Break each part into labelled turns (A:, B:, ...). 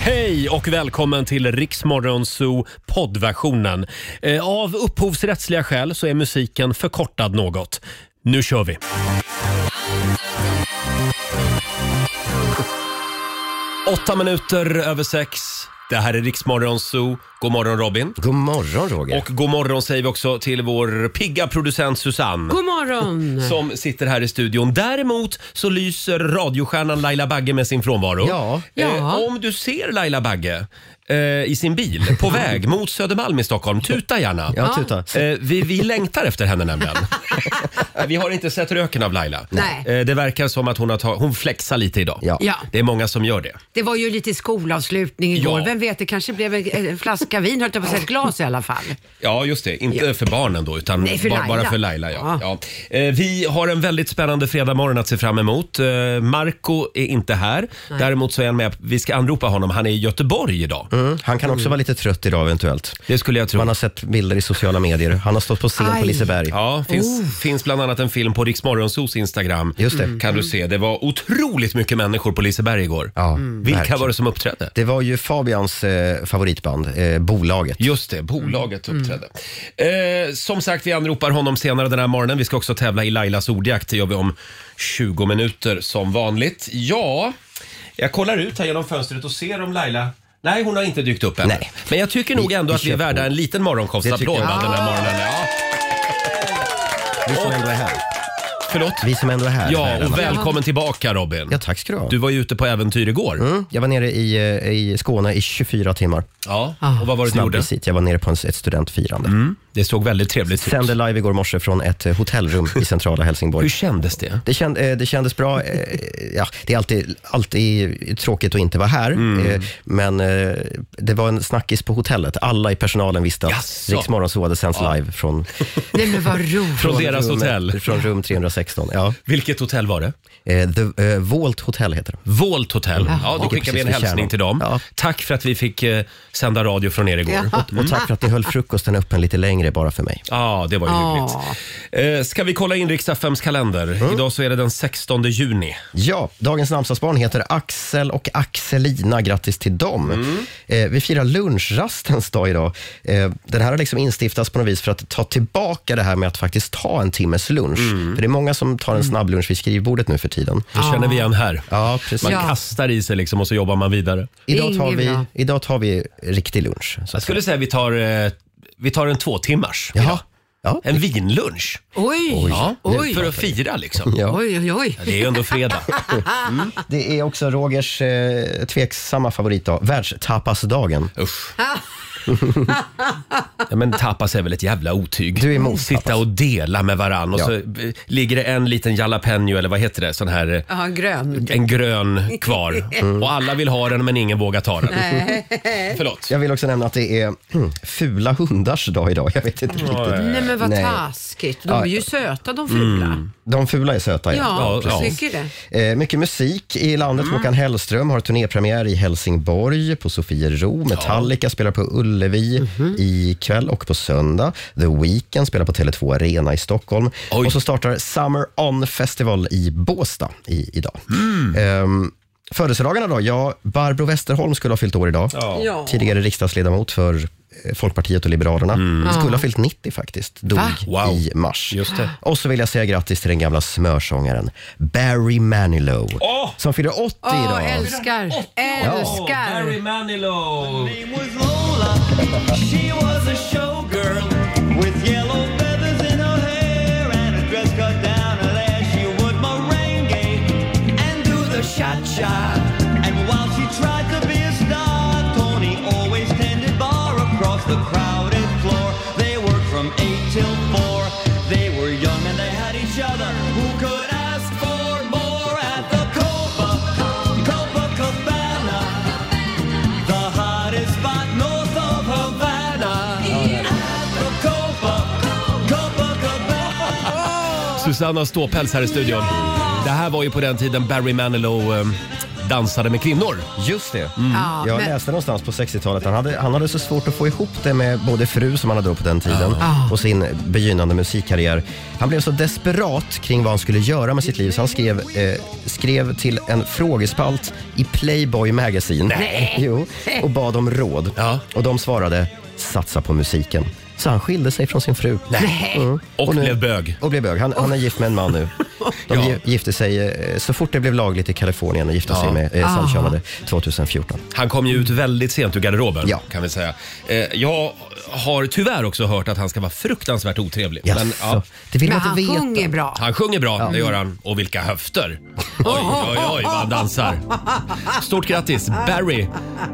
A: Hej och välkommen till Riksmorgonzoo poddversionen. Eh, Av upphovsrättsliga skäl så är musiken förkortad något. Nu kör vi! Åtta minuter över sex. Det här är Riksmorgonzoo. God morgon Robin.
B: God morgon Roger.
A: Och god morgon säger vi också till vår pigga producent Susanne.
C: God morgon!
A: som sitter här i studion. Däremot så lyser radiostjärnan Laila Bagge med sin frånvaro.
B: Ja.
A: Eh,
C: Ja.
A: om du ser Laila Bagge eh, i sin bil på väg mot Södermalm i Stockholm, tuta gärna.
B: Ja, tuta.
A: Eh, vi, vi längtar efter henne nämligen. Eh, vi har inte sett röken av Laila.
C: Nej.
A: Eh, det verkar som att hon, har ta- hon flexar lite idag.
B: Ja.
C: Ja,
A: Det är många som gör det.
C: det var ju lite skolavslutning igår.
A: Ja.
C: Vem vet, det kanske blev en, en flaska vin, höll jag på att säga, ett glas i alla fall.
A: Ja, just det. Inte för barnen då, utan
C: Nej, för
A: ba-
C: Laila.
A: bara för Laila. Ja. Ja. Eh, Vi har en väldigt spännande fredagmorgon att se fram emot. Eh, Marco är inte här. Däremot så är han med. Vi ska anropa honom. Han är i Göteborg idag.
B: Mm. Han kan också vara lite trött idag eventuellt.
A: Det skulle jag tro.
B: Man har sett bilder i sociala medier. Han har stått på scen
C: Aj.
B: på Liseberg. Oh.
A: Ja, finns, finns bland annat en film på Rix Morgonzoos Instagram.
B: Just det. Mm.
A: Kan du se. Det var otroligt mycket människor på Liseberg igår.
B: Ja,
A: Vilka
B: verkligen.
A: var det som uppträdde?
B: Det var ju Fabians eh, favoritband, eh, Bolaget.
A: Just det, bolaget uppträdde. Eh, som sagt, vi anropar honom senare den här morgonen. Vi ska också tävla i Lailas ordjakt. Det gör vi om 20 minuter som vanligt. Ja, jag kollar ut här genom fönstret och ser om Laila... Nej, hon har inte dykt upp än.
B: Nej.
A: Men jag tycker nog
B: Vi-
A: ändå
B: vi
A: att vi är
B: kör
A: värda
B: på.
A: en liten
B: Det tycker
A: morgonshowsapplåd
B: jag.
A: va, den här morgonen. Ja,
B: Vi som ändå är här.
A: förlåt?
B: Vi som ändå är här.
A: Ja,
B: här
A: och
B: alla.
A: välkommen tillbaka Robin.
B: Ja, tack ska du ha.
A: Du var ju ute på äventyr igår.
B: Mm, jag var nere i, eh, i Skåne i 24 timmar.
A: Ja, och vad var det du gjorde? Mm.
B: Snabbvisit. Jag var nere på en, ett studentfirande.
A: Det såg väldigt trevligt ut.
B: Sände live igår morse från ett eh, hotellrum i centrala
A: Hur
B: Helsingborg.
A: kändes det?
B: Det, känd, eh, det kändes bra. Eh, Ja, det är alltid, alltid tråkigt att inte vara här,
A: Mm.
B: Eh, men eh, det var en snackis på hotellet. Alla i personalen visste att
A: Jaså?
B: Riksmorgon så hade sänds live från,
C: Nej men vad roligt.
A: Från deras
B: rum,
A: hotell.
B: från rum 316. Ja.
A: Vilket hotell var det?
B: Eh, The eh, Volt Hotel heter Mm. det.
A: Volt Hotel. Ja, då
B: Ligger
A: skickar vi
B: precis vid
A: en hälsning
B: kärnan.
A: till dem.
B: Ja.
A: Tack för att vi fick eh, sända radio från er igår. Ja,
C: Ja.
B: Och tack för att ni höll frukosten öppen lite längre bara för mig.
A: det var ju
C: Ja.
A: hyggligt. Eh, ska vi kolla in riks kalender?
B: Mm.
A: Idag så är det den 16 juni.
B: Ja, dagens namnsdagsbarn heter Axel och Axelina. Grattis till dem. Eh, vi firar lunchrastens dag idag. Eh, den här har liksom instiftats på något vis för att ta tillbaka det här med att faktiskt ta en timmes lunch. För det är många som tar en snabblunch vid skrivbordet nu för tiden.
A: Mm. Det känner vi igen här.
B: Ja, precis.
A: Man
C: Ja.
A: kastar i sig liksom och så jobbar man vidare.
B: Idag, tar
C: Inget
B: vi,
C: bra.
B: idag tar vi riktig lunch. Så
A: Jag
B: att säga.
A: skulle säga vi tar, eh, vi tar en två timmars.
B: Jaha. Ja.
A: En vinlunch.
C: Oj, oj,
A: Ja,
C: oj,
A: för att fira liksom.
B: Ja.
C: oj, oj,
A: Det är ju ändå fredag.
B: Mm. Det är också Rogers eh, tveksamma favoritdag, världstapasdagen.
A: Usch. ja, men tapas är väl ett jävla otyg?
B: Du är emot
A: Sitta
B: tapas.
A: och dela med varann och
B: Ja.
A: så eh, ligger det en liten jalapeno eller vad heter det? Sån här, eh,
C: Ja, grön.
A: en grön kvar.
B: Mm.
A: Och alla vill ha den men ingen vågar ta den. Förlåt.
B: Jag vill också nämna att det är hmm, fula hundars dag idag. Jag vet inte riktigt.
C: Mm. Nej men vad
B: Nej.
C: taskigt. De
B: Ja.
C: är ju söta de fula.
B: De fula är söta.
C: Ja,
A: Ja,
C: jag
A: ja.
C: tycker det.
B: Eh, mycket musik i landet. Håkan Hellström har turnépremiär i Helsingborg, på Sofiero. Metallica spelar på Ullevi ikväll och på söndag. The Weeknd spelar på Tele2 Arena i Stockholm.
A: Oj.
B: Och så startar Summer On Festival i Båstad i, idag. Ehm, Födelsedagarna då? Ja, Barbro Westerholm skulle ha fyllt år idag.
C: Ja.
B: Tidigare riksdagsledamot för eh, Folkpartiet och Liberalerna. Skulle ha fyllt 90 faktiskt. Dog
C: Va?
A: Wow.
B: i mars.
A: Just det.
B: Och så vill jag säga grattis till den gamla smörsångaren Barry Manilow
A: Åh!
B: som fyller 80
C: Ja,
B: idag.
C: älskar, älskar.
A: Manilow!
D: name was Lola. She was a showgirl with yellow feathers in her hair and a dress cut down her leg. She would merengue and do the cha cha. And while she tried to be a star, Tony always tended bar across the crowded floor. They worked from eight till four. They were young and they had each other. Who could ask for more at the Copa Copacabana? The hottest spot north of Havana. At the Copa, Copacabana.
A: Susanna Ståpäls här i studion. Det här var ju på den tiden Barry Manilow eh, dansade med kvinnor. Mm.
B: Just det.
C: Ja,
B: Mm. jag
C: men-
B: läste någonstans på 60-talet han hade, han hade så svårt att få ihop det med både fru som han hade då på den tiden och sin begynnande musikkarriär. Han blev så desperat kring vad han skulle göra med sitt liv så han skrev, eh, skrev till en frågespalt i Playboy Magazine
A: Nej.
B: Jo, och bad om råd.
A: Ja.
B: Och de svarade “satsa på musiken”. Så han skilde sig från sin fru.
C: Nej.
B: Mm.
A: Och
B: nu-
A: blev bög.
B: Och blev bög. Han, han är gift med en man nu. De
A: Ja.
B: gi- gifte sig eh, så fort det blev lagligt i Kalifornien och gifte sig med eh, samkönade
E: Ah.
B: 2014.
A: Han kom ju ut väldigt sent ur garderoben
B: Ja.
A: kan vi säga. Eh, jag har tyvärr också hört att han ska vara fruktansvärt otrevlig. Men,
B: Jaså,
A: ja,
B: Det vill
C: Men
B: man
C: han
B: inte veta.
C: sjunger bra.
A: han sjunger bra, det gör han. Och vilka höfter! Oj, oj, oj vad han dansar. Stort grattis Barry,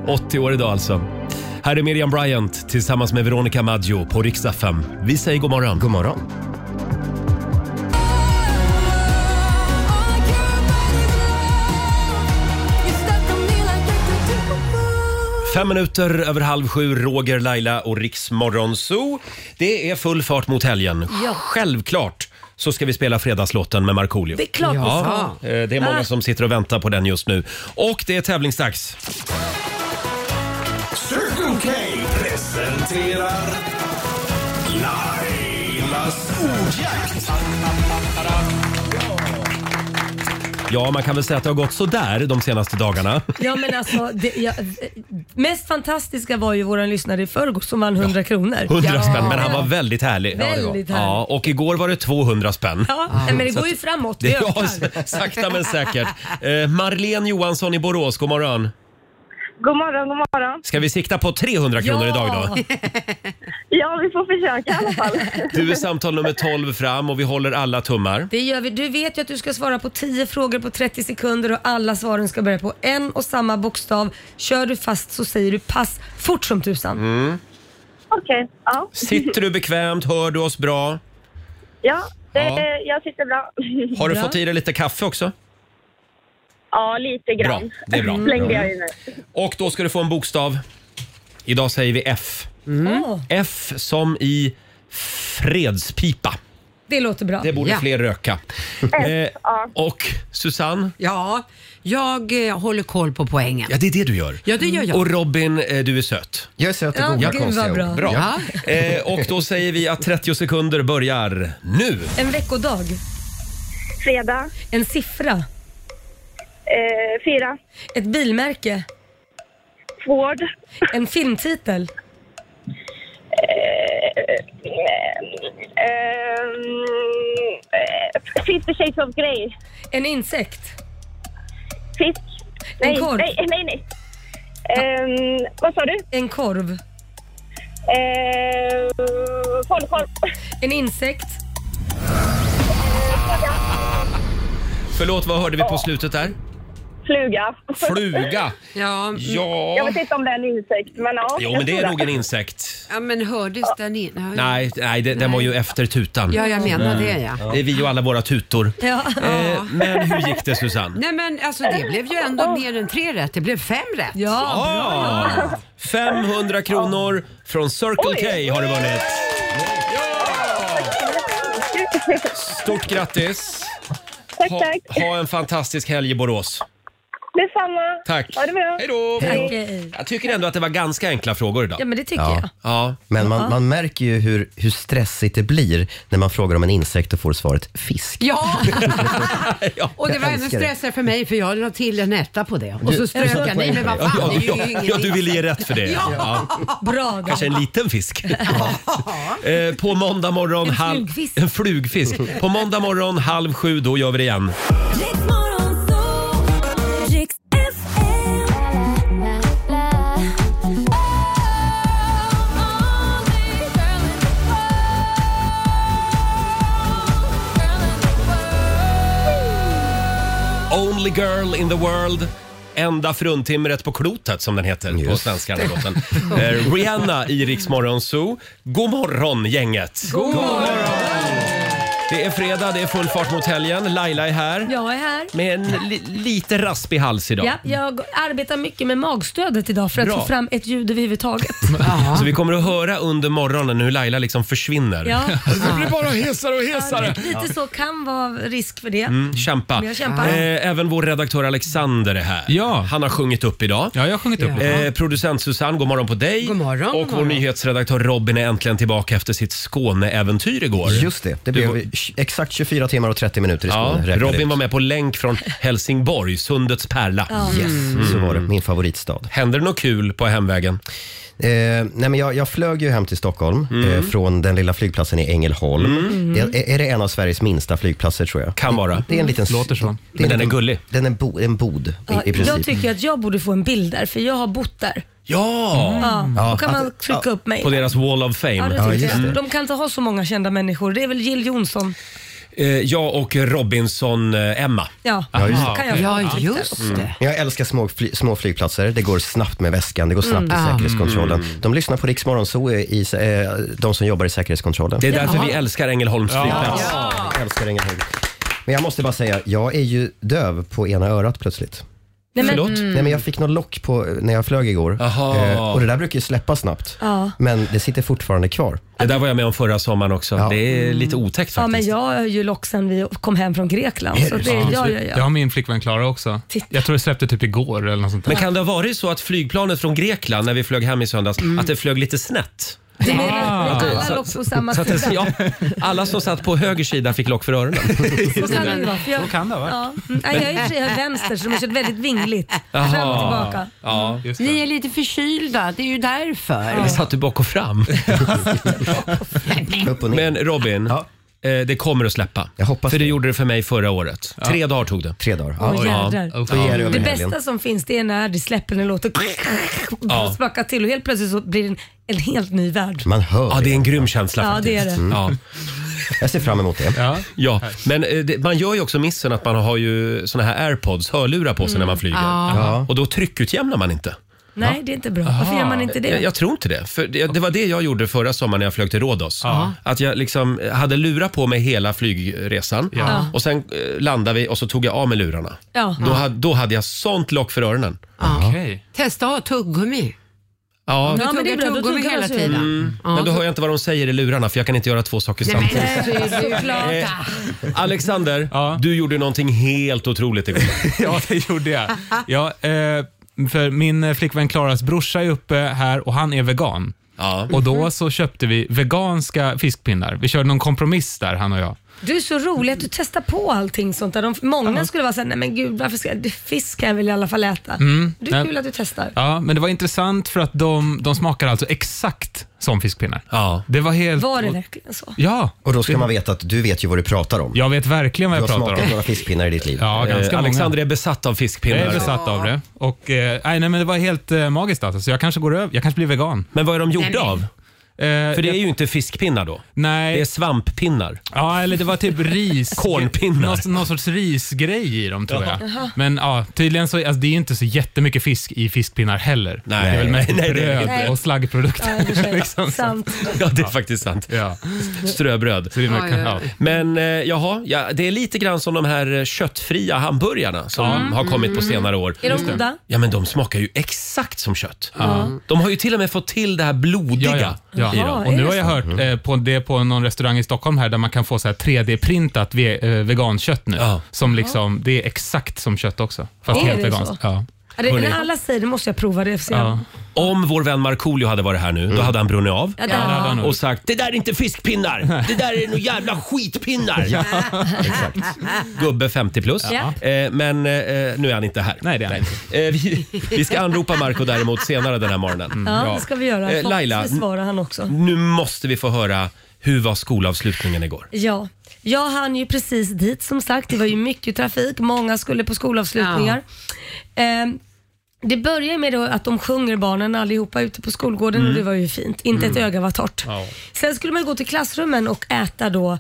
A: 80 år idag alltså. Här är Miriam Bryant tillsammans med Veronica Maggio på riksdag 5. Vi säger god morgon.
B: God morgon.
A: Fem minuter över halv sju, Roger, Laila och Riksmorgon Zoo. Det är full fart mot helgen.
E: Ja.
A: Självklart så ska vi spela fredagslåten med Markoolio.
E: Det är klart vi
A: Ja,
E: ska. Ah.
A: eh, det är många som sitter och väntar på den just nu. Och det är tävlingsdags.
F: Circle K presenterar Lailas ordjakt.
A: Ja, man kan väl säga att det har gått sådär de senaste dagarna.
E: Ja, men alltså, det, ja, eh, mest fantastiska var ju våran lyssnare i förrgår som vann 100 kronor.
A: 100 spänn, men han var väldigt härlig.
E: Ja, det var. Väldigt härlig.
A: Ja, och igår var det 200 spänn.
E: Ja, nej, men det går ju framåt.
A: Det,
E: Det
A: ja,
E: ökar.
A: sakta men säkert. Eh, Marlene Johansson i Borås, god morgon.
G: God morgon, god morgon.
A: Ska vi sikta på 300 kronor idag då?
G: Ja, vi får försöka i alla fall.
A: Du är samtal nummer 12 fram och vi håller alla tummar.
E: Det gör vi. Du vet ju att du ska svara på 10 frågor på 30 sekunder och alla svaren ska börja på en och samma bokstav. Kör du fast så säger du pass fort som tusan.
G: Okej, ja.
A: Mm. Sitter du bekvämt? Hör du oss bra?
G: ja, det,
A: Ja.
G: jag sitter bra.
A: Har du
E: Bra.
A: fått i dig lite kaffe också?
G: Ja, lite grann.
A: Bra, det är bra.
G: Slängde jag i mig.
A: Och då ska du få en bokstav. Idag säger vi F.
C: Mm.
E: Åh,
A: F som i fredspipa.
E: det låter bra.
A: Det borde
C: Ja.
A: fler röka. Eh, och Susanne,
C: Ja, jag eh, håller koll på poängen.
A: ja det är det du gör.
C: Ja, det gör jag.
A: Och Robin, eh, du är söt.
B: Jag är söt och
E: Ja,
B: goda
E: gud,
B: konstiga
E: vad
B: ord.
E: bra.
A: Bra.
C: Ja.
A: Eh, och då säger vi att 30 sekunder börjar nu.
E: En veckodag,
G: Fredag,
E: en siffra,
G: eh, fyra,
E: ett bilmärke,
G: Ford,
E: en filmtitel,
G: Eh, ehm, eh, Fifty shades of Grey,
E: en insekt,
G: fisk.
E: En
G: Nej,
E: korv.
G: nej, nej. nej. Ehm, vad sa du?
E: en korv,
G: Eh, Falukorv.
E: en insekt.
A: Förlåt, vad hörde vi på slutet där?
G: Fluga.
A: Fluga.
C: Ja,
G: Jag
A: Ja,
G: vet inte om det är en insekt, men ja.
A: jo
G: jag
A: men det
G: tror
A: är nog en insekt.
C: ja men hördes den in?
A: Nej, nej, det, den var ju efter tutan.
C: Ja, jag
G: Mm.
C: menar det ja.
A: Det är vi och alla våra tutor.
E: Ja.
A: Eh, men hur gick det Susanne?
C: Nej men alltså det blev ju ändå mer än tre rätt. Det blev fem rätt.
E: Ja,
A: Ah, 500 kronor från Circle K har du vunnit. Stort grattis!
G: Tack,
A: Ha,
G: tack.
A: ha en fantastisk helg i Borås.
G: Detsamma.
A: Tack!
G: Ha det bra.
A: Hej då!
E: Tack, hej.
A: Jag tycker ändå att det var ganska enkla frågor idag.
E: ja men det tycker
B: Ja.
E: jag.
A: Ja,
B: Men
E: Ah.
B: man, man märker ju hur, hur stressigt det blir när man frågar om en insekt och får svaret fisk.
C: Ja!
A: Ja.
C: och det var
B: Jag
C: ännu
B: älskar det.
C: stressare för mig för jag la till en etta på det. Och så strök
B: satte
C: jag. Nej
B: poäng
C: men vad
B: för det.
C: fan,
A: Ja,
C: det är ju
A: ja,
C: ingen
A: ja, du ville ge rätt för det. Ja.
E: Bra då.
A: Kanske en liten fisk. Eh, På måndag morgon...
E: En
A: halv-
E: flugfisk.
A: En flugfisk. På måndag morgon halv sju, då gör vi det igen. Only girl in the world. Enda fruntimret på klotet som den heter på
B: Just.
A: svenska. den här låten. Eh, Rihanna i Rix Morgon Zoo. God morgon gänget! God morgon! Det är fredag, det är full fart mot helgen. Laila är här.
E: Jag är här.
A: Med en li- lite raspig hals idag.
E: Ja, jag arbetar mycket med magstödet idag för att
A: Bra.
E: få fram ett ljud överhuvudtaget.
A: Så vi kommer att höra under morgonen hur Laila liksom försvinner.
E: Ja.
A: Det blir bara hesare och
E: Ja, lite så kan vara risk för det.
A: Mm, kämpa.
E: Jag kämpar.
A: Eh, även vår redaktör Alexander är här.
H: Ja.
A: Han har sjungit upp idag.
H: Ja, jag har sjungit upp
E: Ja.
H: lite.
A: Eh, producent Susanne, god morgon på dig.
C: God morgon,
A: och
C: god
A: vår
C: morgon.
A: nyhetsredaktör Robin är äntligen tillbaka efter sitt Skåneäventyr igår.
B: Just det, det blev exakt 24 timmar och 30 minuter i
A: Ja,
B: Skåne. räknade
A: Robin
B: ut.
A: var med på länk från Helsingborg, Sundets pärla. Mm.
B: Yes, så var det. Min favoritstad.
A: Händer det något kul på hemvägen?
B: Eh, nej men jag, jag flög ju hem till Stockholm eh,
A: Mm.
B: från den lilla flygplatsen i Ängelholm. Det, är, är det en av Sveriges minsta flygplatser tror jag?
A: Kan vara.
B: Det är en liten...
H: Låter så.
B: det en
A: Men den är
B: liten-
A: gullig.
B: Den är bo, en bod
E: Ja,
B: i, i princip.
E: jag tycker att jag borde få en bild där för jag har bott där.
A: Ja!
E: Ja, då kan
B: Ja.
E: man trycka upp mig.
A: På deras Wall of
E: Ja,
A: Fame.
E: det
B: Ja,
E: tycker
B: just
E: jag.
B: det.
E: De kan inte ha så många kända människor. Det är väl Jill Johnson.
A: Eh, jag och eh, Robinson-Emma.
E: Ja,
B: Ja, just det.
E: kan jag få en
C: Ja,
E: bild där.
C: just
A: Mm.
C: det.
B: Mm. Jag älskar små, fly, små flygplatser. Det går snabbt med väskan, det går snabbt i
C: Mm.
B: säkerhetskontrollen. De lyssnar på Rix Morgon Zoo, i, i, eh, de som jobbar i säkerhetskontrollen.
A: Det är därför vi älskar Ängelholms flygplats.
B: Jag älskar Ängelholm. Men jag måste bara säga, jag är ju döv på ena örat plötsligt.
E: Nej, men,
A: Förlåt?
B: Nej, men jag fick något lock på, när jag flög igår. Eh,
A: Aha.
B: och det där brukar ju släppa snabbt.
E: Ja.
B: Men det sitter fortfarande kvar.
A: Det där var jag med om förra sommaren också.
B: Ja.
A: Det är
E: Mm.
A: lite otäckt
E: ja, men
A: faktiskt.
E: jag har ju lock sen vi kom hem från Grekland. Så det, ja, ja,
H: Det
E: ja.
H: har min flickvän Klara också.
E: Titta.
H: Jag tror det släppte typ igår eller något sånt där.
A: Men kan det ha varit så att flygplanet från Grekland när vi flög hem i söndags, att det flög lite snett?
E: Mm. Det
H: Ah.
E: är alla lock på samma
A: Ah, Så att det,
E: sida.
A: ja, alla som satt på höger sida fick lock för öronen.
E: Så kan det ju vara. för Jag,
H: kan det ha varit.
E: ja. Mm, nej, jag är i och för sig jag är vänster så de har kört väldigt vingligt. Fram och tillbaka.
A: Ja.
H: Just
C: Ni
H: det.
C: är lite förkylda, det är ju därför.
A: Eller satt du bak och fram?
B: Upp och ner.
A: Men Robin,
B: Ja.
A: eh, det kommer att släppa.
B: Jag hoppas
A: för det
B: det.
A: gjorde det för mig förra året. Tre dagar tog det.
B: Tre dagar.
E: Åh,
B: Ja.
E: jädrar.
B: Så ger det över
E: Det
B: helgen.
E: bästa som finns det är när det släpper den låter
A: Ja.
E: och smakar till och helt plötsligt så blir det en, en helt ny värld.
B: Man hör
A: Ja, det är en grym känsla
E: Ja,
A: faktiskt.
E: det är det.
A: Ja,
B: Jag ser fram emot det.
H: Ja.
A: ja. Men eh, det, man gör ju också missen att man har ju såna här airpods, hörlurar på sig när man flyger.
B: Mm. Ja.
A: Och då tryckutjämnar man inte.
E: Nej, det är inte bra. Varför gör man inte det?
A: Ah. Jag, jag tror inte det. För det. Det var det jag gjorde förra sommaren när jag flög till Rhodos. Att jag liksom hade lurar på mig hela flygresan och sen eh, landade vi och så tog jag av mig lurarna.
E: Ja.
A: Då, hade, då hade jag sånt lock för öronen.
C: Ja.
H: Okej.
C: Testa att ha tuggummi.
A: Ja, Mm.
C: Du
E: Ja, men det är
C: tuggar
E: bra. Då
C: tuggummi
E: tuggar
C: hela
E: man sig.
C: tiden. Ja,
A: men då hör jag inte vad de säger i lurarna för jag kan inte göra två saker
C: Nej,
A: samtidigt.
E: Nej, såklart.
A: Eh, Alexander,
H: Ja.
A: du gjorde någonting helt otroligt igår.
H: ja, det gjorde jag. Ja, eh, för min eh, flickvän Klaras brorsa är uppe här och han är vegan.
A: Ja.
H: Och
E: Mm-hmm.
H: då så köpte vi veganska fiskpinnar. Vi körde någon kompromiss där, han och jag.
E: Du är så rolig att du testar på allting sånt där. De, många skulle vara såhär, nej men gud, varför ska jag, fisk kan jag väl i alla fall äta. Du är
H: Nej.
E: kul att du testar.
H: Ja, men det var intressant för att de, de smakar alltså exakt som fiskpinnar.
A: Ja.
H: Det var helt...
E: Var det verkligen så?
H: Ja,
B: Och då ska man veta att du vet ju vad du pratar om.
H: jag vet verkligen
B: du
H: vad jag
B: har
H: pratar
B: smakat
H: om.
B: några fiskpinnar i ditt liv.
H: Ja,
A: Eh,
H: ganska många.
A: Alexander är besatt av
H: Jag är
A: fiskpinnar.
H: besatt av det. Och, eh, nej, nej, men det var helt eh, magiskt alltså. Så jag kanske går över. Jag kanske blir vegan.
A: Men vad är de gjorda av?
H: Eh,
A: För det är ju inte fiskpinnar då.
H: Nej,
A: Det är svamppinnar.
H: ja, eller det var typ ris.
A: Kornpinnar.
H: Någon, någon sorts risgrej i dem tror jag. Men ja, tydligen så alltså, det är ju inte så jättemycket fisk i fiskpinnar heller.
A: Nej.
H: det är väl mest
A: Nej, det är det
H: bröd
E: inte.
H: och
E: Ja, i och för
H: slaggprodukter.
E: sig.
H: liksom.
E: Sant.
A: Ja, det är faktiskt sant.
H: Ja.
A: Ströbröd.
H: Så det är man
C: Oj,
H: kan,
C: oj,
H: ja.
A: Men eh, jaha, ja, det är lite grann som de här eh, köttfria hamburgarna som har kommit på senare år.
E: Är de goda?
A: Ja, men de smakar ju exakt som kött. Mm. De har ju till och med fått till det här blodiga
H: Ja, ja, ja.
A: i
E: Jaha,
A: dem.
H: Och
E: är
H: nu
E: det
H: har jag
A: Mm.
H: hört eh, på det på någon restaurang i Stockholm här där man kan få så här 3D-printat ve eh, vegankött nu.
A: Ja.
H: Som liksom, det är exakt som kött också. Fast
E: Är
H: helt
E: det så?
H: veganskt. Ja.
E: Ja, det,
A: Hörrni.
E: när alla säger det måste jag prova det. För
H: Ja. Mm.
E: ja.
A: Om vår vän Markoolio hade varit här nu, då hade han brunnit av.
E: Ja,
H: Ja, det
E: där.
H: hade han nog.
A: Och sagt det där är inte fiskpinnar, det där är nog jävla skitpinnar. Gubbe 50 plus.
E: Ja.
A: Eh, men eh, nu är han inte här.
H: Nej, det är han
A: Eh, vi, vi ska anropa Marco däremot senare den här morgonen.
E: Mm. Ja, det ska vi göra.
A: Eh, Laila, Mm.
E: Förhoppningsvis svarar han också.
A: Nu måste vi få höra hur var skolavslutningen igår?
E: Ja, jag hann ju precis dit som sagt. Det var ju mycket trafik, många skulle på skolavslutningar. Ehm, det börjar med då att de sjunger barnen allihopa ute på skolgården och det var ju fint. Inte ett öga var torrt. Sen skulle man ju gå till klassrummen och äta då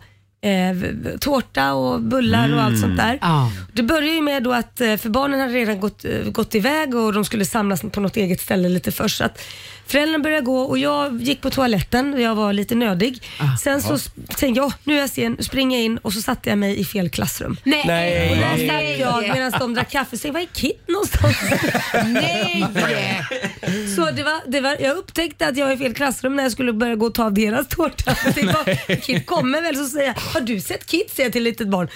E: eh, v- tårta och bullar och allt sånt där.
C: Ja.
E: Det började ju med då att, eh, för barnen hade redan gått, eh, gått iväg och de skulle samlas på något eget ställe lite först. Så att föräldrarna började gå och jag gick på toaletten och jag var lite nödig. Sen så s- tänkte jag, "Åh, nu är jag sen, springer jag in och så satte jag mig i fel klassrum.
I: Nej!
A: Nej.
E: Där satt jag medan de drack kaffe. Så jag, var är Kit någonstans?
I: Nej!
E: Mm. Så det var, det var, jag upptäckte att jag var i fel klassrum när jag skulle börja gå och ta deras tårta. Jag tänkte bara, Kit kommer väl så säger jag, har du sett Kit? säger jag till ett litet barn.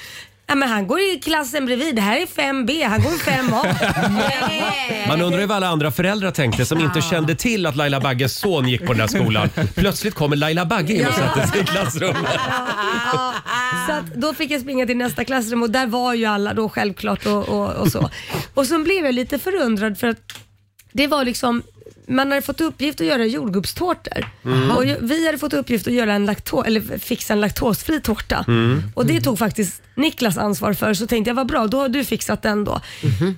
E: Ja, men han går i klassen bredvid, det här är 5B, han går i 5A. Eh,
A: Man undrar ju vad alla andra föräldrar tänkte som inte kände till att Laila Bagges son gick på den här skolan. Plötsligt kommer Laila Bagge in och sätter sig i klassrummet.
E: Ja, så att då fick jag springa till nästa klassrum och där var ju alla då självklart och, och, och så. Och så blev jag lite förundrad för att det var liksom man hade fått uppgift att göra jordgubbstårtor. Och jag- vi hade fått uppgift att göra en lakto- eller fixa en laktosfri tårta.
J: Mm.
A: Mm.
E: Och det tog faktiskt Niklas ansvar för, så tänkte jag vad bra, då har du fixat den då.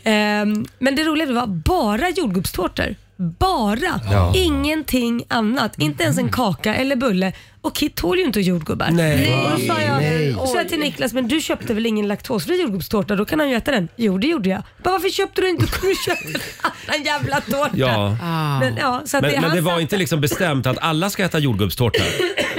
E: Ehm, men det roliga var bara jordgubbstårtor. Bara! Ingenting annat.
A: Mm.
E: Inte ens en kaka eller bulle. Och Kit tål ju inte jordgubbar.
A: Nej.
E: Och då sa jag,
B: Nej.
E: och så sa jag till Niklas, men du köpte väl ingen laktosfri jordgubbstårta? Då kan han ju äta den. Jo, det gjorde jag. Bara, varför köpte du inte? Du kunde ju köpa en annan jävla tårta.
A: Ja.
E: Men, ja, så att det,
A: Men, men
E: han
A: det var
E: satt-
A: inte liksom bestämt att alla ska äta jordgubbstårta.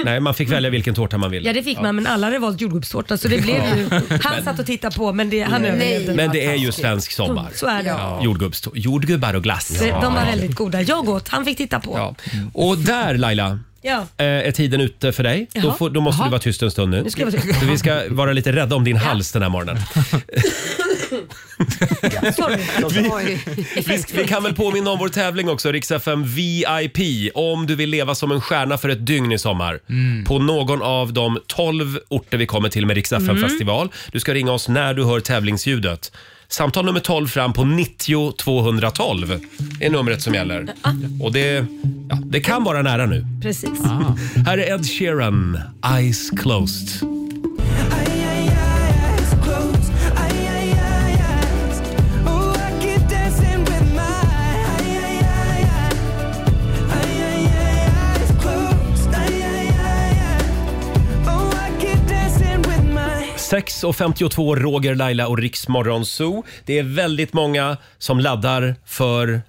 A: Nej, man fick välja vilken tårta man ville.
E: Ja det fick man men alla hade valt jordgubbstårta så det blev ju... Han satt och tittade på men det, han överlevde.
A: Men det är ju svensk sommar.
E: Så är det.
A: Jordgubbstå- jordgubbar och glass.
E: Så De var väldigt goda. Jag åt, han fick titta på.
A: Ja. Och där Laila,
E: Ja.
A: eh, är tiden ute för dig. Då,
E: Jaha.
A: får, då måste du vara tyst en stund nu.
E: ska jag vara tyst.
A: För vi ska vara lite rädda om din hals den här morgonen.
E: Sorry.
A: Vi, vi kan väl påminna om vår tävling också, Rix FM VIP. Om du vill leva som en stjärna för ett dygn i sommar på någon av de 12 orter vi kommer till med Rix FM festival. Du ska ringa oss när du hör tävlingsljudet. Samtal nummer 12 fram på 90 212 är numret som gäller. Och det, ja, det kan vara nära nu.
E: Precis.
K: Ah.
A: Här är Ed Sheeran, Eyes Closed.
D: Closed.
A: 6.52, Roger, Laila och Riksmorgon Zoo. Det är väldigt många som laddar för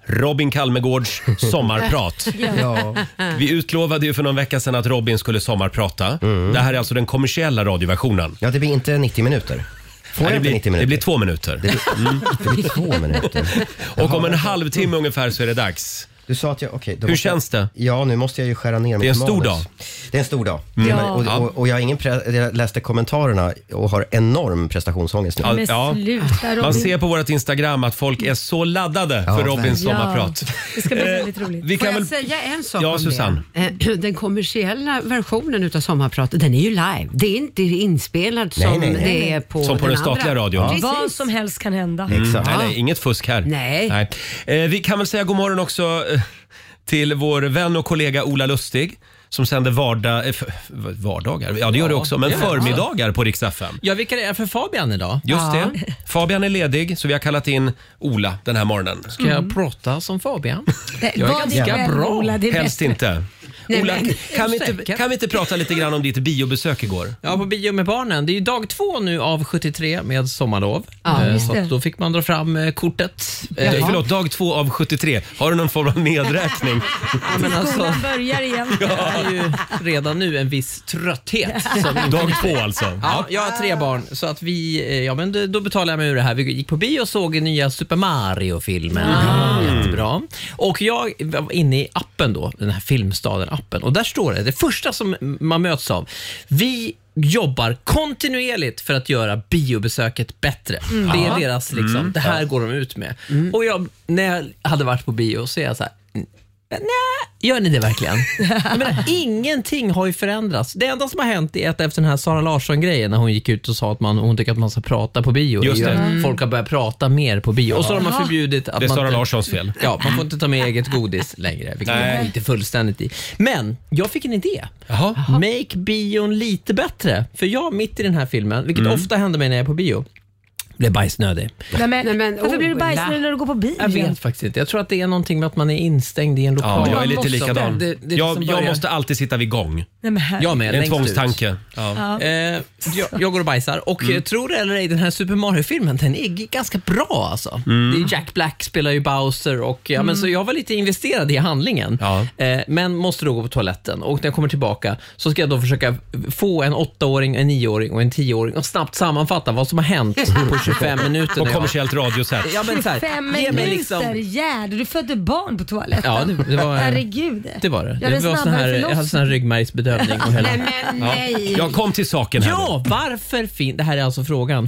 A: Robin Kalmegårds sommarprat.
B: Ja.
A: Vi utlovade ju för någon vecka sedan att Robin skulle sommarprata. Det här är alltså den kommersiella radioversionen.
B: Mm. ja, det blir inte 90 minuter. Får jag
A: det,
B: inte 90
A: blir, det
B: minuter?
A: blir två minuter.
B: Det blir två minuter.
A: Och om en halvtimme ungefär så är det dags.
B: Du sa att jag, okej. då
A: Hur
B: måste jag-
A: känns det?
B: Ja, nu måste jag ju skära ner
A: Det
B: mitt
A: är en stor
B: manus.
A: dag.
B: Det är en stor dag.
E: Ja.
B: Och, och, och jag, har ingen pre- jag läste kommentarerna och har enorm prestationsångest nu.
A: Ja,
E: Men
A: ja.
E: sluta
A: Man
E: Robin.
A: ser på vårt Instagram att folk är så laddade för Robins
E: Ja.
A: sommarprat. Eh,
E: Det ska bli väldigt roligt.
A: Vi
C: Får
A: kan
C: jag
A: väl...
C: säga en sak
A: Ja,
C: om
A: Susanne.
C: det? Eh, Den kommersiella versionen utav sommarpratet, den är ju live. Det är inte inspelad som
B: nej, nej.
C: det är på
A: Som på den statliga
C: andra.
A: radion.
C: Precis.
E: Vad som helst kan hända.
B: Exakt.
A: Mm. Nej, nej, inget fusk här.
C: Nej.
A: Eh, vi kan väl säga god morgon också eh, till vår vän och kollega Ola Lustig som sänder vardag, eh, f- vardagar, ja det gör det också, men
K: det gör det också.
A: förmiddagar på Rix FM.
K: Jag vikarierar för Fabian idag.
A: Just det. Fabian är ledig så vi har kallat in Ola den här morgonen.
K: Ska jag prata som Fabian?
E: Nej,
K: Jag är
E: var dig
K: ganska
E: själv,
K: bra.
E: Ola, det är
A: Helst
E: bättre.
A: inte. Ola,
K: men-
A: kan vi, inte,
K: Ursäkta.
A: kan vi inte prata lite grann om ditt biobesök igår?
K: Ja, på bio med barnen. Det är ju dag två nu av 73 med sommarlov.
C: Ja,
K: Eh,
E: just
K: så
E: det.
K: att då fick man dra fram eh, kortet. Eh,
A: Eh, förlåt, dag två av 73. Har du någon form av nedräkning?
K: men alltså,
E: Skolan börjar igen.
K: det är ju redan nu en viss trötthet. Som inte
A: dag två alltså.
K: Ja, jag har tre barn, så att vi, eh, ja, men det- då betalar jag mig ur det här. Vi gick på bio och såg nya Super Mario-filmen.
E: Ah.
K: Jättebra. Och jag var inne i appen då, den här Filmstaden-appen. Och där står det, det första som man möts av, vi jobbar kontinuerligt för att göra biobesöket bättre.
E: Mm.
K: Det är deras, liksom,
A: Mm.
K: det här går de ut med. Och jag, när jag hade varit på bio så är jag så här, Nej, gör ni det verkligen? Jag menar, ingenting har ju förändrats. Det enda som har hänt är att efter den här Sara Larsson-grejen, när hon gick ut och sa att man, hon tycker att man ska prata på bio,
A: Just
K: är ju
A: det.
K: att folk har börjat prata mer på bio. Och så har man förbjudit att
A: Det är
K: man...
A: Sara Larssons fel.
K: Ja, man får inte ta med eget godis längre, vilket jag är inte fullständigt i. Men jag fick en idé.
A: Jaha.
K: Make bion lite bättre. För jag, mitt i den här filmen, vilket
A: Mm.
K: ofta händer mig när jag är på bio, blev bajsnödig.
E: Nej, men,
C: Nej, men,
E: varför blir du
C: Ola.
E: bajsnödig när du går på bio?
K: Jag vet faktiskt inte. Jag tror att det är någonting med att man är instängd i en lokal.
A: Ja, jag är lite
K: Också.
A: likadan.
K: Det, det liksom
A: Jag, jag
K: börjar-
A: måste alltid sitta vid gång.
E: Nej, men herregud.
K: Jag med.
A: Det är en
K: längst ut.
A: tvångstanke.
E: Ja.
K: Eh, jag, jag går och bajsar och
A: Mm.
K: eh, tror det eller ej, den här Super Mario-filmen den är g- ganska bra alltså.
A: Mm.
K: Det är Jack Black spelar ju Bowser och ja,
A: Mm.
K: men, så jag var lite investerad i handlingen. Eh, men måste då gå på toaletten och när jag kommer tillbaka så ska jag då försöka få en åttaåring, en nioåring och en tioåring och snabbt sammanfatta vad som har hänt på 25 minuter.
A: På
K: när jag-
A: kommersiellt radiosätt.
K: Ja, men så här,
E: Fem
K: ge mig
E: minuter,
K: liksom-
E: Gerd. Du födde barn på toaletten.
K: Ja, det- det var-
E: Herregud.
K: Det var det.
E: Jag
K: det
E: hade
K: var
E: en
K: sån här,
E: snabbare
K: jag hade sån här
E: förlossning.
K: ryggmärgsbedövning. och hela-
E: Nej, men
K: Ja.
E: nej.
A: Jag kom till saken här
K: Ja, varför finns... Det här är alltså frågan.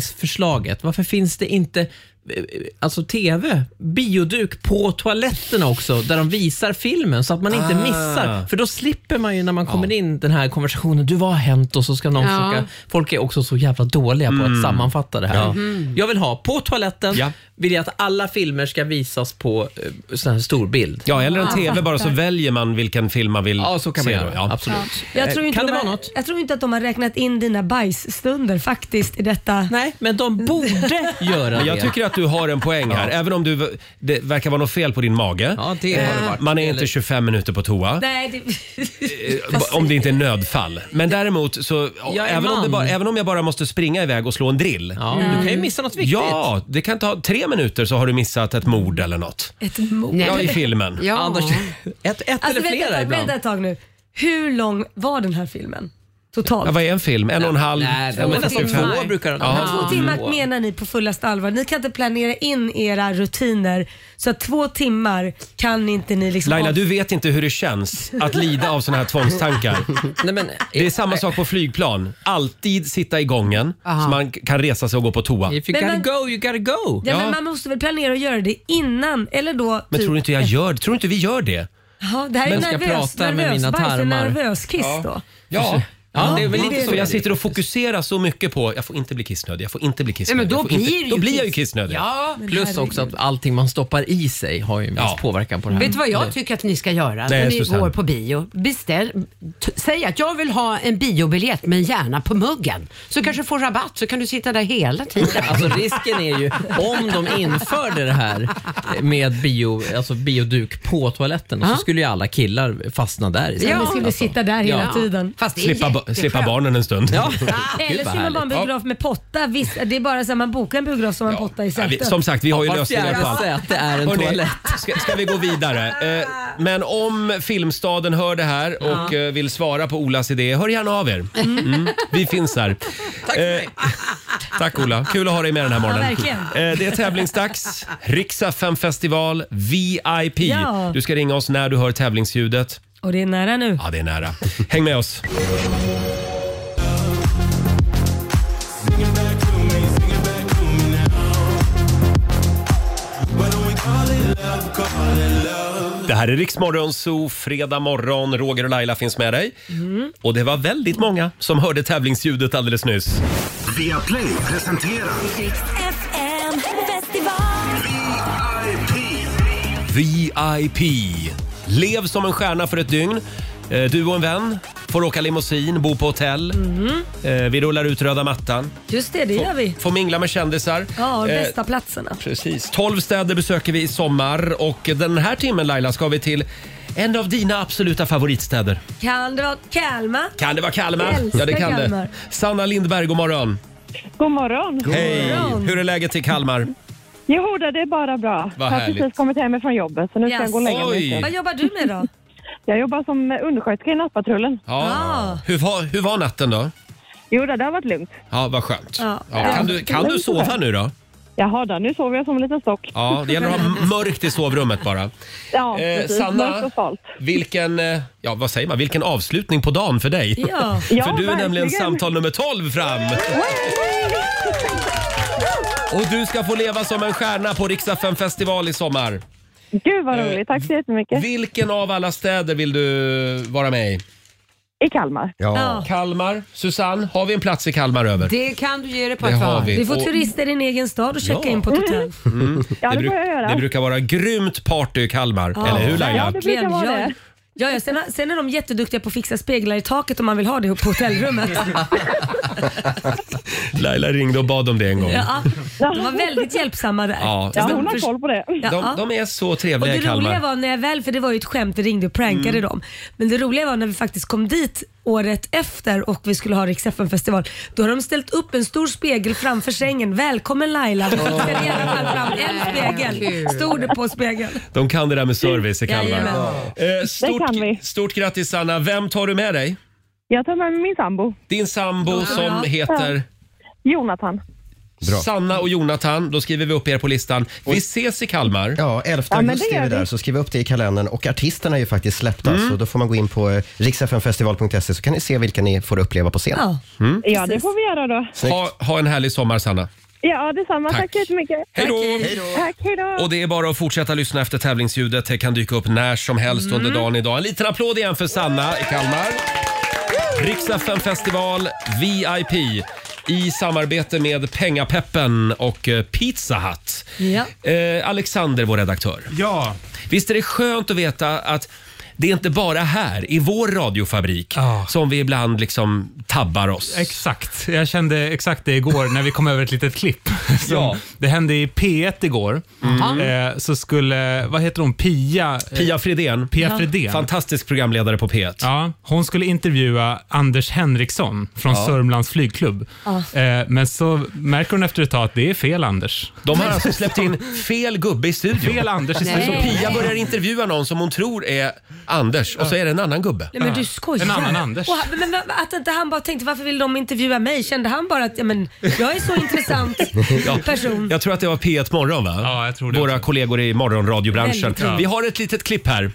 K: Förbättringsförslaget. Varför finns det inte eh, eh, Alltså TV, bioduk på toaletterna också där de visar filmen så att man inte
A: Ah.
K: missar. För då slipper man ju när man kommer in den här konversationen. Du, vad har hänt? Och så ska någon
A: Ja.
K: försöka. Folk är också så jävla dåliga på att sammanfatta det här.
A: Ja.
K: Jag vill ha på toaletten, vill jag att alla filmer ska visas på eh, sån här stor bild.
A: Ja, eller en
E: Ja,
A: TV bara så
E: fattar.
A: väljer man vilken film man vill
K: Ja, så kan man
A: se.
K: göra.
A: då.
K: Absolut. Eh,
E: Jag tror, inte
K: Kan
E: de
K: det
E: har,
K: vara
E: jag tror inte att de har räknat in dina bajsstunder faktiskt i detta.
K: Nej, men de borde
A: Men jag tycker att du har en poäng här, även om du, det verkar vara något fel på din mage.
K: det har det
A: Eh,
K: varit.
A: Man är inte
K: Eller-
A: 25 minuter på toa.
E: Nej, det...
A: Eh, Om det inte är nödfall. Men däremot så,
K: är
A: även om, det
K: man.
A: bara, även om jag bara måste springa iväg och slå en drill.
K: Ja, du
E: Mm.
K: kan ju missa något viktigt.
A: Ja, det kan ta tre minuter så har du missat ett mord eller något.
E: Ett mord.
A: Ja, i filmen.
K: Annars, ett ett
E: Alltså,
K: eller
E: vänta,
K: flera
E: vänta,
K: ibland.
E: Vänta ett tag nu. Hur lång var den här filmen? Totalt.
A: Ja, vad är en film? En och en halv?
K: Nej, det var
A: två
K: nästan
A: timmar?
K: två brukar de-
A: Ja.
E: Två timmar menar ni på fullaste allvar. Ni kan inte planera in era rutiner så att två timmar kan inte ni liksom...
A: Laila, du vet inte hur det känns att lida av såna här tvångstankar.
K: Nej, men,
A: Det är samma sak på flygplan. Alltid sitta i gången så man kan resa sig och gå på toa.
K: If you
E: Men
K: gotta
E: man-
K: go, you gotta go.
E: Ja, men man måste väl planera och göra det innan eller då...
A: Men
E: typ-
A: tror du inte jag gör det? Tror du inte vi gör det?
E: Jaha, det här är
A: Men ska
E: nervös,
A: prata med
E: nervös
A: mina
E: bajs, en
A: tarmar.
E: nervös kiss
A: Ja.
E: då.
A: Ja. Ja, det är väl
E: Ja,
A: lite
E: det är
A: så.
E: det.
A: Jag sitter och fokuserar så mycket på jag får inte bli kissnödig, jag får inte bli
K: Nej,
A: kissnödig.
K: men då
A: jag får inte,
K: blir det
A: då
K: ju
A: blir jag ju
K: kiss-
A: kissnödig.
K: Ja.
A: Men
K: Plus
A: herregud.
K: också att allting man stoppar i sig har ju en viss påverkan
A: Mm.
K: på det här.
C: Vet du vad jag tycker att ni ska göra
K: Nej,
C: när ni
K: Susanne.
C: går på bio? Beställ, t- säg att jag vill ha en biobiljett men gärna på muggen. Så kanske du får rabatt så kan du sitta där hela tiden.
K: Alltså risken är ju om de införde det här med bio, alltså bioduk på toaletten så skulle ju alla killar fastna där
E: Ja,
K: istället.
E: man skulle sitta där hela
K: Ja.
E: tiden.
A: Slippa, ba- slippa barnen en stund.
K: Ja.
E: Eller
A: Gud, vad
E: så man bara en
A: härligt.
E: biograf med potta. Visst, det är bara så här, man bokar en biograf som man pottar i
A: Ja, vi,
E: sätet.
A: som sagt, vi har ju
K: Ja, var
A: lösningar på
K: fjärde
A: allt.
K: säte är en
A: Hörrni,
K: toalett.
A: Ska, ska vi gå vidare? Eh, men om Filmstaden hör det här och
K: Ja.
A: eh, vill svara på Olas idé, hör gärna av er. Mm, vi finns här. Tack Tack Ola, kul att ha dig med den här morgonen.
E: Ja, verkligen.
A: Eh, det är tävlingsdags, Riksa 5 festival VIP.
E: Ja.
A: Du ska ringa oss när du hör tävlingsljudet.
E: Och det är nära nu.
A: Ja, det är nära. Häng med oss. Det här är Riksmorgon Zoo, fredag morgon. Roger och Laila finns med dig. Och det var väldigt många som hörde tävlingsljudet alldeles nyss.
F: Via Play presenterar
D: FM festival.
A: VIP. Lev som en stjärna för ett dygn. Eh, Du och en vän får åka limousin, bo på hotell.
E: Mm.
A: Eh, Vi rullar ut röda mattan.
E: Just det, det gör vi.
A: Får mingla med kändisar.
E: Ja, de
A: Eh,
E: bästa platserna.
A: Precis. 12 städer besöker vi i sommar och den här timmen Laila ska vi till en av dina absoluta favoritstäder.
E: Kan det vara Kalmar?
A: Kan det vara Kalmar?
E: Jag älskar
A: Ja, det kan
E: Kalmar.
A: det. Sanna Lindberg, god morgon.
L: God morgon.
A: Hej! Hur är läget i Kalmar?
L: Jo, då, det är bara bra.
A: Vad
L: jag har
A: härligt.
L: precis kommit hem från jobbet så nu ska jag gå och lägga mig.
A: Oj.
L: lite.
A: Vad
E: jobbar du med då?
L: Jag jobbar som undersköterska i nattpatrullen.
A: Ja. Hur, var, hur var natten då?
L: Jo, då, det har varit lugnt.
A: Ja, vad skönt.
L: Ja.
A: Ja, kan, du, kan du sova nu då?
L: Jaha, då, nu sover jag som en liten stock.
A: Ja, det gäller att ha mörkt i sovrummet bara.
L: Ja,
A: Eh,
L: precis.
A: Sanna?
L: Mörkt och salt.
A: Vilken, eh, ja vad säger man, vilken avslutning på dagen för dig.
L: Ja.
A: för du
L: Ja,
A: är nämligen
L: verkligen.
A: samtal nummer 12 fram. Och du ska få leva som en stjärna på Riksa 5 festival i sommar.
L: Gud
A: Eh,
L: vad roligt, tack så jättemycket.
A: Vilken av alla städer vill du vara med i?
L: I Kalmar.
C: Ja.
A: Kalmar. Susanne, har vi en plats i Kalmar över?
C: Det kan du ge dig på
A: Det
C: att
A: har
C: ha.
A: vi.
E: Du får
A: Och-
E: turister i din egen stad och checka
A: Ja.
E: in på ett hotell.
A: Mm.
E: Ja, det får
A: bruk-
E: jag göra.
A: det brukar vara grymt party i Kalmar, eller hur Laila?
E: verkligen.
L: brukar vara
E: Jag-
L: det.
E: Ja, ja, sen, har- sen är de jätteduktiga på att fixa speglar i taket om man vill ha det på hotellrummet.
A: Laila ringde och bad om det en gång.
E: ja, de var väldigt hjälpsamma där.
A: Ja, Ja, hon har
E: Först-
L: koll på det.
E: Ja.
A: De, de är så
E: Och
A: trevliga
E: det
A: i Kalmar.
E: roliga var när jag väl, för det var ju ett skämt, det ringde och prankade
A: Mm.
E: dem. Men det roliga var när vi faktiskt kom dit året efter och vi skulle ha Rix festival Då har de ställt upp en stor spegel framför sängen. Välkommen Laila! Vi ställde i alla fall fram en spegel. Stod det på spegeln.
A: De kan det där med service i Kalmar.
E: Jajamän.
A: Eh, Stort, stort grattis Sanna. Vem tar du med dig?
L: Jag tar med mig min sambo.
A: Din sambo som
L: Ja.
A: heter
L: Jonathan.
A: Sanna och Jonathan. Då skriver vi upp er på listan. Vi ses i Kalmar.
B: Ja, 11
A: Ja, men det
B: augusti är
A: gör
B: vi där,
A: vi.
B: så skriv upp det i kalendern. Och artisterna är ju faktiskt släppta,
A: Mm.
B: så då får man gå in på riksfnfestival.se så kan ni se vilka ni får uppleva på scen. Mm.
L: Ja, det får vi göra då.
A: Ha, ha en härlig sommar Sanna.
L: Ja, detsamma. Tack,
A: Tack.
L: så jättemycket.
A: Hej då.
L: Tack, hej då.
A: Och det är bara att fortsätta lyssna efter tävlingsljudet. Det kan dyka upp när som helst
L: Mm.
A: under dagen idag. En liten applåd igen för Sanna i Kalmar. Rix FM festival VIP i samarbete med Pengapeppen och eh, Pizza Hut.
E: Ja.
A: Eh, Alexander, vår redaktör. Ja. Visst är det skönt att veta att det är inte bara här, i vår radiofabrik, som vi ibland liksom tabbar oss.
H: Exakt. Jag kände exakt det igår när vi kom över ett litet klipp. Som, Det hände i P1 igår.
A: Mm.
H: Eh, så skulle, vad heter hon, Pia? eh,
A: Pia Fredén.
H: Pia
A: Ja.
H: Fredén.
A: Fantastisk programledare på P1.
H: Ja, hon skulle intervjua Anders Henriksson från
A: Ja.
H: Sörmlands flygklubb.
A: Ja.
H: Eh, men så märker hon efter ett tag att det är fel Anders.
A: De har alltså släppt in fel gubbe i studion.
H: Fel Anders i
A: Nej. Så
H: studion.
A: Pia börjar intervjua någon som hon tror är Anders och så är det en annan gubbe.
E: Nej men du skojar. Och, han- men, men, att inte han bara tänkte varför vill de intervjua mig? Kände han bara att ja, men, jag är så intressant
A: Ja.
E: person.
A: Jag tror att det var P1 Morgon, va? Ja, jag tror det Våra kollegor i morgonradiobranschen.
E: Väldigt bra.
A: Vi har ett litet klipp här.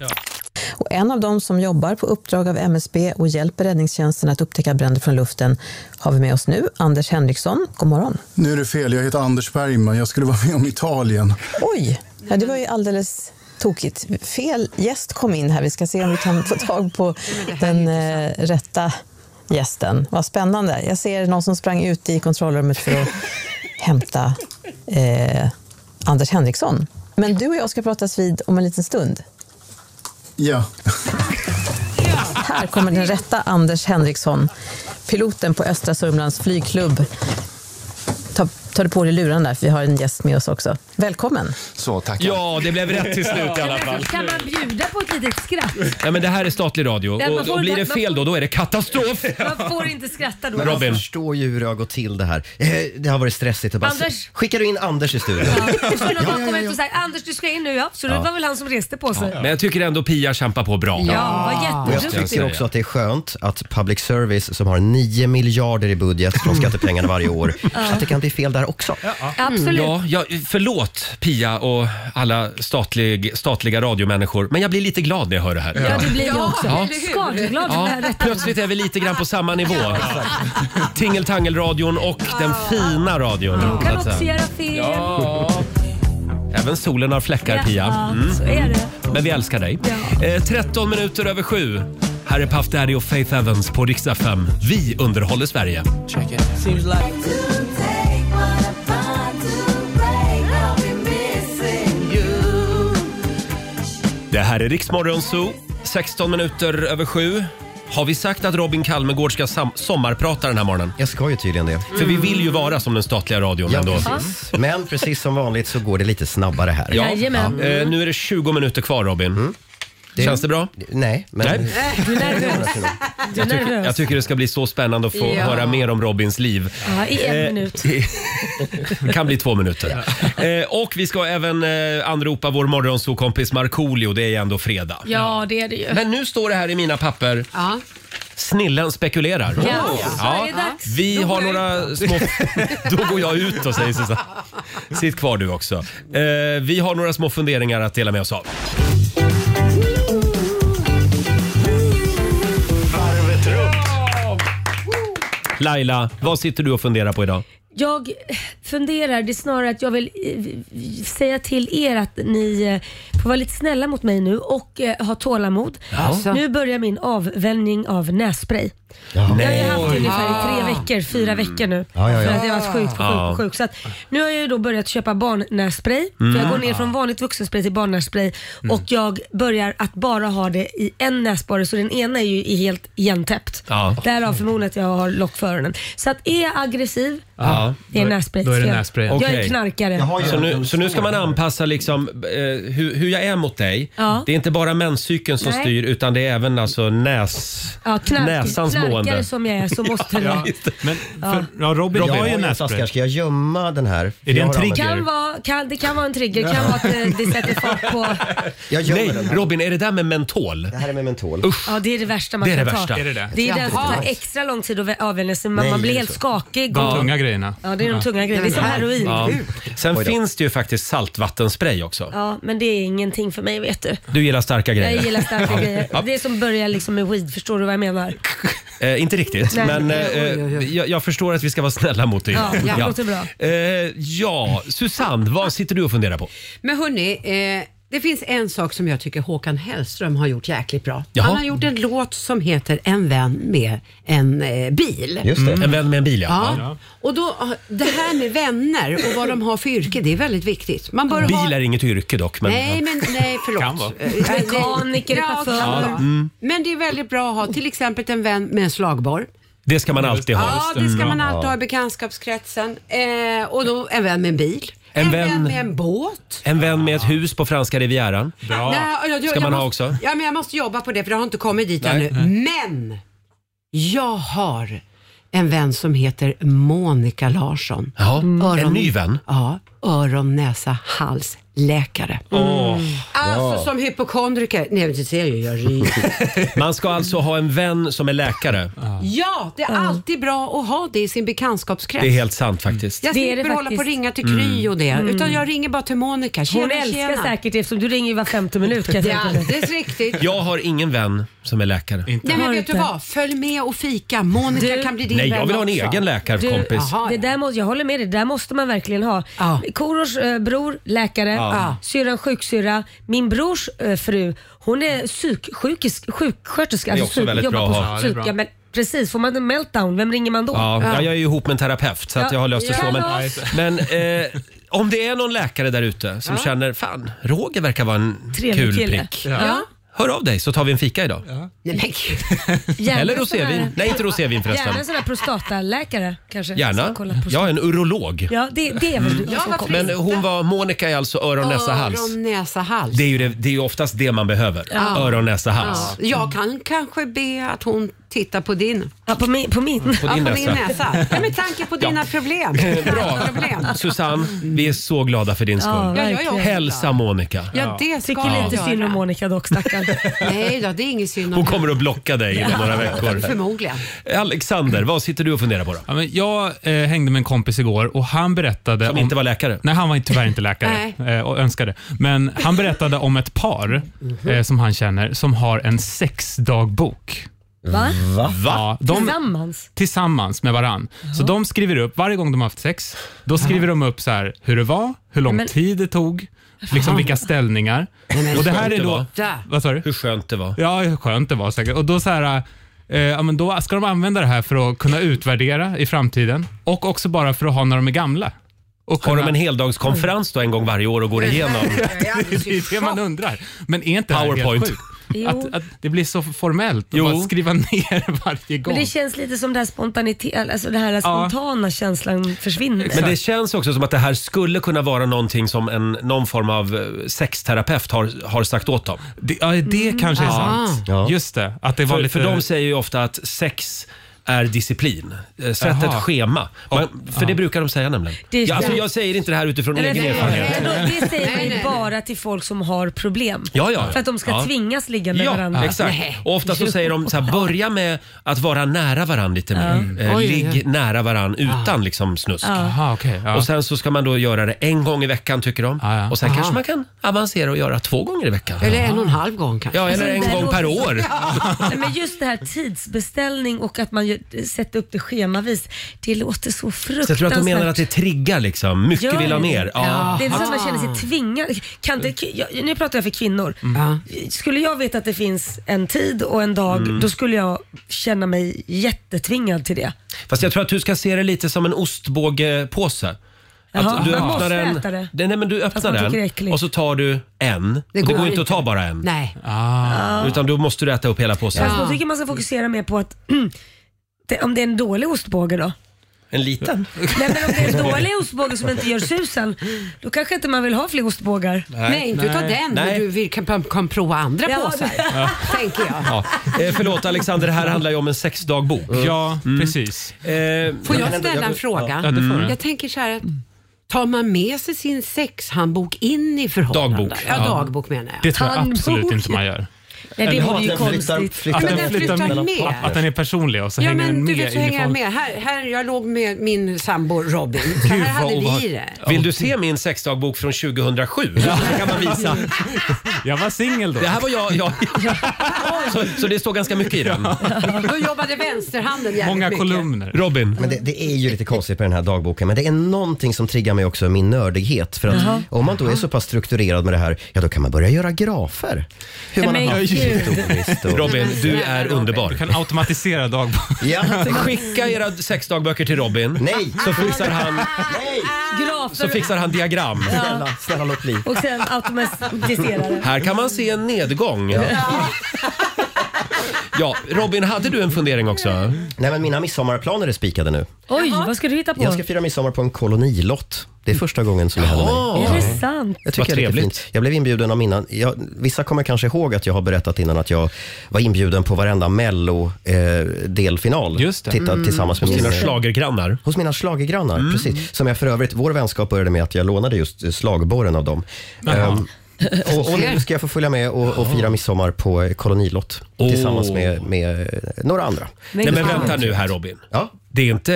M: Och en av dem som jobbar på uppdrag av MSB och hjälper räddningstjänsten att upptäcka bränder från luften har vi med oss nu Anders Henriksson. God morgon.
N: Nu är det fel, jag heter Anders Bergman. Jag skulle vara med om Italien.
M: Oj, ja, det var ju alldeles tokigt. Fel gäst kom in här. Vi ska se om vi kan få tag på den eh, rätta gästen. Vad spännande. Jag ser någon som sprang ut i kontrollrummet för att hämta eh, Anders Henriksson. Men du och jag ska pratas vid om en liten stund.
N: Ja.
M: Här kommer den rätta Anders Henriksson, piloten på Östra Sörmlands flygklubb. Ta, ta du på dig luren där, för vi har en gäst med oss också. Välkommen!
N: Så, tackar.
A: Ja, det blev rätt till slut i alla fall.
E: Kan man bjuda på ett litet skratt?
A: Ja, men det här är statlig radio
E: Ja, man
A: och,
E: får
A: och blir
E: inte-
A: det
E: man
A: fel då, då är det katastrof.
E: Man får inte skratta då. Alltså.
B: Men jag förstår ju hur det har gått till det här. Eh, Det har varit stressigt. att Bara,
E: Anders.
B: Skickar du in Anders i studion?
E: Så skulle någon komma ut och säga Anders du ska in nu ja. Så det
B: Ja.
E: var väl han som reste på sig.
A: Men jag tycker ändå Pia kämpar på bra.
E: Ja, vad
B: Och
E: jätteduktig.
B: jag tycker också att det är skönt att public service som har 9 miljarder i budget från skattepengarna varje år, att det kan bli fel där också.
E: Absolut.
A: Mm. Ja, ja, förlåt Pia och alla statlig, statliga radiomänniskor, men jag blir lite glad när jag hör det här.
E: Ja, det blir jag också.
A: Ja.
E: Skadeglad för det här
A: Ja,
E: rätta.
A: plötsligt är vi lite grann på samma nivå. Tingeltangelradion och den fina radion. så
E: Kan
A: att säga.
E: också göra fel.
A: Ja. Även solen har fläckar,
E: Ja,
A: Pia. Mm.
E: så är det.
A: Men vi älskar dig. Eh, 13 minuter över sju. Här är Puff Daddy och Faith Evans på riksdag 5. Vi underhåller Sverige.
D: Seems like
A: Det här är Riksmorgon Zoo. 16 minuter över sju. Har vi sagt att Robin Kalmegård ska sam- sommarprata den här morgonen?
B: Jag ska ju tydligen det.
A: För vi vill ju vara som den statliga radion
B: Ja,
A: ändå.
B: precis. Men precis som vanligt så går det lite snabbare här.
A: Ja. Ja. Eh, nu är det 20 minuter kvar Robin. Känns det bra?
B: Mm. Nej, men...
A: Nej.
E: Du är nervös. Du är
A: Jag tycker, jag
E: nervös.
A: tycker det ska bli så spännande att få
E: Ja.
A: höra mer om Robins liv.
E: Ja, i en
A: Eh,
E: minut.
A: det kan bli två minuter. Eh, och vi ska även eh, anropa vår morgonsokompis Markoolio. Det är ändå fredag.
E: Ja, det är det ju.
A: Men nu står det här i mina papper.
C: Ja.
A: Snillen spekulerar.
E: Ja, så är det dags.
A: Vi
E: Då
A: har
E: går jag
A: några små... Då går jag ut och säger Susanne. Sitt kvar du också. Eh, vi har några små funderingar att dela med oss av.
F: Varvet runt.
A: Laila, vad sitter du och funderar på idag?
E: Jag, funderar, det är snarare att jag vill eh, säga till er att ni eh, får vara lite snälla mot mig nu och eh, ha tålamod.
D: Jaså?
E: Nu börjar min avvänjning av nässpray. Jag har ju haft det ungefär i tre veckor, fyra veckor nu.
D: Ah. Ja, ja, ja.
E: För att jag har varit sjuk på sjuk
D: Ja.
E: på sjuk. Så att, nu har jag ju då börjat köpa barnnässpray. För jag
D: Mm.
E: går ner från vanligt vuxenspray till barnnässpray. Och jag börjar att bara ha det i en näsborre så den ena är ju helt igentäppt.
D: Ja.
E: Därav förmodligen att jag har lock för öronen. Så att är jag aggressiv,
A: Ja.
E: det är nässpray. Jag är
A: Okej.
E: knarkare.
A: Så nu, så nu ska man anpassa liksom, eh, hur, hur jag är mot dig.
E: Ja.
A: Det är inte bara menscykeln som
E: Nej.
A: styr utan det är även alltså näs,
E: Ja, knark,
A: näsans
E: knarkare
A: mående.
E: som jag är så måste det vara.
A: Men
E: Ja.
H: Robin, jag har ju en
B: nässpray.
H: nässpray.
B: Ska jag gömma den här?
H: Är det en trigger?
E: Kan vara, kan, det kan vara en trigger, det kan vara att eh, det, det sätter fart på...
A: Nej, Robin, är det där med mentol? Det
B: här är med mentol.
A: Usch.
E: Ja, det är det värsta man
A: Det är
E: kan
A: det
E: ta.
A: värsta. Är det det?
E: det är
A: Jag
E: den som
A: tror
E: tar
A: inte.
E: extra lång tid att avvänja sig.
A: Nej,
E: Man, man blir
A: det är
E: helt
A: så.
E: skakig.
A: De
E: och-
A: tunga grejerna.
E: Ja, det är de tunga grejerna. Det är som heroin.
A: Ja.
E: Ja.
A: Sen
E: Oj då.
A: finns det ju faktiskt saltvattenspray också.
E: men det är ingenting för mig vet du.
A: Du gillar starka grejer.
E: Jag gillar starka
A: Ja.
E: grejer.
A: Ja.
E: Det är som börjar liksom med weed, förstår du vad jag menar?
A: Eh, inte riktigt,
E: Nej.
A: men eh,
E: Oj, oj,
A: eh, jag, jag förstår att vi ska vara snälla mot dig.
C: Ja, ja, låter bra.
A: Eh, ja, Susanne, vad sitter du och funderar på?
C: Men hörni, eh, det finns en sak som jag tycker Håkan Hellström har gjort jäkligt bra.
A: Jaha.
C: Han har gjort en låt som heter En vän med en eh, bil.
A: En vän med en bil,
C: Ja.
A: ja.
C: Och då, ah, det här med vänner och vad de har för yrke, det är väldigt viktigt. Man bör ha...
A: Bil är inget yrke dock. Men,
C: Nej, men nej, förlåt.
A: Kan vara.
C: Eh, det-
E: Mekaniker,
C: Ja,
E: chaufför.
C: kan vara.
A: Ja, mm.
C: Men det är väldigt bra att ha till exempel en vän med en slagborr.
A: Det ska man alltid ha.
C: Ja, det ska man
A: Mm.
C: alltid ha i bekantskapskretsen. Eh, och då en vän med en bil.
A: En
C: En,
A: vän-
C: vän... med en båt.
A: En vän med ett hus på franska rivieran.
C: Nej, jag- jag-
A: Ska man
C: jag
A: ha
C: måste,
A: också?
C: Ja, men jag måste jobba på det för jag har inte kommit dit
A: Nej.
C: ännu. Men jag har en vän som heter Monica Larsson.
A: Ja, en ny vän?
C: Ja, öron, näsa, hals. Läkare.
A: Åh,
C: Alltså
A: wow.
C: som hypokondriker. Nej men det ser ju jag ryser.
A: Man ska alltså ha en vän som är läkare.
C: Ja, det är alltid bra att ha det i sin bekantskapskrets.
A: Det är helt sant faktiskt.
C: Jag
E: Det är
C: slipper
E: det
C: hålla
E: faktiskt.
C: på och ringa till Kry
A: Mm.
C: och det.
E: Mm.
C: Utan jag ringer bara till Monica. Tjena,
E: Hon älskar
C: tjena.
E: säkert eftersom du ringer ju var femte minut. Kan jag
C: Det är
E: tänka mig.
C: alldeles riktigt.
A: Jag har ingen vän som är läkare.
C: Nej men
E: Har
C: vet du
E: inte.
C: vad? Följ med och fika. Monica kan bli din
A: Nej, jag
C: vän
A: vill ha en
C: också.
A: egen läkarkompis.
C: Jaha,
E: det där må, jag håller med dig, det där måste man verkligen ha. Ja. Korors eh, bror, läkare,
A: Ja.
E: syrran sjuksyrra, min brors eh, fru, hon är psyksjukisk- sjuksköterska.
A: Det är
E: alltså
A: också
E: psyk-
A: väldigt
E: jobbar
A: bra
E: på
A: att ha.
E: psyk-
A: Ja, det är bra.
E: ja, men Precis, får man en meltdown, vem ringer man då?
A: Ja, jag är ju ihop med en terapeut så att
E: Ja.
A: jag har löst det så. Men,
E: Kalas.
A: men eh, om det är någon läkare där ute som
E: Ja.
A: känner fan, Roger verkar vara en
E: Trevlig
A: kul
E: kille."
A: prick.
E: Ja. Ja.
A: Hör av dig så tar vi en fika idag.
C: Nej, men gud.
E: Gärna
A: Eller
E: sån
A: rosévin.
E: här-
A: Nej, inte rosévin
E: Gärna
A: förresten.
E: en sån här prostataläkare kanske.
A: Gärna.
E: Som kollar på-
A: Jag är en urolog.
E: Ja, det, det är väl
A: Mm.
E: du som kollar.
A: Men hon var, Monica är alltså öron, näsa, hals.
C: Öron, näsa, hals.
A: Det är ju det, det är ju oftast det man behöver.
C: Ja.
A: Öron, näsa, hals.
C: Ja. Jag kan kanske be att hon tittar på din.
E: Ja, på min, på min.
A: På din
C: ja, på
A: näsa.
C: Min näsa. Ja, med tanke på dina problem.
A: Bra.
C: Problem.
A: Susanne, vi är så glada för din skull.
C: Ja, Ja, jag är verkligen. också
A: Hälsa Monica.
C: Ja, det ska
E: Tycker lite
C: jag
E: synd
C: göra.
E: om Monica dock stackarn.
C: Nej då, det är ingen synd om
A: Hon
C: henne.
A: kommer att blocka dig inom några veckor.
C: Förmodligen.
A: Alexander, vad sitter du och funderar på då?
H: Ja, men jag eh, hängde med en kompis igår och han berättade...
A: Som
H: om,
A: inte var läkare?
H: Nej, han var tyvärr inte läkare eh, och önskade. Men han berättade om ett par
E: Mhm.
H: eh, som han känner som har en sexdagbok.
E: Va?
A: Va?
H: Ja, de,
E: Tillsammans?
H: tillsammans med varann. Så de skriver upp, varje gång de har haft sex, då skriver de upp så här, hur det var, hur lång
E: Men-
H: tid det tog, liksom
A: Fan.
H: vilka ställningar. Och det här är då... Vad sa du?
A: Hur skönt det var.
H: Ja, hur skönt det var säkert. Och då så här, eh, ja, men då ska de använda det här för att kunna utvärdera i framtiden och också bara för att ha när de är gamla. Och
A: Har de
H: kunna-
A: en heldagskonferens då en gång varje år och går igenom?
H: det är det man undrar. Men är inte det här helt
A: PowerPoint.
H: sjukt?
E: Jo.
H: Att, att det blir så formellt att bara skriva ner varje gång.
E: Men det känns lite som det här spontanitet, alltså den här spontana känslan försvinner.
A: Men det känns också som att det här skulle kunna vara någonting som en, någon form av eh, sexterapeut har, har sagt åt dem.
H: Det, ja, det
E: Mm.
H: kanske är
E: Ah.
H: sant.
A: Ja.
H: Just det. Att det var
A: för,
H: lite...
A: för de säger ju ofta att sex är disciplin. Eh, Sätt
H: Jaha.
A: ett schema. Man, för det brukar de säga nämligen.
E: Det är
A: ja, alltså,
E: sant.
A: jag säger inte det här utifrån
E: Nej, men
A: egen
E: det- men
A: erfarenhet.
E: då- Det säger man ju bara till folk som har problem.
A: Ja, ja.
E: För att de ska
A: Ja.
E: tvingas ligga med
A: ja,
E: varandra.
A: Exakt. Och ofta så säger de så här, börja med att vara nära varandra lite mer.
E: Ja.
A: Eh,
E: Oj,
A: Ligg
E: oj, oj.
A: nära varandra utan liksom snusk.
E: Ja.
H: Aha, okay, ja.
A: Och sen så ska man då göra det en gång i veckan tycker de. Och sen
C: Aha.
A: kanske man kan avancera och göra två gånger i veckan.
C: Eller en och en halv gång kanske.
A: Ja, eller
E: Alltså, det
A: en
E: där
A: gång per
E: låter så-
A: år.
E: Nej, men just det här tidsbeställning och att man ju sätta upp det schemavis. Det låter så fruktansvärt.
A: Så jag tror att de menar att det triggar liksom. Mycket
E: Gör
A: vill ha
E: det?
A: mer. Ja.
E: Det är så att man
A: Att-
E: känner sig tvingad. Kan det, jag, nu pratar jag för kvinnor.
A: Mm.
E: Skulle jag veta att det finns en tid och en dag,
A: Mm.
E: då skulle jag känna mig jättetvingad till det.
A: Fast jag tror att du ska se det lite som en ostbågepåse. Att
E: Jaha,
A: du
E: man
A: öppnar
E: måste
A: den,
E: äta det.
A: Nej, men du
E: man
A: öppnar
E: tycker det är
A: den
E: äckligt.
A: och så tar du en. Det går, och det går inte att ta bara en.
C: Nej.
A: Ah. Utan då måste du äta upp hela påsen.
E: Fast då tycker jag man ska fokusera mer på att det, om det är en dålig ostbåge då?
A: En liten.
E: Nej men om det är en dålig ostbåge som inte gör susen, då kanske inte man vill ha fler ostbågar.
A: Nej. Nej, inte utav Nej. den, men Nej. du
C: vill, kan, kan prova andra
A: påsar. Ja.
C: tänker jag.
A: Ja. Eh, förlåt Alexander, det här handlar ju om en sexdagbok.
H: Mm.
A: Mm. Eh,
H: Ja, precis.
C: Får jag ställa en fråga? Mm.
H: Ja, det får du.
C: jag tänker så här, att tar man med sig sin sexhandbok in i förhållandet?
H: Dagbok.
C: Ja,
H: Ja.
C: dagbok menar jag.
H: Det tror jag absolut inte man gör.
C: Nej, det
H: Eller
C: vore
H: att
C: ju
H: den flyttar-
C: konstigt.
H: flyttar-
C: Men
H: att
C: den
H: den flyttar
C: flyttar
H: mellan
C: med.
H: papper. Att den är personlig och så
C: Ja
H: hänger den
C: men du
H: med
C: vet så
H: i
C: hänger jag
H: folk.
C: med. Här, här, jag låg med min sambo Robin. Så här hade vi det.
A: Vill du se min sexdagbok från 2007? Det kan man visa.
H: Jag var singel då.
A: Det här var jag. jag. Så, så det står ganska mycket i den.
C: Då jobbade vänsterhanden jävligt mycket.
A: Robin.
B: Men det, det är ju lite konstigt med den här dagboken, men det är någonting som triggar mig också, min nördighet. För att
E: Jaha.
B: om man då är så pass strukturerad med det här, ja då kan man börja göra grafer. Hur man
E: Men
B: har haft
E: gud.
B: historiskt och...
A: Robin, du är underbar. Du
H: kan automatisera dagbok.
B: Ja.
A: Skicka era sexdagböcker till Robin.
B: Nej!
A: Så fixar han,
E: Grafer
A: så fixar han diagram.
E: Ja. Snälla,
B: snälla låt bli.
E: och sen automatiserare.
A: Här kan man se en nedgång. Ja. Robin, hade du en fundering också?
B: Nej, men mina midsommarplaner är spikade nu.
E: Oj, vad ska du hitta på?
B: Jag ska fira midsommar på en kolonilott. Det är första gången som det händer mig.
E: Är det sant?
B: Jag tycker det är lite fint. Jag blev inbjuden av mina... Jag, vissa kommer kanske ihåg att jag har berättat innan att jag var inbjuden på varenda Mello-delfinal. Eh, Just
A: det.
B: Tittad
A: Mm.
B: tillsammans med
A: Hos
B: min- eh,
A: dina schlagergrannar. Mm.
B: Hos mina schlagergrannar, precis. Som jag för övrigt, vår vänskap började med att jag lånade just eh, slagborren av dem.
A: Jaha.
B: Ehm, och, och nu ska jag få följa med och, och fira midsommar på eh, kolonilott tillsammans
A: Åh.
B: med, med eh, några andra.
A: Nej, men vänta nu här Robin. Det, är inte,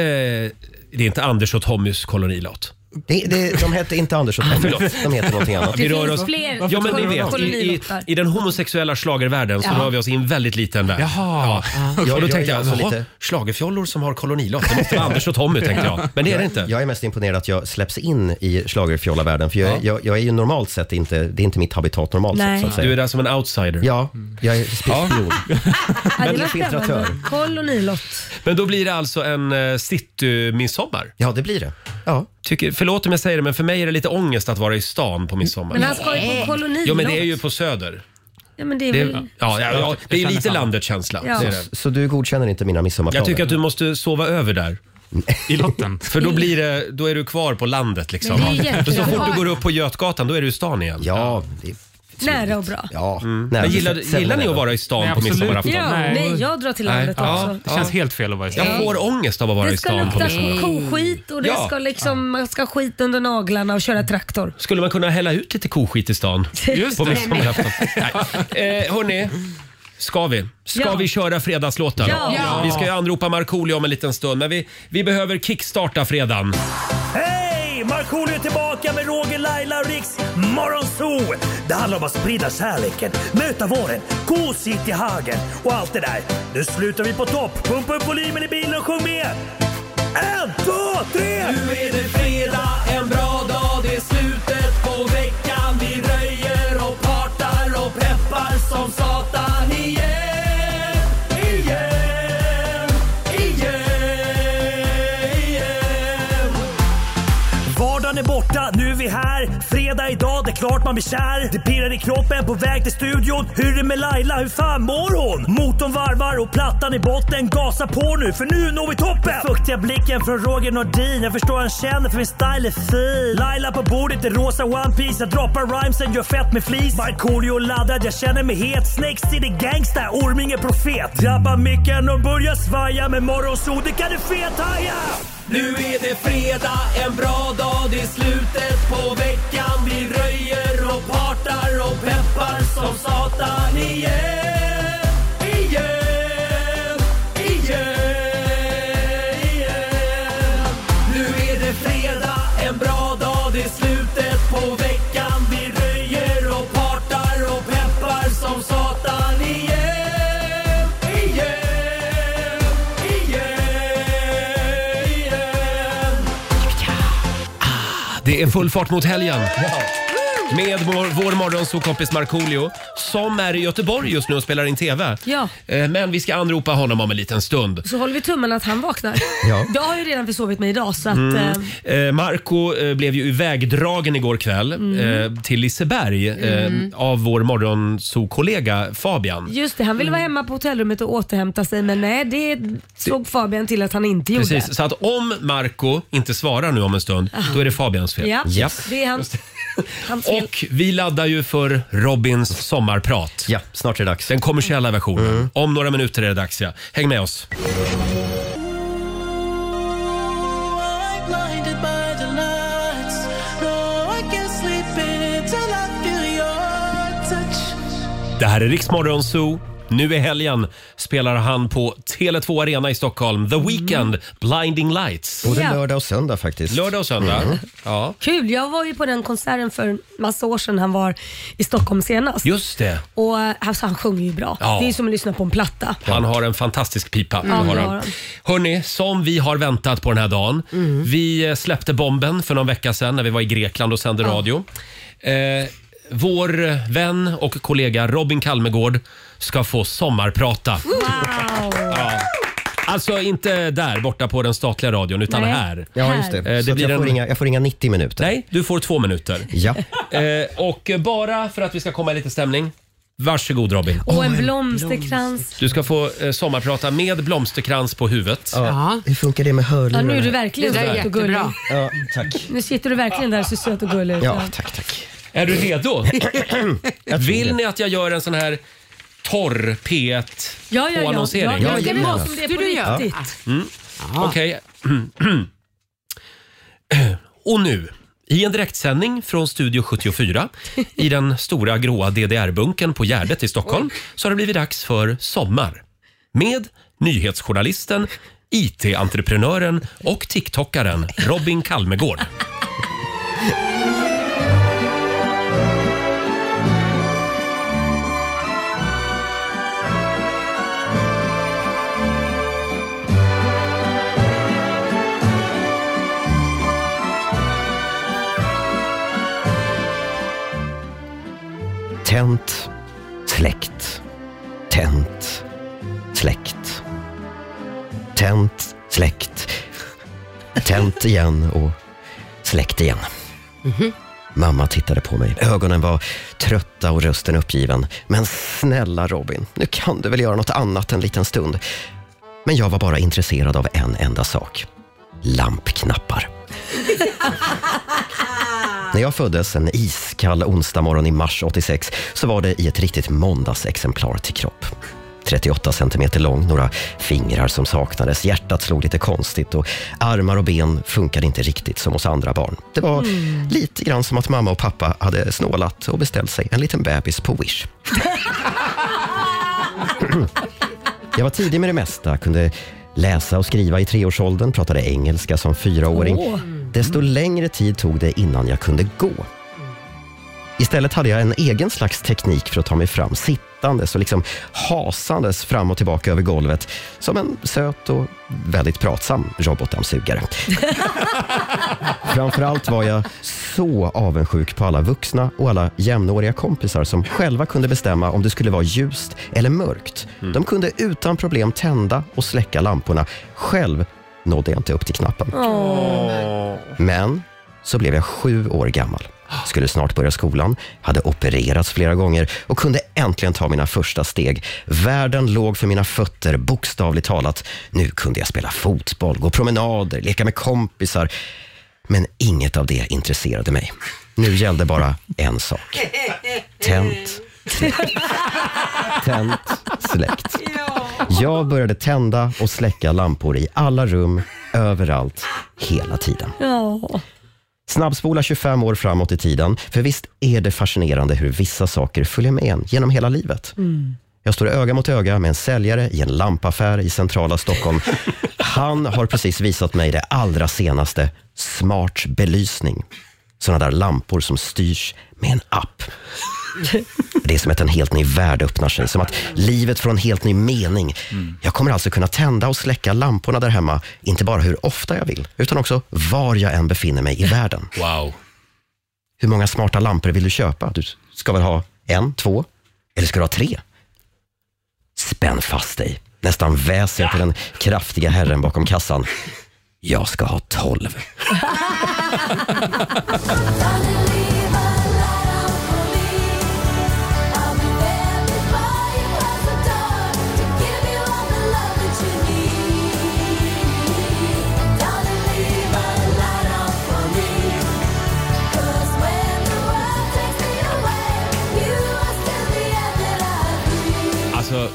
A: det är inte Anders och Tommys kolonilott.
B: Det, det, de hette inte Anders och Tommy.
A: Förlåt.
B: De heter någonting annat.
A: Vi rör oss. Ja, men ni vet, i, i,
E: kolonilottar?
A: I den homosexuella schlagervärlden så
E: Ja.
A: rör vi oss i en väldigt liten värld.
H: Jaha.
A: Ja,
B: Okej,
A: och då
B: jag
A: tänkte
B: är
A: jag,
B: alltså
A: jaha,
B: lite-
A: schlagerfjollor som har kolonilott. Det måste vara Anders och Tommy tänkte jag. Men det är det inte.
B: Jag, jag är mest imponerad att jag släpps in i schlagerfjollavärlden för jag, jag, jag är ju normalt sett inte, det är inte mitt habitat normalt
E: Nej.
B: sett så att säga.
A: Du är där som en outsider.
B: Ja, jag är spion.
E: Ja,
B: Men
E: det var
B: infiltratör.
E: spännande. Kolonilott.
A: Men då blir det alltså en uh, city-midsommar?
B: Ja, det blir det. Ja.
A: Tycker, förlåt om jag säger det, men för mig är det lite ångest att vara i stan på midsommar.
E: Men han ska ju på kolonilott.
A: Jo, men det är ju på Söder.
E: Ja, men det är
A: Det,
E: väl...
A: ja, ja, ja, det är lite landetkänsla.
E: Ja.
A: Det är det.
B: Så, så du godkänner inte mina midsommarplaner?
A: Jag tycker att du måste sova över där.
H: I lotten.
A: För då, blir det, då är du kvar på landet liksom.
E: Men det är
A: Men så
E: jättebra.
A: fort du går upp på Götgatan då är du i stan igen. Mm.
B: Ja,
E: Nära och bra.
B: ja.
A: Men gillar, gillar ni att vara i stan på midsommarafton?
E: Ja, nej, jag drar till landet också.
H: Det känns helt fel att vara i
A: Jag
E: stan.
A: får ångest av att vara
E: Det
A: i
E: ska
A: stan på
E: lukta
A: midsommar.
E: koskit och det
A: Ja.
E: ska liksom, man ska ha skit under naglarna och köra traktor.
A: Skulle man kunna hälla ut lite koskit i stan?
E: Just
A: på
E: det.
A: midsommarafton? Nej. Eh, hörni, ska vi? Ska
E: Ja.
A: vi köra fredagslåtar?
E: Ja. Ja.
A: Vi ska ju anropa Markoolio om en liten stund, men vi, vi behöver kickstarta fredagen.
O: Hej! Markoolio är tillbaka med Roger, Laila och Riks Morgonzoo! Det handlar om att sprida kärleken, möta våren, gosigt i hagen och allt det där. Nu slutar vi på topp! Pumpa upp volymen i bilen och sjung med! En, två, tre!
D: Nu är det fredag, en bra dag, det är slutet på veckan. Vi röjer och partar och peppar som satan igen. Igen, igen, igen.
O: Vardagen är borta, nu är vi här. Fredag idag, det är klart man blir kär. Det pirrar i kroppen på väg till studion. Hur är det med Laila, hur fan mår hon? Motorn varvar och plattan i botten. Gasa på nu, för nu når vi toppen! Den fuktiga blicken från Roger Nordin. Jag förstår han känner, för min style är fin. Laila på bordet i rosa One Piece Jag droppar rhymesen, gör fett med flis. Markoolio laddad, jag känner mig het. Snakes city gangsta, Orminge profet. Drabbar micken och börjar svaja. Med morgonsol, det kan du fethaja!
D: Nu är det fredag, en bra dag, det är slutet på veckan. Vi röjer och partar och peppar som satan igen. Igen, igen, igen. Nu är det fredag, en bra dag, det är slutet på veckan. Vi röjer och partar och peppar som satan igen. Igen, igen.
A: Det är full fart mot helgen. Med vår, vår morgonsokompis Markoolio som är i Göteborg just nu och spelar in TV.
E: Ja.
A: Eh, Men vi ska anropa honom om en liten stund.
E: Så håller vi tummen att han vaknar.
A: Ja.
E: Jag har ju redan försovit mig idag så att... eh,
A: Mm. Eh, Marco eh, blev ju ivägdragen igår kväll
E: Mm.
A: eh, till Liseberg eh,
E: Mm.
A: av vår morgonsokollega Fabian.
E: Just det, han ville vara hemma på hotellrummet och återhämta sig men nej det såg Fabian till att han inte gjorde.
A: Precis, så att om Marco inte svarar nu om en stund, då är det Fabians fel.
E: Ah. Ja, det är han. Hans fel.
A: Och vi laddar ju för Robins sommarprat. Ja, snart är det dags. Mm. Den kommersiella versionen. Om några minuter är det dags, ja. Häng med oss.
D: blinded by the lights. No, I can't sleep until I feel your touch.
A: Det här är Riksmorgon Zoo. Nu i helgen spelar han på Tele2 Arena i Stockholm. The Weeknd, Blinding Lights.
B: Både
E: Ja.
B: lördag och söndag faktiskt. Mm.
A: Lördag och söndag. Ja.
E: Kul, jag var ju på den konserten för en massa år sedan han var i Stockholm senast.
A: Just det.
E: Och eh, alltså, han sjunger ju bra.
A: Ja.
E: Det är ju som att lyssna på en platta.
A: Han har en fantastisk pipa.
E: Ja,
A: har
E: det
A: han.
E: har han.
A: Hörni, som vi har väntat på den här dagen.
E: Mm.
A: Vi eh, släppte bomben för någon vecka sedan när vi var i Grekland och sände radio. Eh, vår vän och kollega Robin Kalmegård ska få sommarprata. Ja. Alltså inte där borta på den statliga radion utan
B: Nej.
A: här.
B: Ja, just det.
A: Eh,
B: Så att jag får ringa- jag får
A: 90 minuter. Nej, du får två minuter.
B: Ja.
A: Eh, och bara för att vi ska komma i lite stämning. Varsågod Robin.
E: Och en blomsterkrans.
A: Du ska få eh, sommarprata med blomsterkrans på huvudet.
B: Ja. Hur funkar det med
E: Ja,
B: hörlurar?
E: nu är du verkligen
A: Det där är
E: söt och gullig.
A: jättebra.
B: Ja, tack.
E: Nu sitter du verkligen där så söt och gullig ut.
B: Ja, tack, tack.
A: Är du redo? Vill ni att jag gör en sån här torr P1
E: Ja, ja, ja.
A: annonsering?
E: Ja, det ska vara som det är på
A: Ja.
E: riktigt.
A: Mm. Okej. Och nu, i en direktsändning från Studio 74 i den stora gråa DDR-bunken på Gärdet i Stockholm så har det blivit dags för Sommar med nyhetsjournalisten, IT-entreprenören och TikTokaren Robin Kalmegård.
B: Tänt, släckt, tänt, släckt. Tänt, släckt, tänt igen och släckt igen. Mamma tittade på mig. Ögonen var trötta och rösten uppgiven. Men snälla Robin, nu kan du väl göra något annat en liten stund. Men jag var bara intresserad av en enda sak. Lampknappar. När jag föddes en iskall onsdagmorgon i mars 86 så var det i ett riktigt måndagsexemplar till kropp. 38 centimeter lång, några fingrar som saknades, hjärtat slog lite konstigt och armar och ben funkade inte riktigt som hos andra barn. Det var
D: Mm.
B: lite grann som att mamma och pappa hade snålat och beställt sig en liten bebis på Wish. Jag var tidig med det mesta, kunde läsa och skriva i treårsåldern, pratade engelska som fyraåring.
D: Åh.
B: Desto längre tid tog det innan jag kunde gå. Istället hade jag en egen slags teknik för att ta mig fram, sittandes och liksom hasandes fram och tillbaka över golvet som en söt och väldigt pratsam robotdammsugare. Framförallt var jag så avundsjuk på alla vuxna och alla jämnåriga kompisar som själva kunde bestämma om det skulle vara ljust eller mörkt. De kunde utan problem tända och släcka lamporna. Själv nådde jag inte upp till knappen.
D: Åh.
B: Men så blev jag sju år gammal. Skulle snart börja skolan, hade opererats flera gånger och kunde äntligen ta mina första steg. Världen låg för mina fötter, bokstavligt talat. Nu kunde jag spela fotboll, gå promenader, leka med kompisar. Men inget av det intresserade mig. Nu gällde bara en sak. Tänt, tänt, släckt. Jag började tända och släcka lampor i alla rum, överallt, hela tiden.
E: Ja.
B: Snabbspola 25 år framåt i tiden, för visst är det fascinerande hur vissa saker följer med en genom hela livet.
D: Mm.
B: Jag står öga mot öga med en säljare i en lampaffär i centrala Stockholm. Han har precis visat mig det allra senaste, smart belysning. Såna där lampor som styrs med en app. Det är som att en helt ny värld öppnar sig, som att livet får en helt ny mening. Jag kommer alltså kunna tända och släcka lamporna där hemma, inte bara hur ofta jag vill, utan också var jag än befinner mig i världen.
A: Wow.
B: hur många smarta lampor vill du köpa? Du ska väl ha en, två eller ska du ha tre? Spänn fast dig. Nästan väser jag till den kraftiga herren bakom kassan. Jag ska ha tolv.
A: Alltså,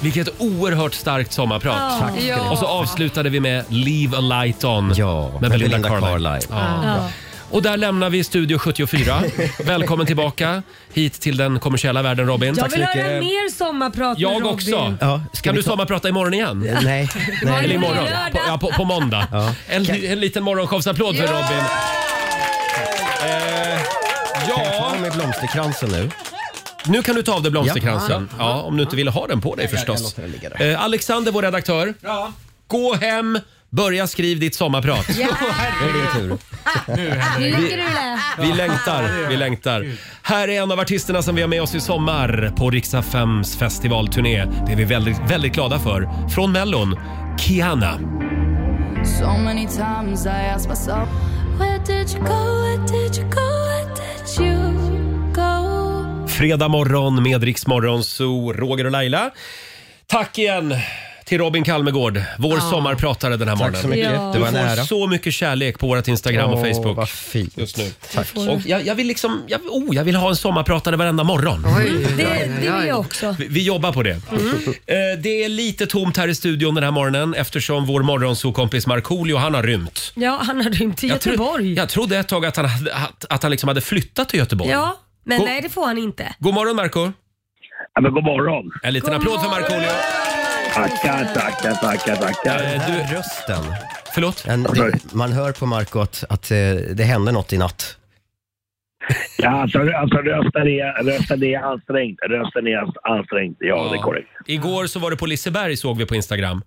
A: vilket oerhört starkt sommarprat.
D: Ja. Tack ska ni ha.
A: Och så avslutade vi med Leave a light on med Belinda,
B: Belinda
A: Carlisle.
B: Carlisle.
A: Ja.
B: Ja.
A: Och där lämnar vi Studio 74. Välkommen tillbaka hit till den kommersiella världen Robin.
E: Jag vill höra mer sommarprat med
A: Jag
E: Robin.
A: också.
B: ska
A: kan
B: vi
A: du
B: ta-
A: sommarprata imorgon igen?
B: Eh, nej, nej.
A: Eller
B: På
A: imorgon?
B: lördag.
A: På, ja, på, på måndag. En, li- en liten morgonshowsapplåd för Robin. Eh,
B: Kan jag få
A: ja.
B: av mig blomsterkransen nu?
A: Nu kan du ta av dig blomsterkransen.
B: Ja.
A: Ja, om du inte ville ha den på dig
B: Jag- jag
A: förstås.
B: låter den ligga
A: Eh, Alexander, vår redaktör. Gå hem, börja skriv ditt sommarprat.
E: Ja.
A: Nu är det din tur.
E: Lycka
A: Vi,
E: till.
A: vi längtar, vi längtar. Här är en av artisterna som vi har med oss i sommar på Riksa 5s festivalturné. Det är vi väldigt, väldigt glada för. Från Mellon, Kiana.
P: So many times I ask myself, where did you go? Where did you go? Where did you go?
A: Fredag morgon med Rix Morgon, så Roger och Laila. Tack igen till Robin Kalmegård, vår
B: Ja.
A: sommarpratare den här
B: Tack
A: morgonen.
B: så mycket. Ja.
A: Du
B: Det var en
A: får
B: ära.
A: så mycket kärlek på vårt Instagram och
B: Åh,
A: Facebook.
B: vad fint.
A: Just nu.
B: Tack.
A: Och jag, jag vill liksom, jag, oh, jag vill ha en sommarpratare varenda morgon.
E: Det, det vill jag också. Mm.
A: Vi, vi jobbar på det. Eh, Det är lite tomt här i studion den här morgonen eftersom vår morgonsokompis Markoolio, han har rymt.
E: Ja, han har rymt till
A: Jag, tro-
E: Göteborg.
A: jag trodde ett tag att han, hade- att, att han liksom hade flyttat till Göteborg.
E: Ja, men
A: Go-
E: nej det får han inte.
A: God morgon Marco Ja, men god morgon. En liten
E: God
A: applåd för
E: morgon.
A: Markoolio.
F: Tackar, tackar, tackar, tackar.
A: Eh, du-
B: Rösten.
A: Förlåt?
B: En, det, man hör på Marco att, att eh, det hände något i natt.
F: Ja, alltså, alltså rösten, är, rösten är ansträngt. Rösten är ansträngt. Ja, det är korrekt.
A: Igår så var du på Liseberg såg vi på Instagram.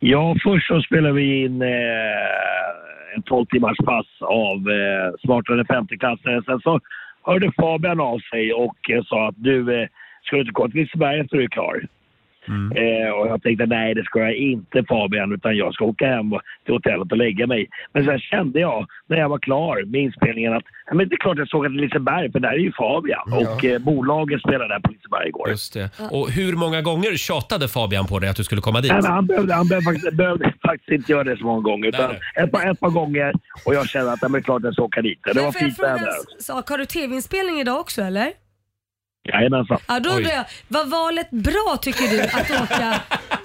F: Ja, först så spelade vi in eh, en 12 timmars pass av eh, Smartare 50-klassare. Sen så hörde Fabian av sig och eh, sa att du, eh, ska du inte komma till Liseberg efter du är klar?
E: Mm.
F: Eh, och jag tänkte nej, det ska jag inte Fabian, utan jag ska åka hem till hotellet och lägga mig. Men sen kände jag när jag var klar med inspelningen att nej, men det är klart jag såg att det är Liseberg, för där är ju Fabian.
A: Ja.
F: Och eh, bolaget spelade där på Liseberg igår.
A: Just det. Och hur många gånger tjatade Fabian på dig att du skulle komma dit?
F: Nej, men han behövde, han behövde, faktiskt, behövde faktiskt inte göra det så många gånger. Utan
A: Nej,
F: ett, par, ett par gånger och jag kände att nej, men det är klart jag ska åka dit. Det
E: Men
F: var
E: får jag
F: fint
E: fråga en
F: väder.
E: s- sak? Har du tv-inspelning idag också eller?
F: Jajamensan.
E: Ja, då undrar jag, var valet bra tycker du att åka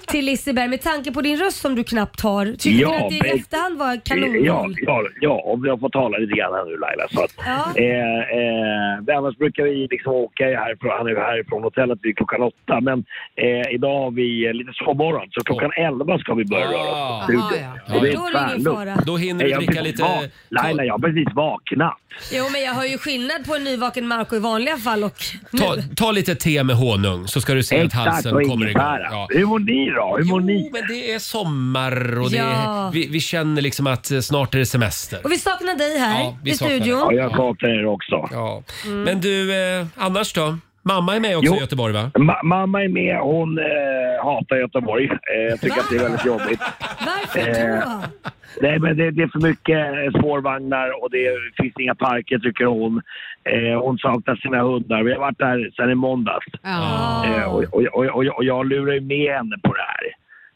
E: till Liseberg med tanke på din röst som du knappt har? Tycker
F: Ja,
E: du att det i
F: men-
E: efterhand var kanon?
F: Ja, ja, ja, om jag får tala lite grann här nu Laila. Så att,
E: Ja.
F: eh, eh, annars brukar vi liksom åka härifrån, han är ju härifrån hotellet vid klockan åtta. Men eh, idag har vi eh, lite sovmorgon så klockan elva ska vi börja röra oss. på
A: Aha,
F: studion.
A: ja.
F: Så det är
A: Ja, då är det ingen
F: tvärlugnt.
A: fara. Ah. Då hinner vi
F: Jag har
A: dricka
F: precis
A: lite-
F: vak- Laila, jag har precis vaknat.
E: Jo, men jag hör ju skillnad på en nyvaken Marco i vanliga fall och nu.
A: Ta, ta lite te med honung så ska du se
F: Exakt,
A: att halsen
F: och
A: kommer igång.
F: ingefära. Hur mår ni då? Hur mår ni?
A: men det är sommar och det,
E: Ja.
A: vi, vi känner liksom att eh, snart är det semester.
E: Och vi saknar dig här
A: Ja, vi
E: i
A: saknar dig.
E: studion. Mm.
A: Ja, jag
F: saknar er också.
A: Ja. Men du, eh, annars då? Mamma är med också
F: Jo.
A: i Göteborg va?
F: Ma- mamma är med. Hon eh, hatar Göteborg. Eh, tycker att det är väldigt jobbigt. Varför
E: då?
F: Nej, men det, det är för mycket eh, spårvagnar och det finns inga parker tycker hon. Eh, hon saknar sina hundar. Vi har varit där sedan i måndags.
E: Ah.
F: Eh, och, och, och, och, och jag lurar ju med henne på det här.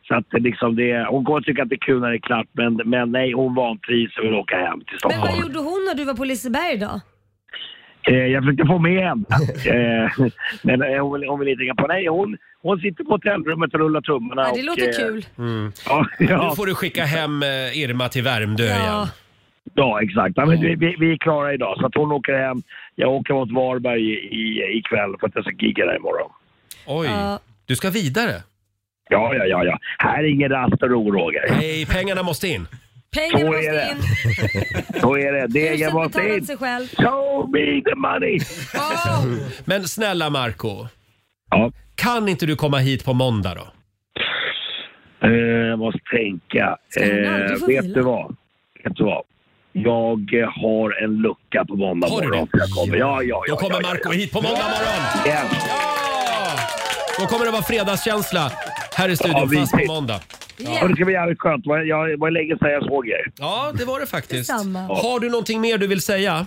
F: Så att det liksom det, hon kommer tycka att det är kul när det är klart men, men nej, hon vantrivs och vill åka hem till
E: Men
F: Stockholm.
E: vad gjorde hon när du var på Liseberg då?
F: Eh, jag försökte få med henne. Eh, men eh, hon vill, hon vill inte hänga på. Nej, hon, hon sitter på hotellrummet och rullar tummarna.
E: Ja, det
F: och,
E: låter
F: eh,
E: kul.
A: Mm.
F: Ja, ja.
A: Nu får du skicka hem eh, Irma till Värmdö
E: Ja.
A: igen.
F: Ja, exakt. Ja, men vi, vi, vi är klara idag, så att hon åker hem. Jag åker mot Varberg i- i, ikväll för att jag ska gigga där imorgon.
A: Oj,
E: Ja.
A: du ska vidare.
F: Ja, ja, ja, ja. Här är ingen rast och ro, Roger.
A: Nej, pengarna måste in.
E: Pengarna
F: Så är
E: måste
F: det.
E: in.
F: Så är det. Degen
E: Huset
F: måste
E: betalar
F: in.
E: sig själv.
F: Show me the money!
A: Men snälla Marco
F: Ja.
A: Kan inte du komma hit på måndag då?
F: Eh, jag måste tänka.
A: Ska han aldrig
F: Eh,
A: få
F: vet
A: vila?
F: du vad? Vet du vad? Jag eh, har en lucka på måndag
A: Har du
F: morgon.
A: det?
F: Jag kommer. Ja, ja, ja,
A: Då kommer
F: ja,
A: Marco hit på måndag morgon.
F: Ja.
A: Då kommer det vara fredagskänsla här i
F: Ja,
A: studion
F: vi-
A: fast på måndag.
F: ja. Och det ska bli jävligt skönt. Det var- Jag, det var länge sedan jag såg er.
A: Ja, det var det faktiskt.
F: Detsamma.
A: Har du någonting mer du vill säga?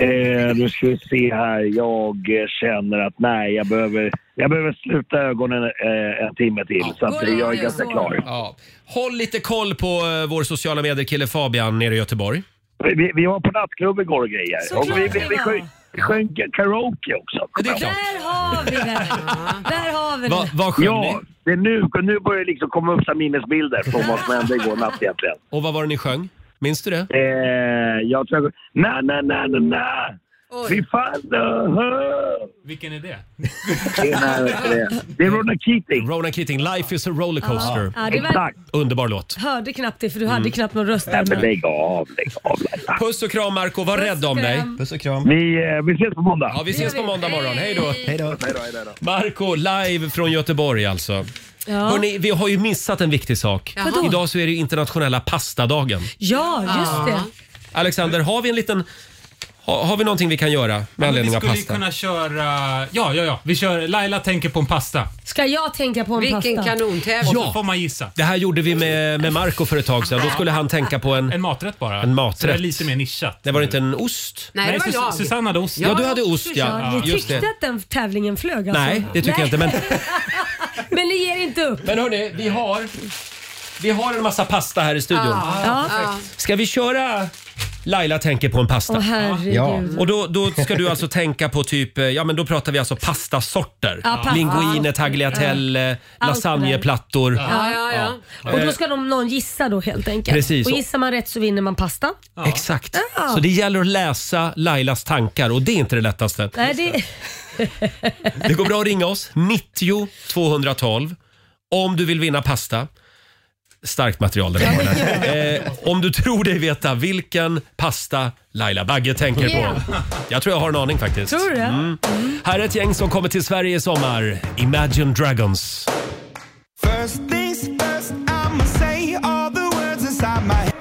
F: Eh, nu ska vi se här. Jag eh, känner att nej, jag behöver, jag behöver sluta ögonen eh, en timme till. så att, eh, jag är ganska klar.
A: Ja. Håll lite koll på eh, vår sociala medier-kille Fabian nere i Göteborg.
F: Vi, vi var på nattklubb igår och grejer.
A: Såklart
F: och vi, vi,
A: vi
F: vi,
A: var.
F: sjöng, vi sjöng karaoke också.
A: det är klart.
E: Där har vi det! Där har vi det.
F: Ja, det är nu, nu börjar det liksom komma upp så här minnesbilder från vad som hände igår natt egentligen.
A: Och vad var det ni sjöng? Minns du det?
F: Eh, jag tror jag... Na, na, na, na, na.
A: Oj.
F: Fy fan, uh,
H: Vilken är det?
F: Det är- det är- det är Rona Keating.
A: Rona Keating, Life is a rollercoaster.
E: Ja, ja, det var- Exakt.
A: Underbar låt.
E: Hörde knappt det för du
A: Mm.
E: hade knappt någon röst
A: Nej, men
E: där.
A: lägg
F: av, lägg av.
A: Puss och kram Marco, var rädd om dig.
B: Puss och kram.
F: Vi, eh, vi ses på måndag.
A: Ja, vi ses på måndag morgon. Hej då.
B: Hej då.
A: Marco live från Göteborg alltså.
E: Ja.
A: Hörrni, vi har ju missat en viktig sak.
E: Jaha. Vadå?
A: Idag så är det ju internationella pastadagen.
E: Ja, just det.
A: Alexander, har vi en liten... Har, har vi någonting vi kan göra med
H: Vi
A: anledning av
H: skulle ju
A: pasta?
H: kunna köra... Ja, ja, ja. Vi kör... Laila tänker på en pasta.
E: Ska jag tänka på en
C: Vilken
E: pasta?
C: kanontävling.
H: Och så får man gissa.
A: Det här gjorde vi med, med Marco för ett tag sedan. Då skulle han tänka på en...
H: En maträtt bara.
A: En
H: Så det är
A: maträtt.
H: lite mer nischat.
A: Det var inte en ost?
E: Nej, det var
H: Sus-
E: jag.
H: Susanne hade ost.
A: Ja, du hade ost ja.
E: Ni tyckte att den tävlingen flög alltså?
A: Nej, det tycker jag inte. Men,
E: Men ni ger inte upp.
A: men hörni, vi har, vi har en massa pasta här i studion.
E: Ja. Ja.
A: Ska vi köra Laila tänker på en pasta?
E: Åh, herregud. Ja.
A: Och då, då ska du alltså tänka på typ, eh, ja men då pratar vi alltså pastasorter.
E: Ja, pasta.
A: Linguine, tagliatelle,
E: Allt
A: lasagneplattor.
E: Ja, ja, ja. Och då ska de, någon gissa då helt enkelt.
A: Precis.
E: Och gissar man rätt så vinner man pasta.
A: Eh, Exakt.
E: Ja.
A: Så det gäller att läsa Lailas tankar och det är inte det lättaste.
E: Nej, det...
A: Det går bra att ringa oss, 90 212 om du vill vinna pasta. Starkt material den här morgonen. eh, Om du tror dig veta vilken pasta Laila Bagge tänker
D: Yeah.
A: på. Jag tror jag har en aning faktiskt.
D: Tror du det?
A: Mm. Här är ett gäng som kommer till Sverige i sommar. Imagine Dragons.
D: First things first, I'ma say all the words inside my head.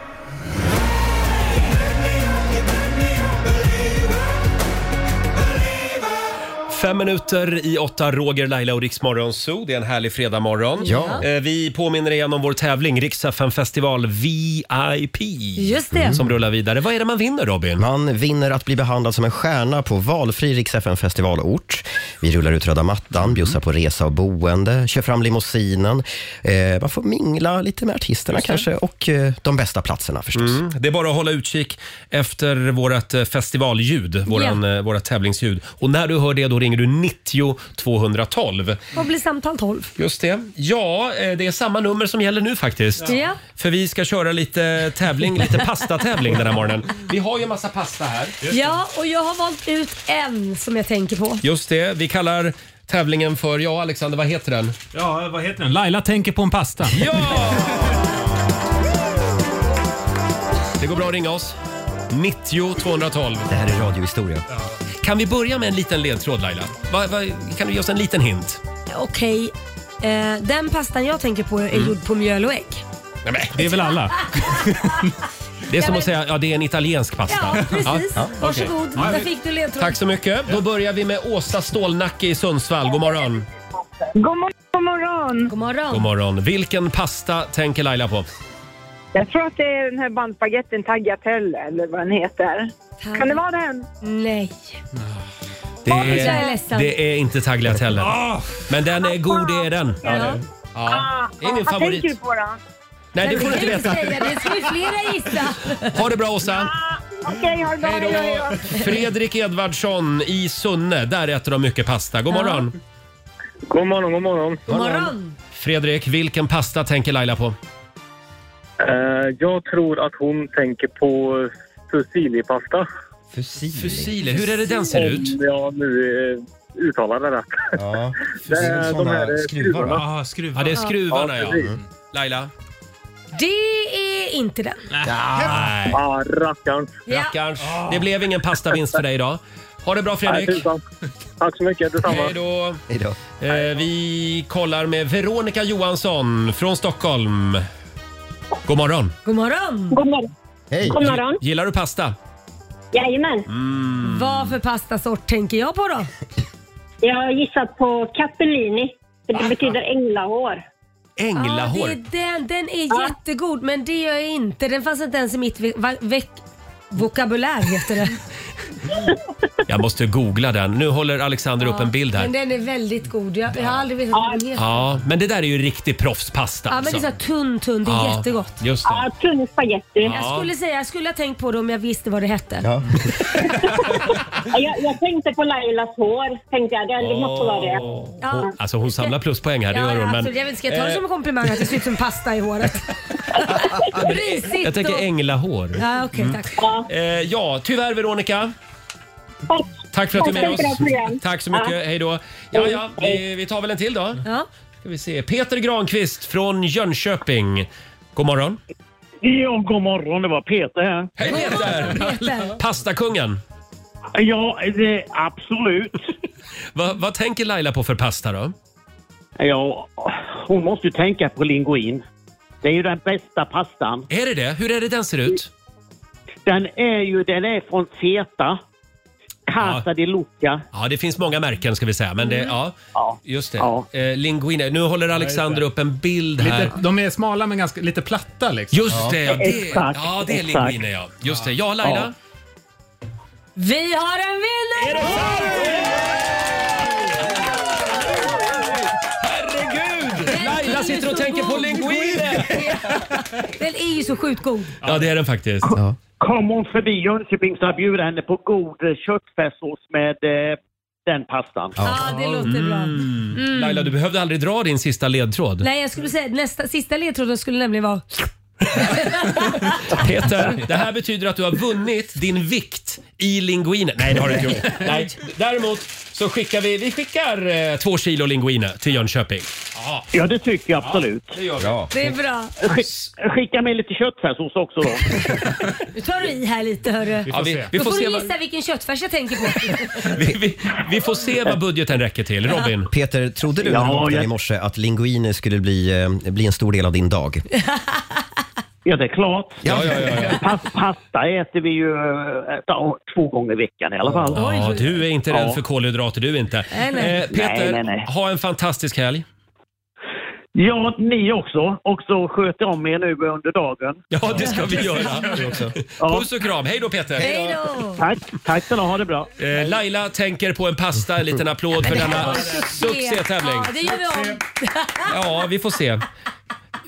A: Fem minuter i åtta, Roger, Laila och Riksmorgon Zoo. Det är en härlig fredagmorgon.
B: Ja.
A: Eh, Vi påminner igen om vår tävling, Rix FM festival VIP.
E: Just det.
A: Som rullar vidare. Vad är det man vinner Robin?
B: Man vinner att bli behandlad som en stjärna på valfri Rix FM festivalort. Vi rullar ut röda mattan, bjussar på resa och boende, kör fram limousinen. Eh, man får mingla lite med artisterna
A: Just det.
B: kanske och eh, de bästa platserna förstås.
A: Mm. Det är bara att hålla utkik efter vårt eh, festivalljud, våran, eh, vårat tävlingsljud. Och när du hör det då ringer du 90 212.
E: Vad blir samtal 12?
A: Just det. Ja, eh, det är samma nummer som gäller nu faktiskt.
E: Ja.
A: För vi ska köra lite tävling, lite pastatävling den här morgonen. Vi har ju en massa pasta här.
E: Ja, och jag har valt ut en som jag tänker på.
A: Just det, vi kallar tävlingen för, ja Alexander, vad heter den?
H: Ja, vad heter den? Laila tänker på en pasta.
A: Ja! Det går bra att ringa oss. 90 212.
B: Det här är radiohistoria.
A: Kan vi börja med en liten ledtråd Laila? Va, va, kan du ge oss en liten hint?
E: Okej, eh, den pastan jag tänker på är
A: Mm.
E: gjord på mjöl och ägg.
A: Nej, men, det är väl alla? det är som
E: men-
A: att säga ja det är en italiensk pasta.
E: Ja, precis.
A: okej.
E: Varsågod,
A: Ja,
E: där
A: vi-
E: fick du ledtråd.
A: Tack så mycket. Då börjar vi med Åsa Stålnacke i Sundsvall. God morgon.
L: God morgon, god morgon.
E: God morgon.
A: God morgon. Vilken pasta tänker Laila på?
L: Jag tror att det är den här bandspagetten tagliatelle eller vad den heter. Kan det vara den?
E: Nej.
A: Det
E: jag är
A: är,
E: ledsen.
A: det är inte tagliatelle. Men den är god, det är den.
L: Ja, det är den.
A: Ja. Det är min
L: Ah, Vad
A: favorit.
L: tänker du på då?
A: Nej, det får du inte veta.
E: säga, det ska ju flera gissa.
A: Ha det bra Åsa.
L: Ah, Okej, ha det bra.
A: Hej då. Fredrik Edvardsson i Sunne. Där äter de mycket pasta. God morgon.
F: God morgon, god morgon.
E: God morgon.
A: Fredrik, vilken pasta tänker Laila på?
J: Eh, jag tror att hon tänker på fusilipasta.
B: Fusili?
A: Fusili, hur är det den ser ut?
J: Om jag nu eh, uttalar det rätt.
B: Ja.
J: Det är de här eh, skruvarna.
H: Ja, skruvarna.
A: Ja, det är skruvarna
J: Ja,
A: ja.
J: precis.
A: Mm. Laila?
E: Det är inte den.
A: Nej.
J: Ah, rackarns.
A: Rackarns. Det blev ingen pastavinst för dig idag. Ha det bra
J: Nej,
A: Fredrik.
J: tusan. Tack så mycket, detsamma.
A: Hej då. Eh, vi kollar med Veronica Johansson från Stockholm. God morgon.
E: God morgon.
L: God morgon.
B: Hej.
G: God morgon.
A: Gillar du pasta?
G: Jajamän.
A: Mm.
E: Vad för pastasort tänker jag på då?
G: Jag har gissat på Capellini. För det betyder änglahår.
E: Ja, det är den, den är jättegod men det gör jag inte. Den fanns inte ens i mitt ve- va- veck- vokabulär heter det.
A: Jag måste googla den. Nu håller Alexander upp en bild
E: Men
A: här.
E: den är väldigt god. Jag, jag har aldrig vetat vad den heter.
A: Ja, men det där är ju riktig proffspasta. alltså.
E: Ja, men det är så här tunn, tunn. Det är
A: Ja,
E: jättegott.
A: just det. Ja,
G: tunn spagetti.
E: Jag skulle säga, jag skulle ha tänkt på det om jag visste vad det hette.
A: Ja.
G: Jag, jag tänkte på Lailas hår. Tänkte jag. Det måste vara det.
E: Ja.
A: Alltså hon samlar pluspoäng här, det
E: Ja,
A: gör
E: ja,
A: hon. Men,
E: absolut. Jag vet inte, ska jag ta det
A: eh,
E: som en komplimang att det ser ut som pasta i håret? Risigt
A: jag tänker
E: och-
A: änglahår.
E: Ja, okej,
A: Mm.
E: tack.
A: Eh, ja, tyvärr Veronica.
G: Tack.
A: för att du är med
E: Tack för
A: oss.
E: ett bra program.
A: Tack så mycket.
E: Ja.
A: Hej då. Ja, ja, vi, vi tar väl en till då.
E: Ja.
A: Ska vi se. Peter Granqvist från Jönköping. God morgon.
Q: Ja, god morgon. Det var Peter här.
A: Hej Peter! Pastakungen.
Q: Ja, det, absolut.
A: Vad- vad tänker Laila på för pasta då?
Q: Ja, hon måste ju tänka på linguin. Det är ju den bästa pastan.
A: Är det det? Hur är det den ser ut?
Q: Den är ju den är från feta. Casa di Lucca.
A: Ja, det finns många märken ska vi säga. Men det, ja, just det.
Q: Ja.
A: Eh, linguine. Nu håller Alexander upp en bild här.
H: Lite, de är smala men ganska, lite platta. Liksom.
A: Just det, ja, det,
H: Exakt,
A: ja, det är
H: exakt.
A: linguine ja. Just det. Ja, Laila.
E: Vi har en vinnare!
A: Herregud! Laila sitter och
E: så
A: tänker på
E: god.
A: linguine!
E: Den är ju så sjukt god.
A: Ja, det är den faktiskt.
Q: Kom hon förbi Jönköping så jag bjuder henne på god eh, köttfärssås med eh, den pastan.
E: Ja, det låter bra. Mm.
A: Laila, du behövde aldrig dra din sista ledtråd.
E: Nej, jag skulle säga nästa, sista ledtråden skulle nämligen vara...
A: Peter, det här betyder att du har vunnit din vikt i linguine. Nej, det har du inte gjort. Nej. Däremot så skickar vi, vi skickar eh, två kilo linguine till Jönköping.
Q: Ja, det tycker jag absolut.
A: det gör vi.
E: Det är bra.
Q: Skick- Skicka med lite köttfärssås också då.
E: Nu tar du i här lite hörru.
A: Ja, vi- vi
E: Då
A: får
E: får
A: se
E: du
A: vad-
E: gissa vilken köttfärs jag tänker på.
A: Vi, vi, vi får se vad budgeten räcker till. Robin?
B: Peter, trodde du när
A: Ja,
B: du vaknade
A: jag-
B: i morse att linguine skulle bli, eh, bli en stor del av din dag?
Q: Ja, det är klart.
B: Ja, ja, ja,
Q: Pas- Pasta äter vi ju eh, ja, två gånger i veckan i alla fall.
A: Ja,
B: typ.
A: du är inte rädd
Q: Ja.
A: för kolhydrater du inte.
Q: Nej, nej.
A: Eh, Peter,
Q: Nej, nej, nej.
A: ha en fantastisk helg.
Q: Ja, ni också. Och så sköter om er nu under dagen.
A: Ja, det ska vi göra. Puss och kram. Hej då Peter!
E: Hej då!
Q: Tack, tack ska ni ha. Ha det bra.
A: Eh, Laila tänker på en pasta. En liten applåd för denna succétävling.
E: Ja, det gör vi om.
A: Ja, vi får se.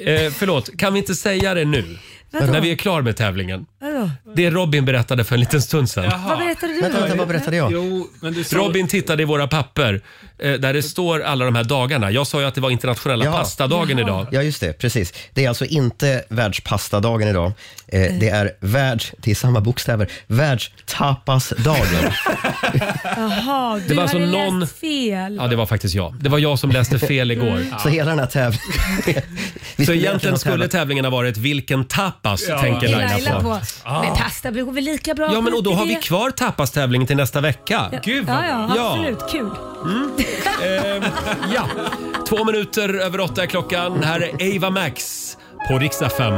A: Eh, förlåt, kan vi inte säga det nu?
E: Vadå?
A: När vi är klar med tävlingen.
E: Vadå?
A: Det Robin berättade för en liten stund sedan.
E: Vad berättade du?
B: Vänta, vänta, vad berättade jag?
H: Jo, men du sa-
A: Robin tittade i våra papper eh, där det står alla de här dagarna. Jag sa ju att det var internationella pastadagen idag.
B: Ja, just det. Precis. Det är alltså inte världspastadagen idag. Eh, det är världs... Det är samma bokstäver. Världstapasdagen.
E: Jaha, du
A: Det var
E: hade
A: alltså någon-
E: läst fel.
A: Ja, det var faktiskt jag. Det var jag som läste fel igår.
E: Mm.
B: Så hela den här tävlingen... Vi
A: Så
B: skulle egentligen
A: egentligen
B: ha
A: skulle
B: tävlat.
A: tävlingen ha varit “Vilken tapas?”
B: Ja.
A: tänker Laila på.
H: Ah.
A: Ah.
E: Men pasta blir väl lika bra?
A: Ja, men och då har
E: skit i
A: vi
E: det.
A: kvar tapastävlingen till nästa vecka.
E: Ja. ja, ja,
A: Ja. Mm.
E: absolut. Kul.
A: Ehm, Ja, två minuter över åtta är klockan. Här är Ava Max på riksdag 5.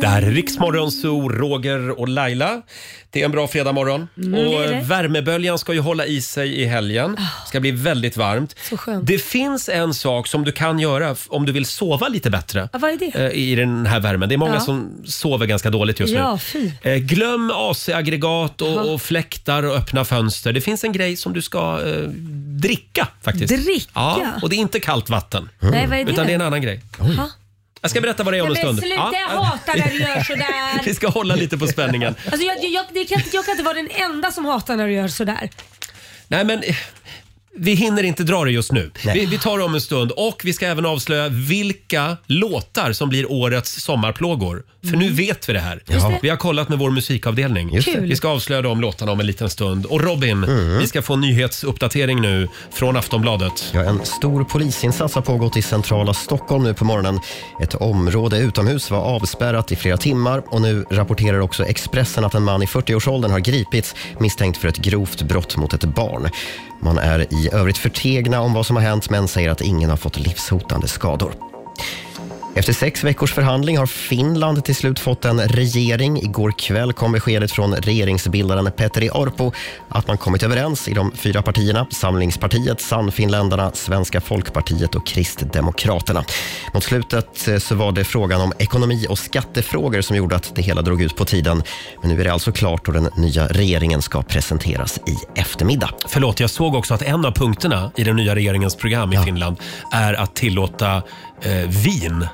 A: Det här är Riksmorgon Zoo, Roger och Laila. Det är en bra fredagmorgon.
E: Mm, det
A: och
E: är det. Ah.
A: värmeböljan ska ju hålla i sig i helgen. Det ska bli väldigt varmt.
E: Så skönt.
A: Det finns en sak som du kan göra f- om du vill sova lite bättre
E: Ja, vad är det?
A: eh, i den här värmen. Det är många
E: Ja.
A: som sover ganska dåligt just
E: Ja,
A: nu.
E: fy.
A: Eh, glöm AC-aggregat och, och fläktar och öppna fönster. Det finns en grej som du ska eh, dricka faktiskt.
E: Dricka?
A: Ja, och det är inte kallt vatten.
E: Nej, vad är det?
A: Utan det är en annan grej.
E: Ha?
A: Jag ska berätta vad det är om en
E: Nej, men
A: stund.
E: sluta, jag hatar när du gör sådär.
A: Vi ska hålla lite på spänningen.
E: Alltså jag, jag, det kan, inte- jag kan inte vara den enda som hatar när du gör sådär.
A: Nej, men... eh, Vi hinner inte dra det just nu. Vi, vi tar det om en stund. Och vi ska även avslöja vilka låtar som blir årets sommarplågor. För nu
E: Mm.
A: vet vi det här.
B: Just det.
A: Vi har kollat med vår musikavdelning.
B: Just det. Mm. Kul.
A: Vi ska avslöja de låtarna om en liten stund. Och Robin, vi ska få en nyhetsuppdatering nu från Aftonbladet.
B: Ja, en stor polisinsats har pågått i centrala Stockholm nu på morgonen. Ett område utomhus var avspärrat i flera timmar och nu rapporterar också Expressen att en man i 40-årsåldern har gripits misstänkt för ett grovt brott mot ett barn. Man är i övrigt förtegna om vad som har hänt men säger att ingen har fått livshotande skador. Efter sex veckors förhandling har Finland till slut fått en regering. Igår kväll kom beskedet från regeringsbildaren Petteri Orpo att man kommit överens i de fyra partierna, Samlingspartiet, Sannfinländarna, Svenska Folkpartiet och Kristdemokraterna. Mot slutet eh, så var det frågan om ekonomi och skattefrågor som gjorde att det hela drog ut på tiden. Men nu är det alltså klart och den nya regeringen ska presenteras i eftermiddag.
A: Förlåt, jag såg också att en av punkterna i den nya regeringens program i Finland är att tillåta eh, vin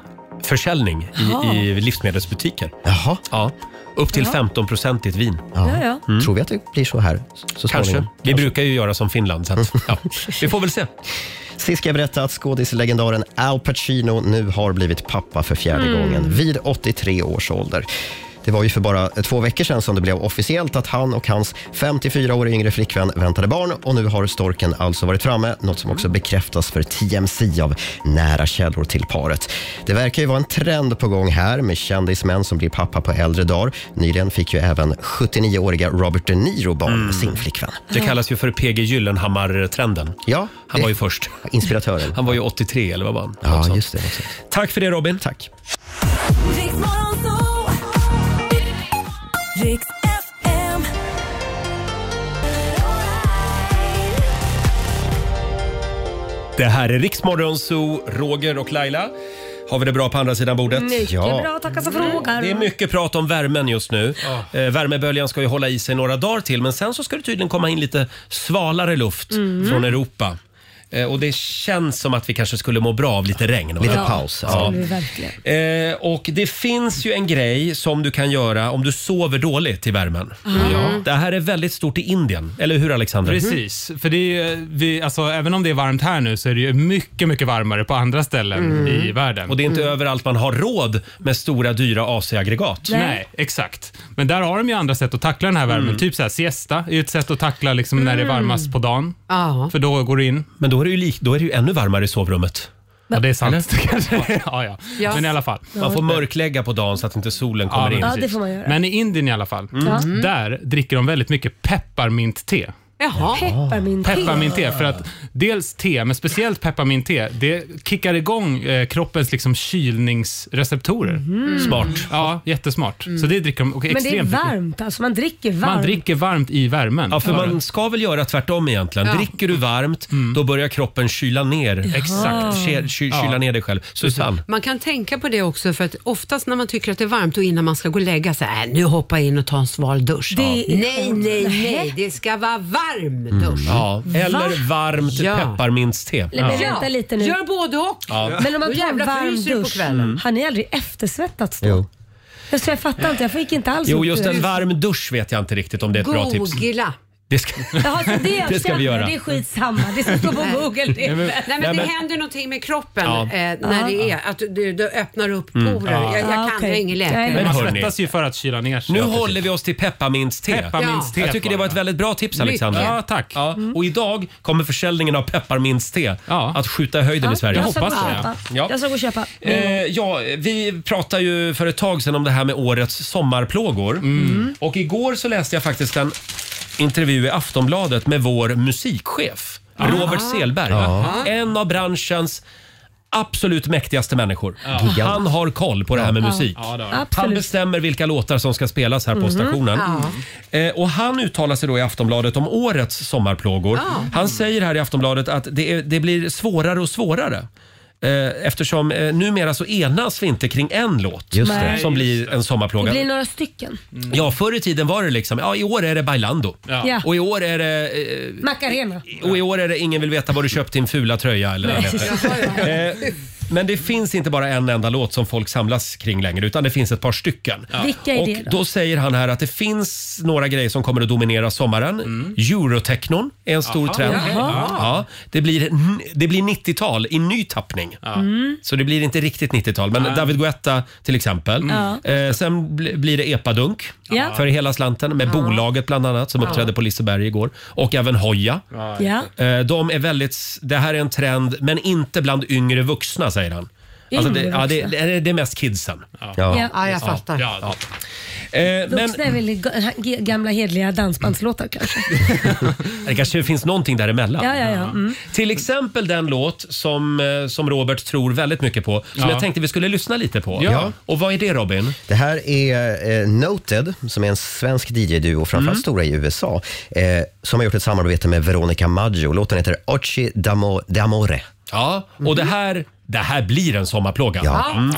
A: försäljning
E: Jaha.
A: i, i livsmedelsbutiker.
B: Jaha.
A: Ja, upp till
E: Ja.
A: 15-procentigt vin.
E: Ja, ja.
B: Mm. Tror vi att det blir så här? Så
A: Kanske.
B: småningom?
A: Vi brukar ju göra som Finland. Så att, ja. Vi får väl se.
B: Sist ska jag berätta att skådislegendaren Al Pacino nu har blivit pappa för fjärde
A: Mm.
B: gången vid 83 års ålder. Det var ju för bara två veckor sedan som det blev officiellt att han och hans 54 år yngre flickvän väntade barn och nu har storken alltså varit framme, något som också bekräftas för TMC av nära källor till paret. Det verkar ju vara en trend på gång här med kändismän som blir pappa på äldre dagar. Nyligen fick ju även 79-åriga Robert De Niro barn med sin flickvän.
A: Det kallas ju för PG Gyllenhammar-trenden.
B: Mm. Ja,
A: han var ju först.
B: Inspiratören.
A: Han var ju 83 eller vad var han? Något
B: Ja,
A: sånt.
B: just det.
A: Tack för det Robin.
B: Tack.
D: Riks FM.
A: Det här är Riksmorgon Zoo, Roger och Laila. Har vi det bra på andra sidan bordet?
E: Mycket bra, tacka som frågar.
A: Det är mycket prat om värmen just nu. Eh, värmeböljan ska ju hålla i sig några dagar till men sen så ska det tydligen komma in lite svalare luft
E: Mm.
A: från Europa. Eh, och det känns som att vi kanske skulle må bra av lite regn. va?
B: Lite paus,
E: Ja,
A: Ja.
E: det är verkligen.
A: Eh, och det finns ju en grej som du kan göra om du sover dåligt i värmen. Ja. Det här är väldigt stort i Indien, eller hur Alexander?
H: Precis, för det är, ju- vi, alltså, även om det är varmt här nu så är det ju mycket, mycket varmare på andra ställen
A: Mm.
H: i världen. Mm.
A: Och det är inte överallt man har råd med stora dyra AC-aggregat.
H: Nej. exakt. Men där har de ju andra sätt att tackla den här värmen. Typ så här, siesta är ju ett sätt att tackla liksom, när det är
A: Mm.
H: varmast på dagen.
C: Ja.
H: För då går det in.
A: Men då är det ju, lik, då är det ju ännu varmare i sovrummet.
H: Ja, det är sant. ja,
A: Ja.
H: Men i alla fall.
A: Man får mörklägga på dagen så att inte solen kommer
H: men
A: in. Mm.
H: precis. Men i Indien i alla fall,
A: Ja.
H: där dricker de väldigt mycket pepparmintte.
C: Jaha.
E: Pepparmint-te.
H: Pepparmintte, för att dels te, men speciellt pepparmintte, det kickar igång eh, kroppens liksom kylningsreceptorer.
E: Mhm. Smart.
H: Ja, jättesmart. Så det dricker de och
E: Men det är
H: extremt mycket.
E: varmt, alltså man dricker varmt.
H: Man dricker varmt i värmen.
A: Ja, för man ska väl göra tvärtom egentligen.
E: Ja.
A: Dricker du varmt, då börjar kroppen kyla ner.
C: Exakt.
A: Ky, ky,
C: Ja.
A: kyla ner dig själv. Susanne.
C: Man kan tänka på det också för att oftast när man tycker att det är varmt och innan man ska gå och lägga sig, äh, nu hoppa in och ta en sval dusch.
A: Det är-
C: Nej, nej, nej, det ska vara varm dusch.
A: Ja.
E: Mm.
A: Eller
C: Va?
A: varmt
C: Ja.
A: pepparmintste.
E: Nej, men vänta lite nu.
C: Gör både och.
A: Ja. Mm.
E: Men om man
C: Då
E: tar en
C: jävlar
E: varm
C: fryser du på
E: dusch,
C: kvällen.
E: har ni aldrig eftersvettats då?
A: Jo.
E: Alltså, jag fattar inte, jag fick inte
C: Alltså,
E: alls
A: Jo,
E: upp
A: just
E: det.
A: en varm dusch vet jag inte riktigt om det är ett bra tips.
C: Googla.
A: Det ska,
E: Jaha, så det,
A: det ska vi göra.
E: Det är skitsamma, det ska stå på Google.
C: Nej, men,
E: Det.
C: nej, men det händer någonting med kroppen
A: Ja.
C: eh, när
E: Ja.
C: det är att du, du öppnar upp
A: Mm.
C: porer.
A: Ja.
C: Jag, jag
E: Ja,
C: kan,
E: okej.
C: jag är ingen läkare.
A: Men
H: man
A: hörni.
H: svettas ju för att kyla ner sig.
A: Nu
H: Ja, precis.
A: håller vi oss till pepparmintste.
H: Pepparmintste
A: Jag tycker det var ett väldigt bra tips Alexander.
H: Mycket. Ja, tack.
E: Mm.
A: Och idag kommer försäljningen av pepparmintste att skjuta i höjden i Sverige.
E: Jag ska gå och
A: Ja.
E: köpa.
A: Ja.
E: Jag ska gå och köpa.
A: Eh, ja, vi pratade ju för ett tag sedan om det här med årets sommarplågor.
B: Mm.
A: Och igår så läste jag faktiskt en intervju i Aftonbladet med vår musikchef, Robert Selberg.
B: Ja.
A: En av branschens absolut mäktigaste människor.
B: Gigant.
A: Han har koll på det här med
B: Ja.
A: musik.
B: Ja, det har han.
A: han
B: Absolut.
A: bestämmer vilka låtar som ska spelas här på
B: Mhm.
A: stationen.
B: Ja.
A: Eh, och han uttalar sig då i Aftonbladet om årets sommarplågor.
B: Ja.
A: Han säger här i Aftonbladet att det, är, det blir svårare och svårare. Eh, Eftersom eh, numera så enas vi inte kring en låt
E: Just det.
A: som
E: Nej,
A: blir en
E: Det
A: sommarplåga.
E: blir några stycken.
A: Ja, förr i tiden var det liksom, ja i år är det Bailando.
E: Ja.
A: Och i år är det... eh,
E: Macarena.
A: och i år är det Ingen vill veta vad du köpt din fula tröja eller vad det
E: Nej.
A: heter. Eh, Men det finns inte bara en enda låt som folk samlas kring längre utan det finns ett par stycken.
E: Vilka är
A: och
E: det då?
A: då? säger han här att det finns några grejer som kommer att dominera sommaren. Eurotechnon är en stor
B: Mm. Jaha.
A: trend.
B: Jaha.
A: Ja, det blir, det blir 90-tal i ny tappning.
B: Mm.
A: Så det blir inte riktigt 90-tal, men
B: Nej.
A: David Guetta till exempel.
B: Mm.
A: Eh, sen bl- blir det epadunk
E: Ja.
A: för hela slanten med Bolaget bland annat som
E: Ja.
A: uppträdde på Liseberg igår och även Hoja.
E: Ja.
A: Eh, De är väldigt, det här är en trend, men inte bland yngre vuxna, säger han. Alltså det,
C: Yngre
A: ja, det,
C: vuxna.
A: det, är- det är mest kidsen.
C: Ja, jag fattar.
A: Ja. Eh, men
E: Vuxna är väl ga- ge- gamla hedliga dansbandslåtar kanske.
A: det kanske finns någonting däremellan.
E: Ja, ja, ja. Mm.
A: Till exempel den låt som, eh, som Robert tror väldigt mycket på, som
B: Ja.
A: jag tänkte vi skulle lyssna lite på.
B: Ja.
A: Och vad är det Robin?
B: Det här är eh, Noted, som är en svensk DJ-duo, framförallt
A: Mm.
B: stora i USA, eh, som har gjort ett samarbete med Veronica Maggio. Låten heter Occhi d'amo- d'amore.
A: Ja, och det här, det här blir en sommarplåga.
B: Ja.
A: Mm.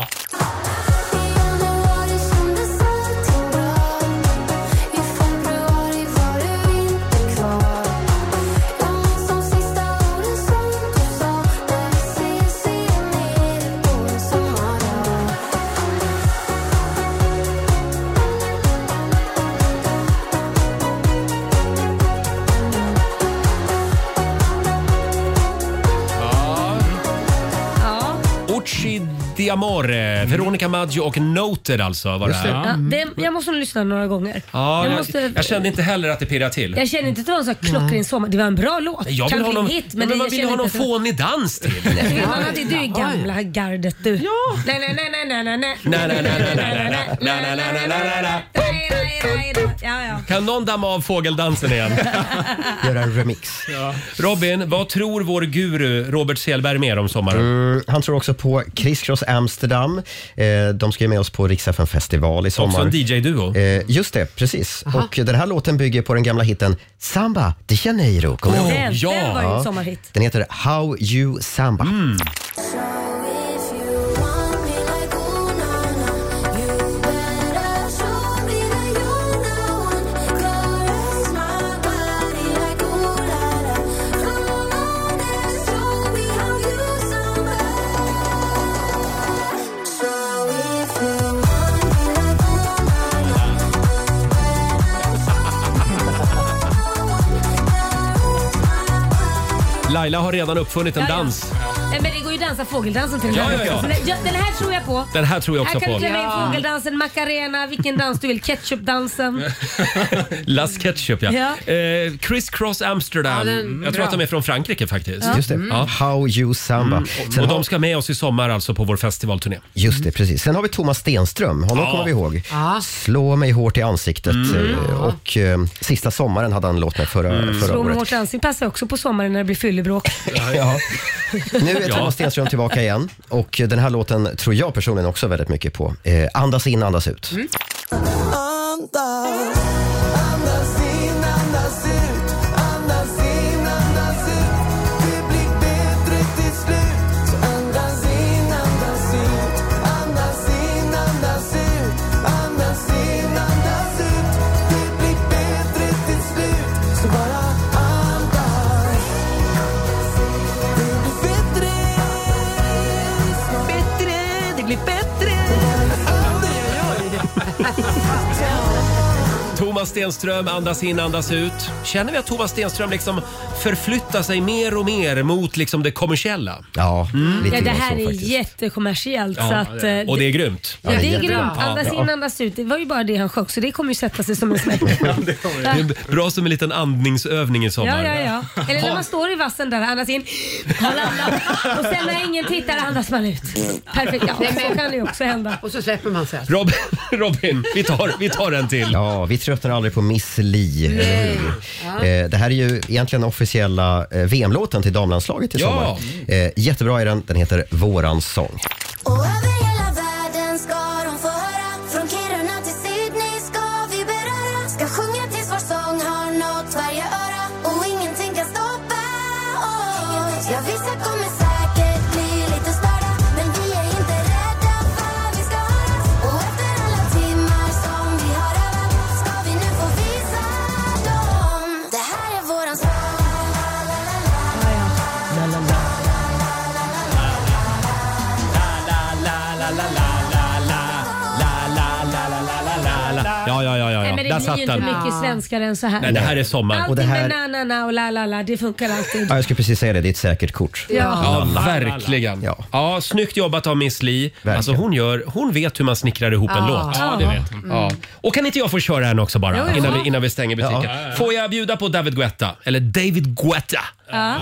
A: Ucci di Amore, Veronica Maggio och Noted alltså var det här.
E: Ja, det, jag måste nog lyssna några gånger.
A: Ja, jag,
E: jag, måste,
A: jag kände inte heller att det pirrade till.
E: jag känner inte att det var en sån här klockren sommar. Det var en bra låt.
A: Jag
E: kan
A: vill
E: bli
A: ha
E: en
A: någon,
E: hit,
A: ja,
E: men,
A: men
E: det,
A: man
E: jag
A: vill ha
E: känner
A: någon
E: inte att-
A: fånig dans till.
E: Det är annat, det är ju gamla gardet du. Ja. Nej, nej, nej, nej, nej, nej, nej.
A: Na, na, na, na, na, na, na, na, na, na, na, na, na.
E: Nej, nej, nej, nej. Ja, ja.
A: Kan någon damma av fågeldansen igen?
B: Göra en remix.
A: Robin, vad tror vår guru Robert Selberg mer om sommaren?
B: Mm, han tror också på Criss Cross Amsterdam. Eh, de ska ju med oss på Rix FM festival i sommar.
A: Också en DJ-duo.
B: Eh, just det, precis.
A: Aha.
B: Och den här låten bygger på den gamla hitten Samba de Janeiro. Kommer
E: Den-
B: du ihåg?
E: den Ja. var ju en sommarhit.
B: Den heter How You Samba.
A: Mm. Laila har redan uppfunnit en
E: Ja, ja.
A: dans.
E: Nej, men det går ju att dansa fågeldansen till den
A: Ja,
E: här
A: ja, ja.
E: låten. Så Den den här tror jag på.
A: Den här tror jag
E: Här
A: också
E: kan du
A: på.
E: klämma in fågeldansen, macarena, vilken dans du vill.
A: Mm.
E: Ketchupdansen.
A: Las Ketchup ja.
E: Ja.
A: Eh, Criss Cross
E: Ja,
A: Amsterdam.
E: den-
A: jag tror
E: bra.
A: att de är från Frankrike faktiskt.
B: Just det.
A: Ja. Mm.
B: How You Samba.
A: Och,
B: Sen
A: och
B: har-
A: de ska med oss i sommar alltså på vår festivalturné. Mm.
B: Just det, precis. Sen har vi Thomas Stenström. Honom
A: Ja.
B: kommer vi ihåg.
A: Ja.
B: Slå mig hårt i ansiktet.
A: Mm.
B: Eh, Och eh, Sista sommaren hade han en låt med förra, förra
E: Mm. Slå med
B: året.
E: hårt ansikte passar också på sommaren när det blir fyllebråk.
B: Ja. Nu är
E: Ja.
B: Thomas Stenström tillbaka igen och den här låten tror jag personligen också väldigt mycket på. Eh, andas in, andas ut.
D: Andas, andas in, andas ut, andas in, andas ut. Det blir bättre till slut. Så andas in, andas ut, andas in, andas ut, andas in, andas ut. Det blir bättre till slut. Så bara andas. Det blir bättre, bättre, det blir bättre.
A: Thomas Stenström, andas in, andas ut. Känner vi att Thomas Stenström liksom förflyttar sig mer och mer mot liksom det kommersiella?
B: Ja,
A: Mm.
E: Ja, det här är jättekommersiellt. så att, eh,
A: och det är grymt.
E: Ja, det är grymt. Andas in, andas ut. Det var ju bara det han sjöng, så det kommer ju sätta sig som en smäck.
A: Det är bra som en liten andningsövning i sommar.
E: Ja, ja, ja. Eller när man står i vassen där, andas in, håll andan. Och sen när ingen tittar andas man ut. Perfekt. Ja, så kan det ju också hända.
C: Och så släpper man sig.
A: Robin, Robin vi, tar, vi tar en till.
B: Ja, vi tröttnar aldrig på Miss Li.
A: Nej.
B: eller hur?
A: Ja.
B: Eh, det här är ju egentligen officiella eh, VM-låten till damlandslaget i
A: Ja.
B: sommar. Eh, jättebra är den. Den heter Våran sång.
D: Och över hela världen ska de få höra Från Kiruna till Sydney ska vi beröra Ska sjunga tills vår sång har nått varje öra Och ingenting kan stoppa oss Ja, vissa kommer säkert bli lite störda Men vi är inte rädda för vad vi ska höra Och efter alla timmar som vi har övat Ska vi nu få visa dem Det här är våran sång
A: Ja, ja, ja, ja.
E: Nej, men
A: ja. Där
E: det blir
A: satt
E: ju inte
A: den.
E: mycket svenskare än så här.
A: Nej, det här är sommar.
E: Allting
A: Och det här-
E: med na, na, na och la, la, la. Det funkar alltid.
B: Ja, jag skulle precis säga det. Det är ett säkert kort.
E: Ja.
A: Ja, verkligen. Ja. snyggt jobbat av Miss Li. Alltså hon, gör, hon vet hur man snickrar ihop en
H: Ja.
A: låt.
H: Ja, det vet hon. Mm.
A: Ja. Och kan inte jag få köra en också bara
H: Jo, jo.
A: Innan, vi, innan vi stänger butiken?
H: Ja.
A: Får jag bjuda på David Guetta? Eller David Guetta
E: Ja.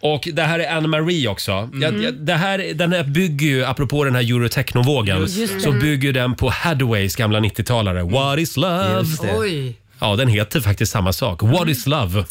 A: Och det här är Anne Marie också.
E: Mm.
A: Jag, jag, det här, den här bygger ju, apropå den här eurotechnovågen,
D: Just det.
A: så
D: Mm.
A: bygger den på Hadways gamla 90-talare.
E: Mm.
A: What is love?
D: Just det. Oj.
A: Ja, den heter faktiskt samma sak.
E: Mm.
A: What is love?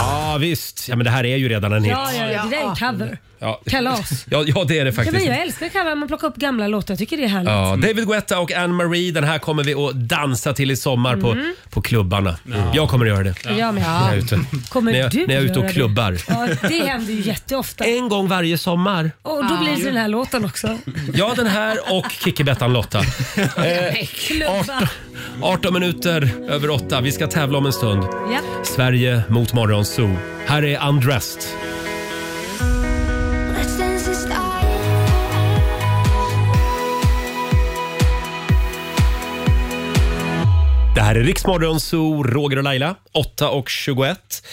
A: Ja, visst. Ja, men det här är ju redan en hit.
E: Ja, ja, ja, det där är en cover.
A: Ja.
E: Kalas.
A: Ja, ja det är det
E: Ja, men
A: faktiskt.
E: jag älskar cover, man plockar upp gamla låtar. Jag tycker det är härligt.
A: Ja, David Guetta och Anne Marie, den här kommer vi att dansa till i sommar på,
E: Mm.
A: på klubbarna. Jag kommer att göra det.
E: Jag med.
A: När jag är ute,
E: Kommer
A: när jag,
E: du
A: när jag är ute
E: göra
A: och
E: det?
A: klubbar.
E: Ja, det händer ju jätteofta.
A: En gång varje sommar.
E: Och då blir det den här låten också.
A: Ja, den här och Kickebettan Lotta. Eh,
E: Klubba.
A: 18 minuter över 8. Vi ska tävla om en stund.
E: Ja.
A: Sverige mot Morgonzoo. Här är Undressed. Det här är Riksmorgon Zoo, Roger och Laila, 8 och 21.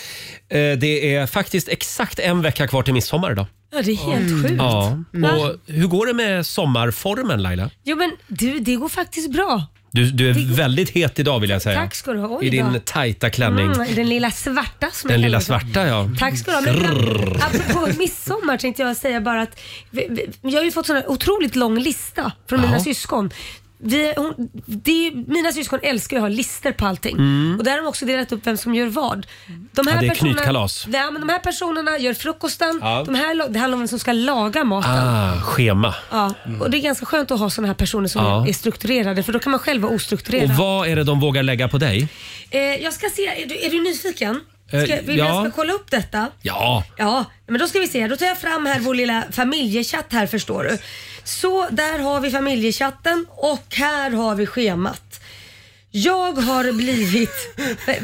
A: Eh, Det är faktiskt exakt en vecka kvar till midsommar idag.
E: Ja, det är helt sjukt.
A: Mm. Ja.
E: Va?
A: Och hur går det med sommarformen Laila?
E: Jo men du, det går faktiskt bra.
A: Du, du är väldigt het idag vill jag säga.
E: Tack ska du ha. Oj
A: I din
E: då.
A: tajta klänning.
E: Mm, den lilla svarta som
A: Den
E: jag
A: lilla
E: kallar det.
A: svarta ja.
E: Tack ska du ha. Men
A: Grrr.
E: apropå midsommar tänkte jag säga bara att vi, vi, jag har ju fått sån här otroligt lång lista från mina
D: Jaha.
E: syskon. Vi, hon, det är, ju- mina syskon älskar ju att ha listor på allting.
D: Mm.
E: Och där har de också delat upp vem som gör vad. De
D: Ja, det är
E: personerna-
A: knytkalas.
E: Ja, men de här personerna gör frukosten.
A: Ja.
E: De här, la- det handlar om vem som ska laga maten.
A: Ah, schema.
E: Ja, och det är ganska skönt att ha såna här personer som
A: Ja.
E: är strukturerade för då kan man själv vara ostrukturerad.
A: Och vad är det de vågar lägga på dig?
E: Eh, jag ska se, är du, är du nyfiken? Ska,
A: Eh,
E: vill
A: ja.
E: jag ska kolla upp detta?
A: Ja,
E: Ja, men då ska vi se. Då tar jag fram här vår lilla familjechatt här förstår du. Så där har vi familjechatten och här har vi schemat. Jag har blivit...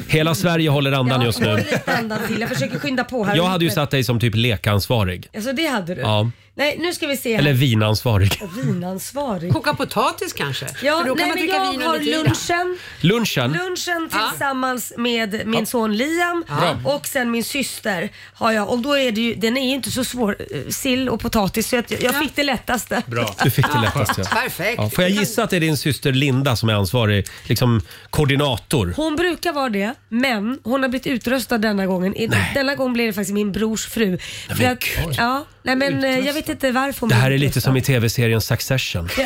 A: hela Sverige håller andan just
E: Jag har
A: nu.
E: lite andan till. Jag försöker skynda på här.
A: Jag hade ju satt dig som typ lekansvarig.
E: Alltså det hade du?
A: Ja.
E: Nej, nu ska vi se. här.
A: Eller vinansvarig.
E: Vinansvarig. Koka
C: potatis kanske?
E: Ja,
C: För då kan
E: nej,
C: man
E: men
C: dricka
E: jag
C: vin
E: har
C: under tiden.
E: lunchen.
A: Lunchen?
E: Lunchen tillsammans med min son Liam
A: Bra.
E: och sen min syster har jag. Och då är det ju, den är ju inte så svår, eh, sill och potatis, så jag, jag fick det lättaste.
A: Du fick det lättast ja. Ja, får jag gissa att det är din syster Linda som är ansvarig liksom, koordinator?
E: Hon brukar vara det, men hon har blivit utröstad denna gången. I- Denna gång blev det faktiskt min brors fru. För att, ja, nej, men eh, jag vet inte varför hon
A: Det här är
E: blev
A: lite som i
E: utröstad.
A: tv-serien Succession.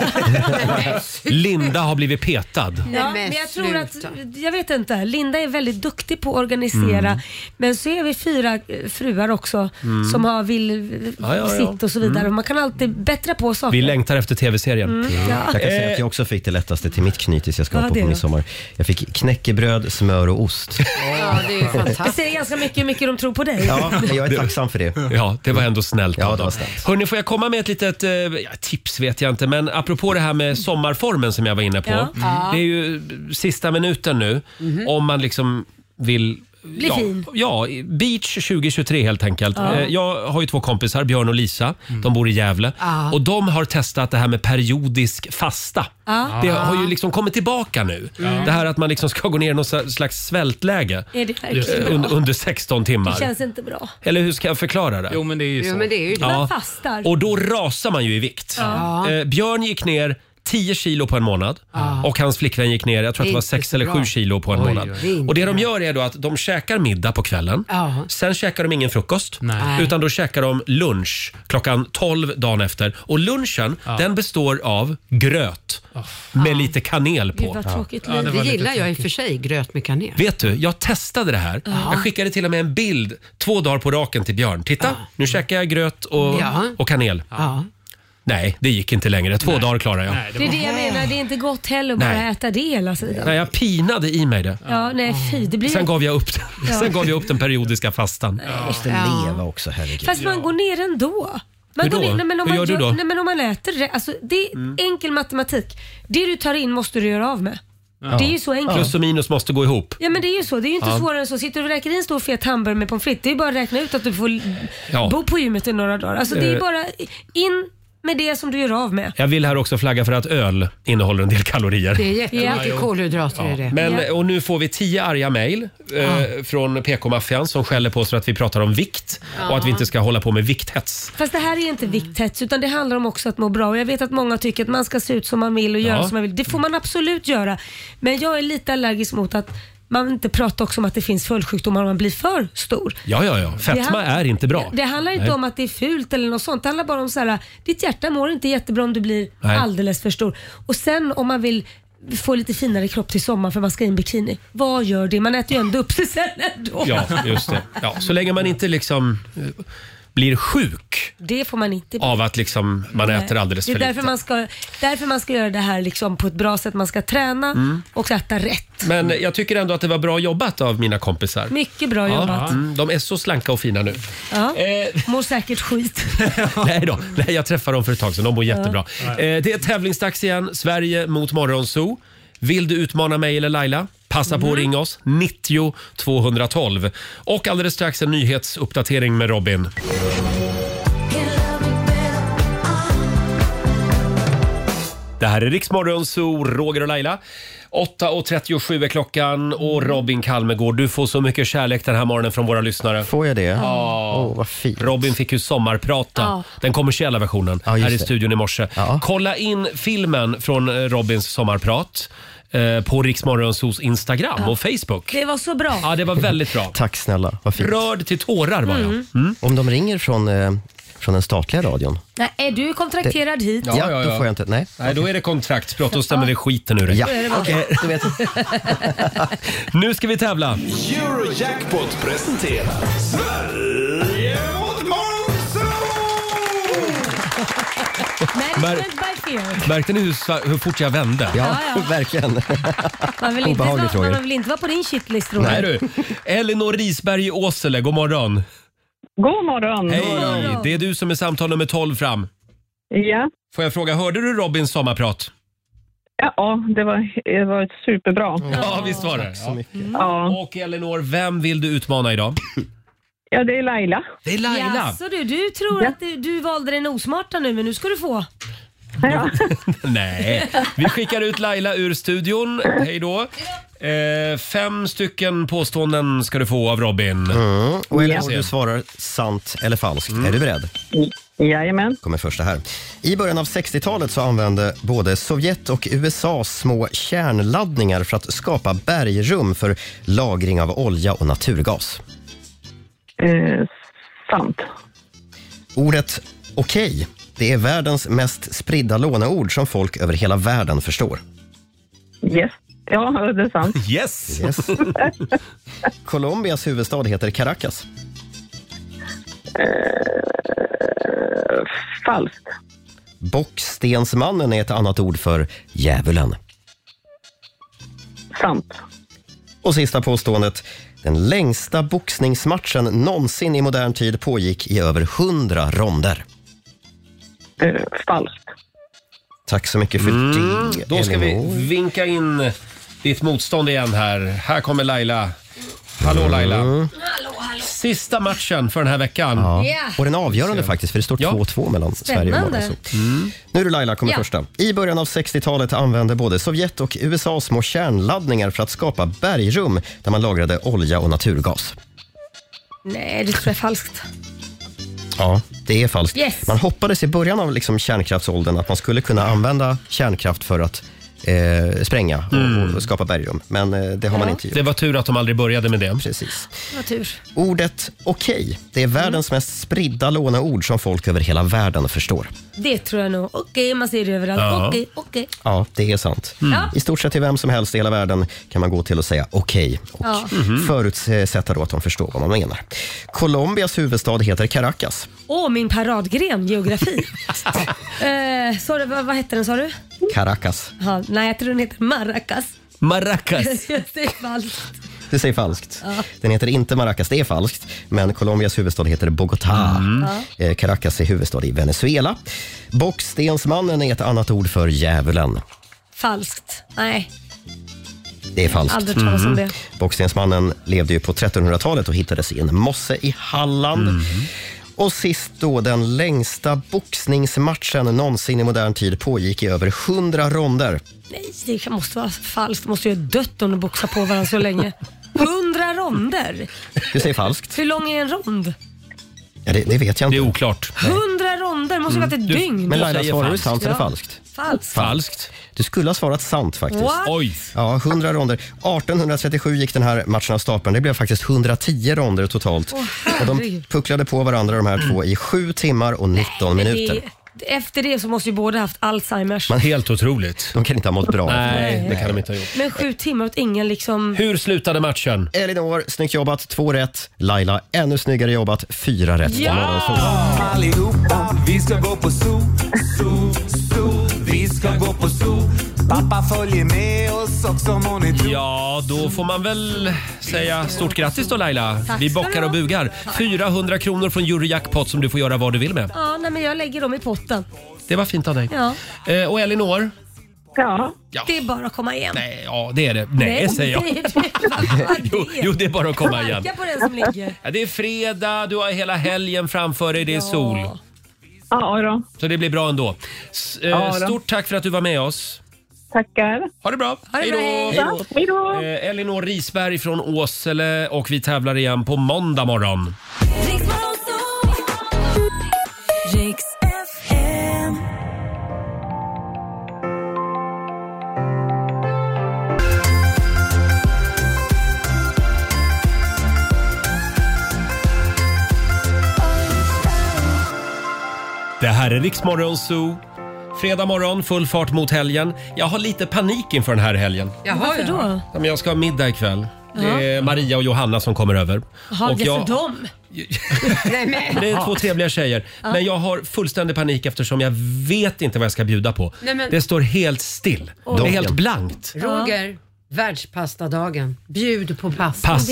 A: Linda har blivit petad.
E: Ja, men jag tror att, jag vet inte, Linda är väldigt duktig på att organisera.
A: Mm.
E: Men så är vi fyra eh, fruar också
A: Mm.
E: som har vill eh,
A: Ja, ja, ja.
E: sitt och så vidare.
A: Mm.
E: Man kan alltid bättra på saker.
A: Vi längtar efter tv-serien. Eh.
E: Mm, ja.
B: Jag kan säga att jag också fick det lättaste till mitt knytis jag ska
E: Ja,
B: ha på
E: det
B: på
E: då.
B: midsommar. Jag fick knäckebröd, smör och ost.
E: Ja, det,
B: ju fantastiskt.
E: säger ganska mycket hur mycket de tror på dig.
B: Ja, men jag är tacksam för det.
A: Ja, det var ändå snällt
B: Mm. Ja,
A: av
B: det var
A: dem. Hörni, får jag komma med ett litet eh, ja, tips vet jag inte, men apropå det här med sommarformen som jag var inne på. Mm.
D: Ja. Ja.
A: Det är ju sista minuten nu
D: Mhm.
A: om man liksom vill
D: Bli
A: ja,
D: fin.
A: Ja, beach 2023 helt enkelt.
D: Ja.
A: Eh, Jag har ju två kompisar, Björn och Lisa.
B: Mm.
A: De bor i Gävle.
D: Ja.
A: Och de har testat det här med periodisk fasta.
D: Ja.
A: Det har ju liksom kommit tillbaka nu.
D: Mm.
A: Det här att man liksom ska gå ner i något slags svältläge
E: Är det verkligen
A: eh,
E: bra?
A: un- under 16 timmar.
E: Det känns inte bra.
A: Eller hur ska jag förklara det?
H: Jo, men det är ju
E: Jo, så. men det är ju- Man fastar.
A: Och då rasar man ju i vikt.
E: Ja.
A: Eh, Björn gick ner 10 kilo på en månad och hans flickvän gick ner, jag tror att
D: Det är
A: det var
D: inte
A: 6
D: så
A: eller
D: bra.
A: 7 kilo på en
D: Oj,
A: månad.
D: oj, oj. Det är inte
A: Och det de gör är då att de käkar middag på kvällen. Sen käkar de ingen frukost,
D: Nej.
A: utan då käkar de lunch klockan 12 dagen efter. Och lunchen, den består av gröt med lite kanel på.
C: Gud vad tråkigt liv. det, gillar jag i och för sig, gröt med kanel.
A: Vet du, jag testade det här.
C: Ja.
A: Jag skickade till och med en bild två dagar på raken till Björn. Titta, nu käkar jag gröt och,
C: Ja.
A: och kanel. Nej, det gick inte längre. Två dagar klarade jag.
D: Nej,
E: Det är det jag menar, det är inte gott heller att bara
A: Nej.
E: äta det hela tiden.
A: Nej, jag pinade i mig det.
E: Ja, nej fy. Det blir
A: Sen gav jag upp,
E: Ja.
A: sen gav jag upp den periodiska fastan.
E: Jag måste Ja. leva
A: också, herregud.
E: Fast man går ner ändå. Man
A: Hur då?
E: Går ner, nej, men om man
A: Hur gör du då?
E: Nej, men om man äter rätt. Alltså, det är
A: Mm.
E: enkel matematik. Det du tar in måste du göra av med. Det är ju så enkelt.
A: Plus och minus måste gå ihop.
E: Ja men det är ju så. Det är ju inte
A: Ja.
E: svårare än så. Sitter du och räknar i en stor fet hamburgare med pommes frites, det är ju bara att räkna ut att du får
A: Ja.
E: bo på gymmet i några dagar. Alltså det är ju
A: Eh.
E: bara in med det som du gör av med.
A: Jag vill här också flagga för att öl innehåller en del kalorier.
E: Det är jättemycket
A: Ja.
C: kolhydrater i det.
A: Men, och nu får vi tio arga mejl eh, från PK-maffian som skäller på oss för att vi pratar om vikt och
E: Ja.
A: att vi inte ska hålla på med vikthets.
E: Fast det här är inte vikthets utan det handlar om också att må bra. Och jag vet att många tycker att man ska se ut som man vill och göra
A: Ja.
E: som man vill. Det får man absolut göra. Men jag är lite allergisk mot att man inte pratar också om att det finns följdsjukdomar om man blir för stor.
A: Ja, ja, ja.
E: Det
A: Fetma
E: handlar-
A: är inte bra.
E: Det handlar inte
A: Nej.
E: om att det är fult eller något sånt. Det handlar bara om så här, ditt hjärta mår inte jättebra om du blir
A: Nej.
E: alldeles för stor. Och sen om man vill få lite finare kropp till sommar för man ska i en bikini. Vad gör det? Man äter ju ändå upp sig sen ändå.
A: Ja, just det. Ja, så länge man inte liksom eh, blir sjuk
E: Det får man inte bli.
A: av att liksom man
E: Nej.
A: äter alldeles
E: det är
A: för
E: därför
A: lite.
E: man, ska, därför man ska göra det här liksom på ett bra sätt. Man ska träna
A: Mm.
E: och äta rätt.
A: Men jag tycker ändå att det var bra jobbat av mina kompisar.
E: Mycket bra
A: Ja,
E: jobbat.
A: mm, de är så slanka och fina nu.
E: Ja. Mår säkert skit.
A: Nej då, nej, jag träffade dem för ett tag sedan. De mår jättebra. Eh, det är tävlingsdags igen. Sverige mot Morgonzoo. Vill du utmana mig eller Laila? Passa på att ringa oss. 90 212. Och alldeles strax en nyhetsuppdatering med Robin. Det här är Riksmorgon Zoo, Roger och Laila. 8.37 är klockan och
B: Mm.
A: Robin Kalmegård, du får så mycket kärlek den här morgonen från våra lyssnare.
B: Får jag det?
A: Ja. Robin fick ju sommarprata,
B: Ja.
A: den kommersiella versionen,
B: Ja, just
A: här i
B: det.
A: studion i morse. Kolla in filmen från eh, Robins sommarprat eh, på Riksmorgon Zoos Instagram och Facebook.
E: Det var så bra.
A: Ja, det var väldigt bra.
B: Tack snälla, vad fint.
A: Rörd till tårar var jag.
E: Mm.
B: Om de ringer från, eh, från den statliga radion?
E: Nej, är du kontrakterad hit?
B: Ja, då får jag inte. Nej.
A: Nej, då är det kontraktsbrott. Då stämmer det skiten ur dig.
B: Ja.
A: Okej.
B: Du vet.
A: Nu ska vi tävla.
R: Eurojackpot presenterar Sverige mot
E: Management by fear.
A: Märkte ni hur, sva- hur fort jag vände?
E: Ja, ja.
B: verkligen.
E: Man vill, inte vara, man vill inte vara på din shitlist Roger.
A: Nej du. Elinor Risberg i Åsele, god morgon.
L: God morgon.
A: Hej, det är du som är samtal nummer 12 fram.
L: Ja.
A: Får jag fråga, hörde du Robins sommarprat?
L: Ja, det var, det var superbra.
A: Ja, visst var det. Ja.
L: Ja.
A: Och Elinor, vem vill du utmana idag?
L: ja, det är Laila.
A: Det är Laila.
E: Jaså du, du tror att du, du valde den osmarta nu men nu ska du få.
A: Nej, vi skickar ut Laila ur studion. Hej då. Eh, fem stycken påståenden ska du få av Robin.
B: Mm. Och Elinor,
A: Ja.
B: du svarar sant eller falskt. Är du beredd?
L: Jajamän.
B: kommer första här. I början av 60-talet så använde både Sovjet och USA små kärnladdningar för att skapa bergrum för lagring av olja och naturgas.
L: Eh, sant.
B: Ordet okej, det är världens mest spridda låneord som folk över hela världen förstår.
L: Yes. Ja, det är sant.
A: Yes!
B: yes. Colombias huvudstad heter Caracas.
L: Eh, falskt.
B: Bockstensmannen är ett annat ord för djävulen.
L: Sant.
B: Och sista påståendet. Den längsta boxningsmatchen någonsin i modern tid pågick i över 100 ronder.
L: Eh, falskt.
B: Tack så mycket för det,
A: Mm, Då ska vi
B: Elinor.
A: vinka in ditt motstånd igen här. Här kommer Laila.
B: Mm.
A: Hallå Laila. Sista matchen för den här veckan.
B: Ja. Och den avgörande faktiskt, för det står 2-2 mellan Sverige och
A: Spännande.
B: Norge. Så. Nu är det Laila, kommer
A: Ja.
B: första. I början av 60-talet använde både Sovjet och USA små kärnladdningar för att skapa bergrum där man lagrade olja och naturgas.
E: Nej, det tror jag är falskt.
B: Ja, det är falskt.
E: Yes.
B: Man hoppades i början av liksom kärnkraftsåldern att man skulle kunna använda kärnkraft för att eh, spränga och, och skapa bergrum, men eh, det har man inte gjort.
A: Det var tur att de aldrig började med det.
B: Precis.
E: Det var tur.
B: Ordet okej, det är världens mest spridda låneord som folk över hela världen förstår.
E: Det tror jag nog. Okej, man ser det överallt.
B: Ja.
E: Okej, okej.
B: Ja, det är sant.
E: Mm. Ja.
B: I stort sett till vem som helst i hela världen kan man gå till och säga okej och
E: Ja.
B: Mhm. förutsätta då att de förstår vad man menar. Colombias huvudstad heter Caracas.
E: Åh, min paradgren geografi. eh, sorry, vad, vad hette den sa du?
B: Caracas.
E: Ja, nej, jag tror den heter Maracas.
A: Maracas.
E: det är falskt.
B: Du säger falskt.
E: Ja.
B: Den heter inte Maracas, det är falskt. Men Colombias huvudstad heter Bogotá. Eh, Caracas är huvudstad i Venezuela. Bockstensmannen är ett annat ord för djävulen.
E: Falskt. Nej.
B: Det är falskt.
E: Aldrig hört
B: Mhm.
E: talas om det.
B: Bockstensmannen levde ju på 1300-talet och hittades i en mosse i Halland. Och sist då, den längsta boxningsmatchen någonsin i modern tid pågick i över 100 ronder.
E: Nej, det måste vara falskt. Det måste ju ha dött om de boxar på varandra så länge. Hundra ronder?
B: Du säger falskt.
E: Hur lång är en rond?
B: Ja, det, det vet jag inte. Det är oklart.
E: Hundra ronder? måste ju varit ett dygn.
B: Mm, Men Laila, svarar du sant eller
E: Ja.
B: falskt?
E: Falskt.
B: Du skulle ha svarat sant faktiskt.
E: What?
A: Oj!
B: Ja, 100 ronder. 1837 gick den här matchen av stapeln. Det blev faktiskt 110 ronder totalt.
E: Åh,
B: och de
E: herregud.
B: pucklade på varandra de här två i 7 timmar och 19 minuter.
E: Det- Efter det så måste ju båda haft Alzheimers.
A: Helt otroligt.
B: De kan inte ha mått bra.
A: Nej, det kan de inte ha gjort.
E: Men sju timmar åt ingen liksom...
A: Hur slutade matchen?
B: Elinor, snyggt jobbat. Två rätt. Laila, ännu snyggare jobbat. Fyra rätt.
E: Ja!
D: Allihopa, vi ska gå på zoo, zoo, zoo. Vi ska gå på zoo. Pappa följer med oss också må ni tro.
A: Ja, då får man väl säga stort grattis då Laila.
E: Tack
A: Vi
E: ska
A: bockar
E: du ha.
A: och bugar. 400 kronor från Eurojackpot som du får göra vad du vill med.
E: Ja, nej, men jag lägger dem i potten.
A: Det var fint av dig.
E: Ja.
A: Eh, och Elinor?
E: Ja.
A: Ja.
E: Det är bara att komma igen.
A: Nej, ja det är det. Nej, säger jag.
E: det är det. Vad fan
A: Jo,
E: det är?
A: jo, det är bara att komma igen.
E: Sparka på den som ligger.
A: Ja, det är fredag, du har hela helgen framför dig, det är sol.
L: Ja, då.
A: Så det blir bra ändå. S- eh,
L: Ja, då.
A: Stort tack för att du var med oss.
L: Tackar.
A: Ha det bra.
L: Ha det
A: Hejdå.
L: bra. Hej då.
A: Eh, Elinor Risberg från Åsele och vi tävlar igen på måndag morgon. Det här är Riksmorgon Zoo. Fredag morgon, full fart mot helgen. Jag har lite panik inför den här helgen.
E: Jaha, Varför då?
A: Ja, men jag ska ha middag ikväll.
E: Ja.
A: Det är Maria och Johanna som kommer över.
E: Jaha,
A: och
E: det är för
A: jag,
E: dem. nej, men.
A: det är två trevliga tjejer.
E: Ja.
A: Men jag har fullständig panik eftersom jag vet inte vad jag ska bjuda på.
C: Nej, men-
A: Det står helt still.
C: Oj.
A: Det är helt blankt.
C: Roger, världspastadagen. Bjud på pasta.
A: Pasta.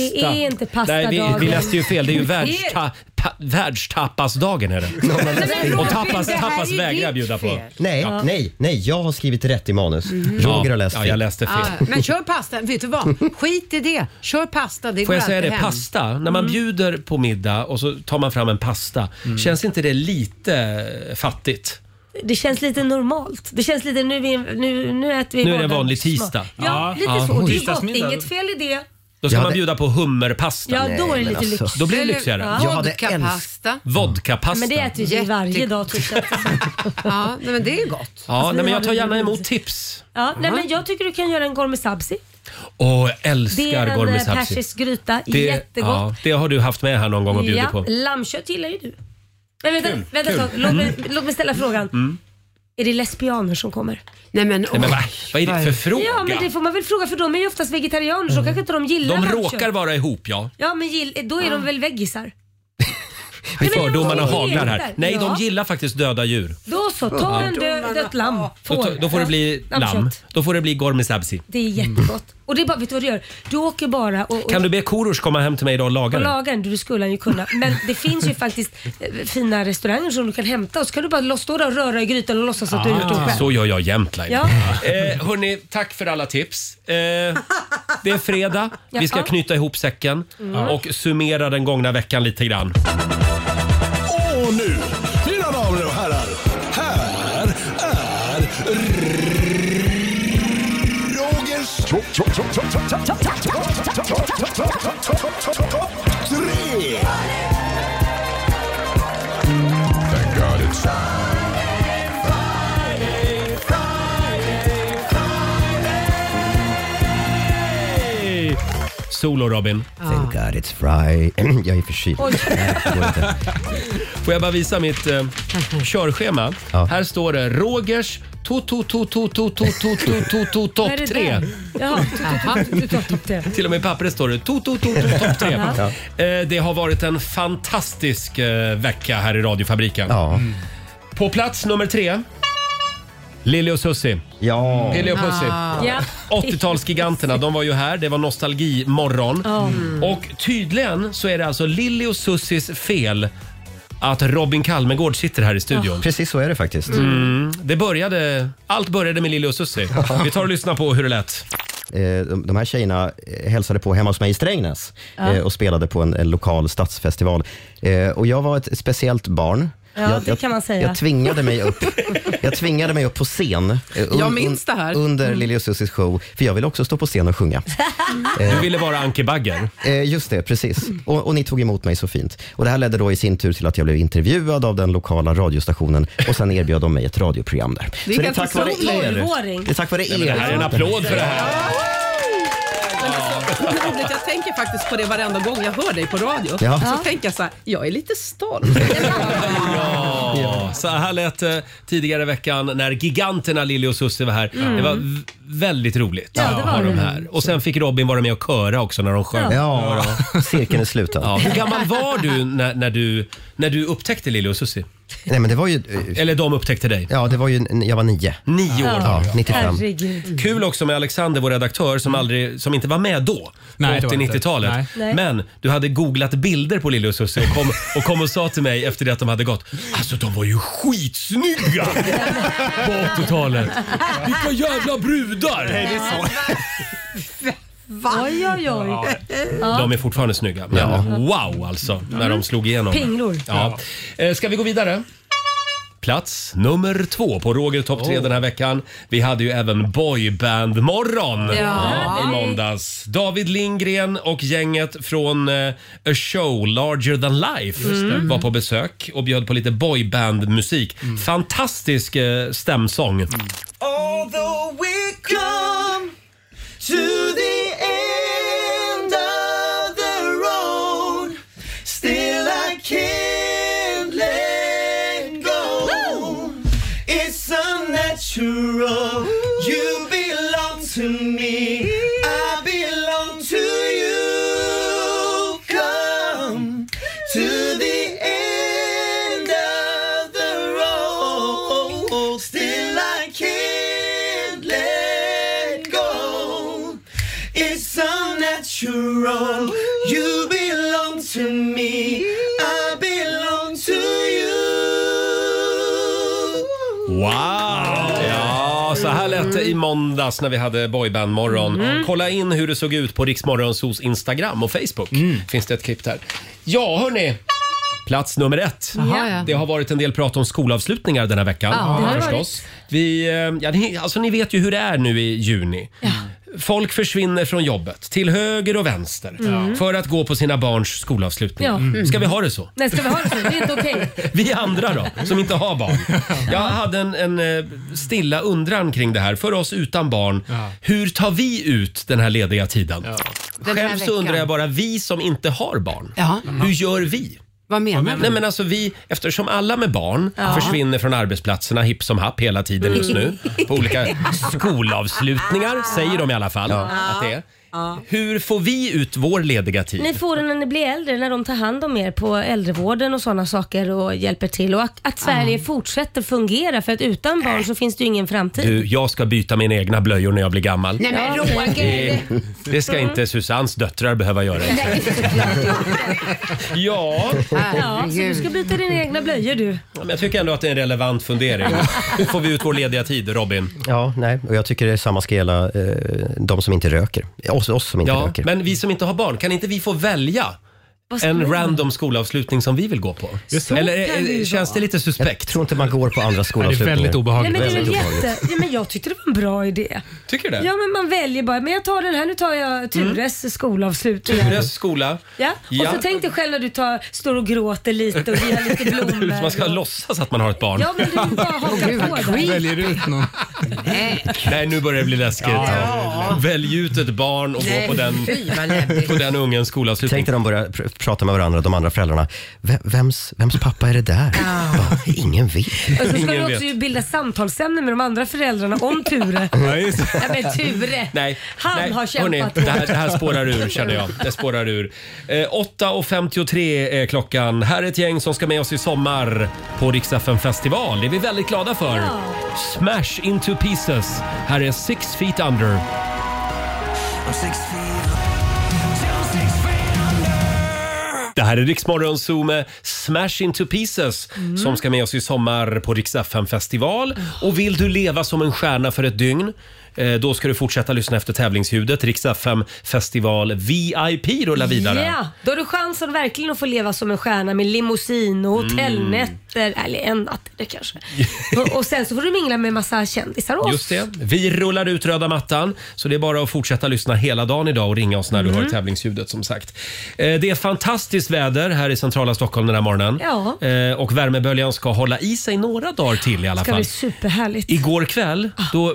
A: Nej, vi, vi läste ju fel. Det är ju
C: Det-
A: världsta, pa, världstapasdagen. Är det. Och tapas, tapas vägrar jag bjuda på.
B: Nej,
C: Ja.
B: nej, nej. Jag har skrivit rätt i manus. Roger har läst
A: Ja,
B: fel.
A: jag läste
C: Mhm. Ja, men kör pasta. Vet du vad? Skit i det. Kör pasta. Det
A: Får
C: går
A: jag säga
C: alltid
A: det?
C: hem.
A: Pasta. När man
C: Mm.
A: bjuder på middag och så tar man fram en pasta.
E: Mm.
A: Känns inte det lite fattigt?
E: Det känns lite normalt. Det känns lite nu, vi, nu, nu äter vi
A: Nu är det en
E: vardag.
A: vanlig tisdag.
E: Ja,
A: Ja,
E: lite
A: ja.
E: så. Det är gott.
A: Tisdagsmiddag.
E: Inget fel i det.
A: Då ska
B: Jag
A: man
B: hade-
A: bjuda på hummerpasta.
E: Ja, då är det lite lyxigt.
A: Då blir det
E: Eller-
A: lyxigare. Mm.
E: ja. Jag hade Vodkapasta.
A: Vodkapasta.
E: Men det äter vi varje dag tror jag.
C: Ja, nej, men det är gott.
E: Alltså,
A: Ja, nej, men jag tar gärna emot tips.
E: Ja, nej, men jag tycker du kan göra en gourmet sabzi.
A: Åh, jag
E: Det är
A: älskar
E: en
A: gourmet
E: eh,
A: sabzi.
E: persisk gryta.
A: Det-
E: Jättegott.
A: ja, det har du haft med här någon gång och bjudit på.
E: Lammkött gillar ju du. Men vänta,
A: Kul,
E: vänta
A: kul.
E: ett tag. Låt, mig,
A: Mm.
E: låt mig ställa frågan.
A: Mm.
E: Är det lesbianer som kommer?
C: Nej men,
A: Nej, men va? Vad är det för fråga? Mm.
E: Ja, men det får man väl fråga för de är ju oftast vegetarianer så kanske inte de gillar
A: De
E: lammkött.
A: råkar vara ihop, ja.
E: Ja, men gill, då är de väl veggisar?
A: Fördomarna
E: de
A: haglar
E: gillar-
A: här. Nej,
E: Ja.
A: de gillar faktiskt döda djur.
E: Då så, ta
A: Ja.
E: en dö, dött lamm. Får.
A: Då, då får det bli
E: Ja,
A: lamm.
E: lammkött.
A: Då får det bli gourmet sabzi.
E: Det är jättegott. Och det är bara, vet du vad du gör? Du åker bara och, och
A: Kan du be Korosh komma hem till mig idag och
E: och
A: laga den?
E: lagar den. Du skulle han ju kunna. Men det finns ju faktiskt eh, fina restauranger som du kan hämta och så kan du bara lo- stå där och röra i grytan och låtsas att du har gjort det
A: Ah,
E: själv.
A: så gör jag jämt Laila.
E: Ja.
A: Eh, hörni, tack för alla tips. Eh, det är fredag, vi ska
R: Ja.
A: knyta ihop säcken
R: Mm.
A: och summera den gångna veckan lite grann.
R: Och nu, mina damer och herrar, här är Rogers... Tre! Thank God it's
A: Hej! Solo Robin.
B: Thank God it's Friday. jag är förkyld.
A: Oj.
B: Nej, det går inte.
A: Får jag bara visa mitt eh, körschema? Här står det Rogers to to to to to to to to to to topp
E: Är det
A: 3.
E: den? Jaha, du- du- du- du- du- topp tre.
A: Till och med i pappret står det to to to to topp 3. Eh, det har varit en fantastisk eh, vecka här i radiofabriken. Mm. På plats nummer tre. Lili och Susie.
B: Ja.
A: Pille och Pussy.
D: Ah. Ja.
A: 80-talsgiganterna, de var ju här. Det var nostalgimorgon.
D: Mm.
A: Och tydligen så är det alltså Lili och Sussis fel att Robin Kalmegård sitter här i studion.
B: Precis så är det faktiskt.
A: Mm. Det började, allt började med Lili och Susie. Vi tar och lyssnar på hur det lät.
B: eh, de, de här tjejerna eh, hälsade på hemma hos mig i Strängnäs
E: Ja.
B: eh, och spelade på en, en lokal stadsfestival. Eh, och jag var ett speciellt barn.
E: Ja,
B: jag,
E: det kan man säga.
B: Jag tvingade mig upp, jag tvingade mig upp på scen eh,
S: Jag minns det här.
B: under
S: Mm.
B: Lili och Susies show, för jag ville också stå på scen och sjunga.
A: Du ville vara Anke Bagger.
B: Eh, just det, precis. Och, och ni tog emot mig så fint. Och Det här ledde då i sin tur till att jag blev intervjuad av den lokala radiostationen och sen erbjöd de mig ett radioprogram där.
E: Det är
B: så det är
E: ganska
B: tack vare
E: stor
B: er.
E: tolvåring.
B: Det är tack vare
A: men
B: er.
A: det här är en applåd för det här.
S: Roligt, jag tänker faktiskt på det varenda gång jag hör dig på radio.
A: Ja. Ja.
S: Så tänker jag så här, jag är lite stolt.
A: Ja, så här lät det tidigare i veckan när giganterna Lili och Susie var här.
S: Mm.
A: Det var v- väldigt roligt
S: Ja, det
A: att
S: var
A: ha
S: det.
A: dem här. Och sen fick Robin vara med och köra också när de sjöng.
B: Ja. Cirkeln är sluten.
A: Ja, hur gammal var du när, när du när du upptäckte Lili och Susie?
B: Nej, men det var ju...
H: Eh,
A: Eller de upptäckte dig?
B: Ja, det var ju, jag var nio.
A: Nio år
B: Ja,
A: var du,
B: 95.
E: Herregud.
A: Kul också med Alexander, vår redaktör, som, aldrig, som inte var med då, på
H: Mm. Nej, det var inte.
A: 80-90-talet.
H: Nej. Nej.
A: Men du hade googlat bilder på Lille och Susie och kom, och kom och sa till mig efter det att de hade gått. Alltså de var ju skitsnygga på 80-talet. Vilka jävla brudar! Nej, det är så.
E: Oj, oj, oj. Ja.
A: De är fortfarande snygga. Men Wow alltså, när de slog igenom.
E: Pinglor.
A: Ja. Eh, Ska vi gå vidare? Plats nummer två på Roger topp tre den här veckan. Vi hade ju även boybandmorgon
R: Ja.
A: i måndags. David Lindgren och gänget från eh, A Show Larger Than Life
R: Mm. Just det. Mm.
A: var på besök och bjöd på lite boybandmusik. Fantastisk eh, stämsång.
D: Although we come to the end of the road, still I can't let go. It's unnatural. You belong to me. I belong to you. Come to the end of the road. Still, I can't let go. It's unnatural. You belong to me. I belong to you.
A: Wow! Ja, så här lät det i måndags när vi hade boybandmorgon.
R: Mm.
A: Kolla in hur det såg ut på Riksmorgonsos Instagram och Facebook.
R: Mm.
A: Finns det ett klipp där. Ja, hörni. Plats nummer ett.
R: Jaha, ja.
A: Det har varit en del prat om skolavslutningar den här veckan.
R: Ja, det har det
A: förstås. Vi, eh, ja, ni, alltså, ni vet ju hur det är nu i juni. Folk försvinner från jobbet till höger och vänster
E: Mm.
A: för att gå på sina barns skolavslutning.
E: Ja. Mm.
A: Ska vi ha det så?
E: Nej, ska vi ha det så? Det är inte okej.
A: Vi andra då, som inte har barn. Jag hade en, en eh, stilla undran kring det här. För oss utan barn, hur tar vi ut den här lediga tiden?
C: Den här
A: Själv så
C: veckan.
A: undrar jag bara, vi som inte har barn,
C: Ja.
A: hur gör vi?
C: Mm. Vad menar du?
A: Nej, men alltså vi, eftersom alla med barn
C: Ja.
A: försvinner från arbetsplatserna hipp som happ hela tiden just nu på olika skolavslutningar, säger de i alla fall att det är. Hur får vi ut vår lediga tid?
E: Ni får den när ni blir äldre, när de tar hand om er på äldrevården och sådana saker och hjälper till. Och att, att Sverige fortsätter fungera för att utan barn så finns det ju ingen framtid.
A: Du, jag ska byta mina egna blöjor när jag blir gammal.
E: Nej, men Roger!
A: Det, det ska
E: Mm.
A: inte Susannes döttrar behöva göra. Ja.
E: Ja, så du ska byta dina egna blöjor du.
A: Men jag tycker ändå att det är en relevant fundering. Hur får vi ut vår lediga tid, Robin?
B: Ja, nej. Och jag tycker det är samma ska gälla eh, de som inte röker. Oss, oss som inte
A: Ja,
B: röker.
A: men vi som inte har barn, kan inte vi få välja
E: Vad ska vi
A: en
E: göra?
A: random skolavslutning som vi vill gå på?
E: Så
A: Eller
E: kan
A: eh,
E: det ju
A: känns det lite suspekt?
B: Jag tror inte man går på andra skolavslutningar.
A: väldigt obehagligt.
E: Nej, men det
A: Väldigt
E: är väl
A: obehagligt.
E: jätte... ja, men jag tyckte det var en bra idé.
A: Tycker du det?
E: Ja, men man väljer bara. Men jag tar den här. Nu tar jag Tures skolavslutning.
A: Tures skola.
E: Ja. Och
A: Ja.
E: så tänk dig själv när du tar, står och gråter lite och ger lite blommor.
A: Man ska låtsas att man har ett barn.
E: Ja, men du bara hakar på den.
A: Väljer ut någon? Nej, nu börjar det bli läskigt. Välj ut ett barn och
E: Nej,
A: gå på den,
E: fy, vad läbbigt.
A: på den ungens skolavslutning.
B: Tänk när de börjar pr- prata med varandra, de andra föräldrarna. V- vems, vems pappa är det där? Ja, ingen vet.
E: Och så ska du också ju bilda samtalsämne med de andra föräldrarna om Ture.
A: Ja, just det.
E: Ja, men Ture.
A: Nej,
E: Han
A: nej,
E: har kämpat
A: hörni,
E: på.
A: det, här, det här spårar ur känner jag. Det spårar ur. Eh, 8.53 är klockan. Här är ett gäng som ska med oss i sommar på Rix FM festival. Det är vi väldigt glada för. Smash into pieces. Här är Six feet under. Det här är Riksmorgon Zoo med Smash Into Pieces som ska med oss i sommar på Rix FM festival. Och vill du leva som en stjärna för ett dygn? eh, då ska du fortsätta lyssna efter tävlingsljudet. Rix FM festival VIP rullar vidare.
E: Ja, då har du chansen verkligen att få leva som en stjärna med limousin och
A: Mm.
E: hotellnätter. Eller en natt det kanske. och, och sen så får du mingla med massa kändisar också.
A: Just det. Vi rullar ut röda mattan, så det är bara att fortsätta lyssna hela dagen idag och ringa oss när du
E: Mm.
A: hör tävlingsljudet som sagt. Eh, Det är fantastiskt väder här i centrala Stockholm den här morgonen.
E: Ja.
A: Eh, Och värmeböljan ska hålla i sig några dagar till i alla
E: Det ska Ah.
A: fall.
E: bli superhärligt.
A: Igår kväll, då,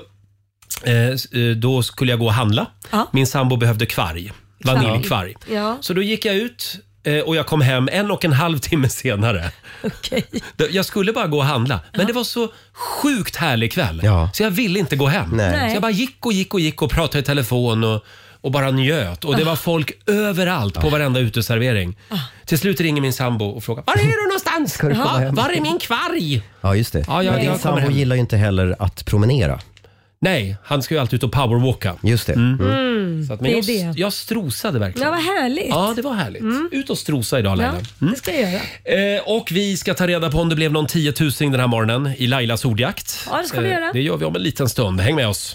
A: eh, s- eh, då skulle jag gå och handla.
E: Ja.
A: Min sambo behövde kvarg. Vaniljkvarg.
E: Ja.
A: Så då gick jag ut eh, och jag kom hem en och en halv timme senare. Okay. Jag skulle bara gå och handla, men det var så sjukt härlig kväll. Så jag ville inte gå hem.
B: Nej.
A: Så jag bara gick och gick och gick och pratade i telefon och, och bara njöt.
E: Ah.
A: Och det var folk överallt
B: Ah.
A: på varenda uteservering. Till slut ringer min sambo och frågar Var är du någonstans?
B: du komma
A: Va?
B: hem?
A: Var är min kvarg?
B: Ja, just det.
A: Ja,
B: Men
A: jag- jag
B: din
A: kommer
B: sambo
A: hem.
B: gillar ju inte heller att promenera.
A: Nej, han ska ju alltid ut och powerwalka.
B: Just det.
E: Mm,
A: Så att, men
E: det är
A: jag,
E: det.
A: jag strosade verkligen.
E: Ja, vad härligt. Mm.
A: Ja, det var härligt. Ut och strosa idag
E: Ja,
A: Laila. Mm.
E: det ska jag göra.
A: Eh, och vi ska ta reda på om det blev någon tiotusing den här morgonen i Lailas ordjakt. Eh,
E: Ja, det ska vi göra.
A: Det gör vi om en liten stund. Häng med oss.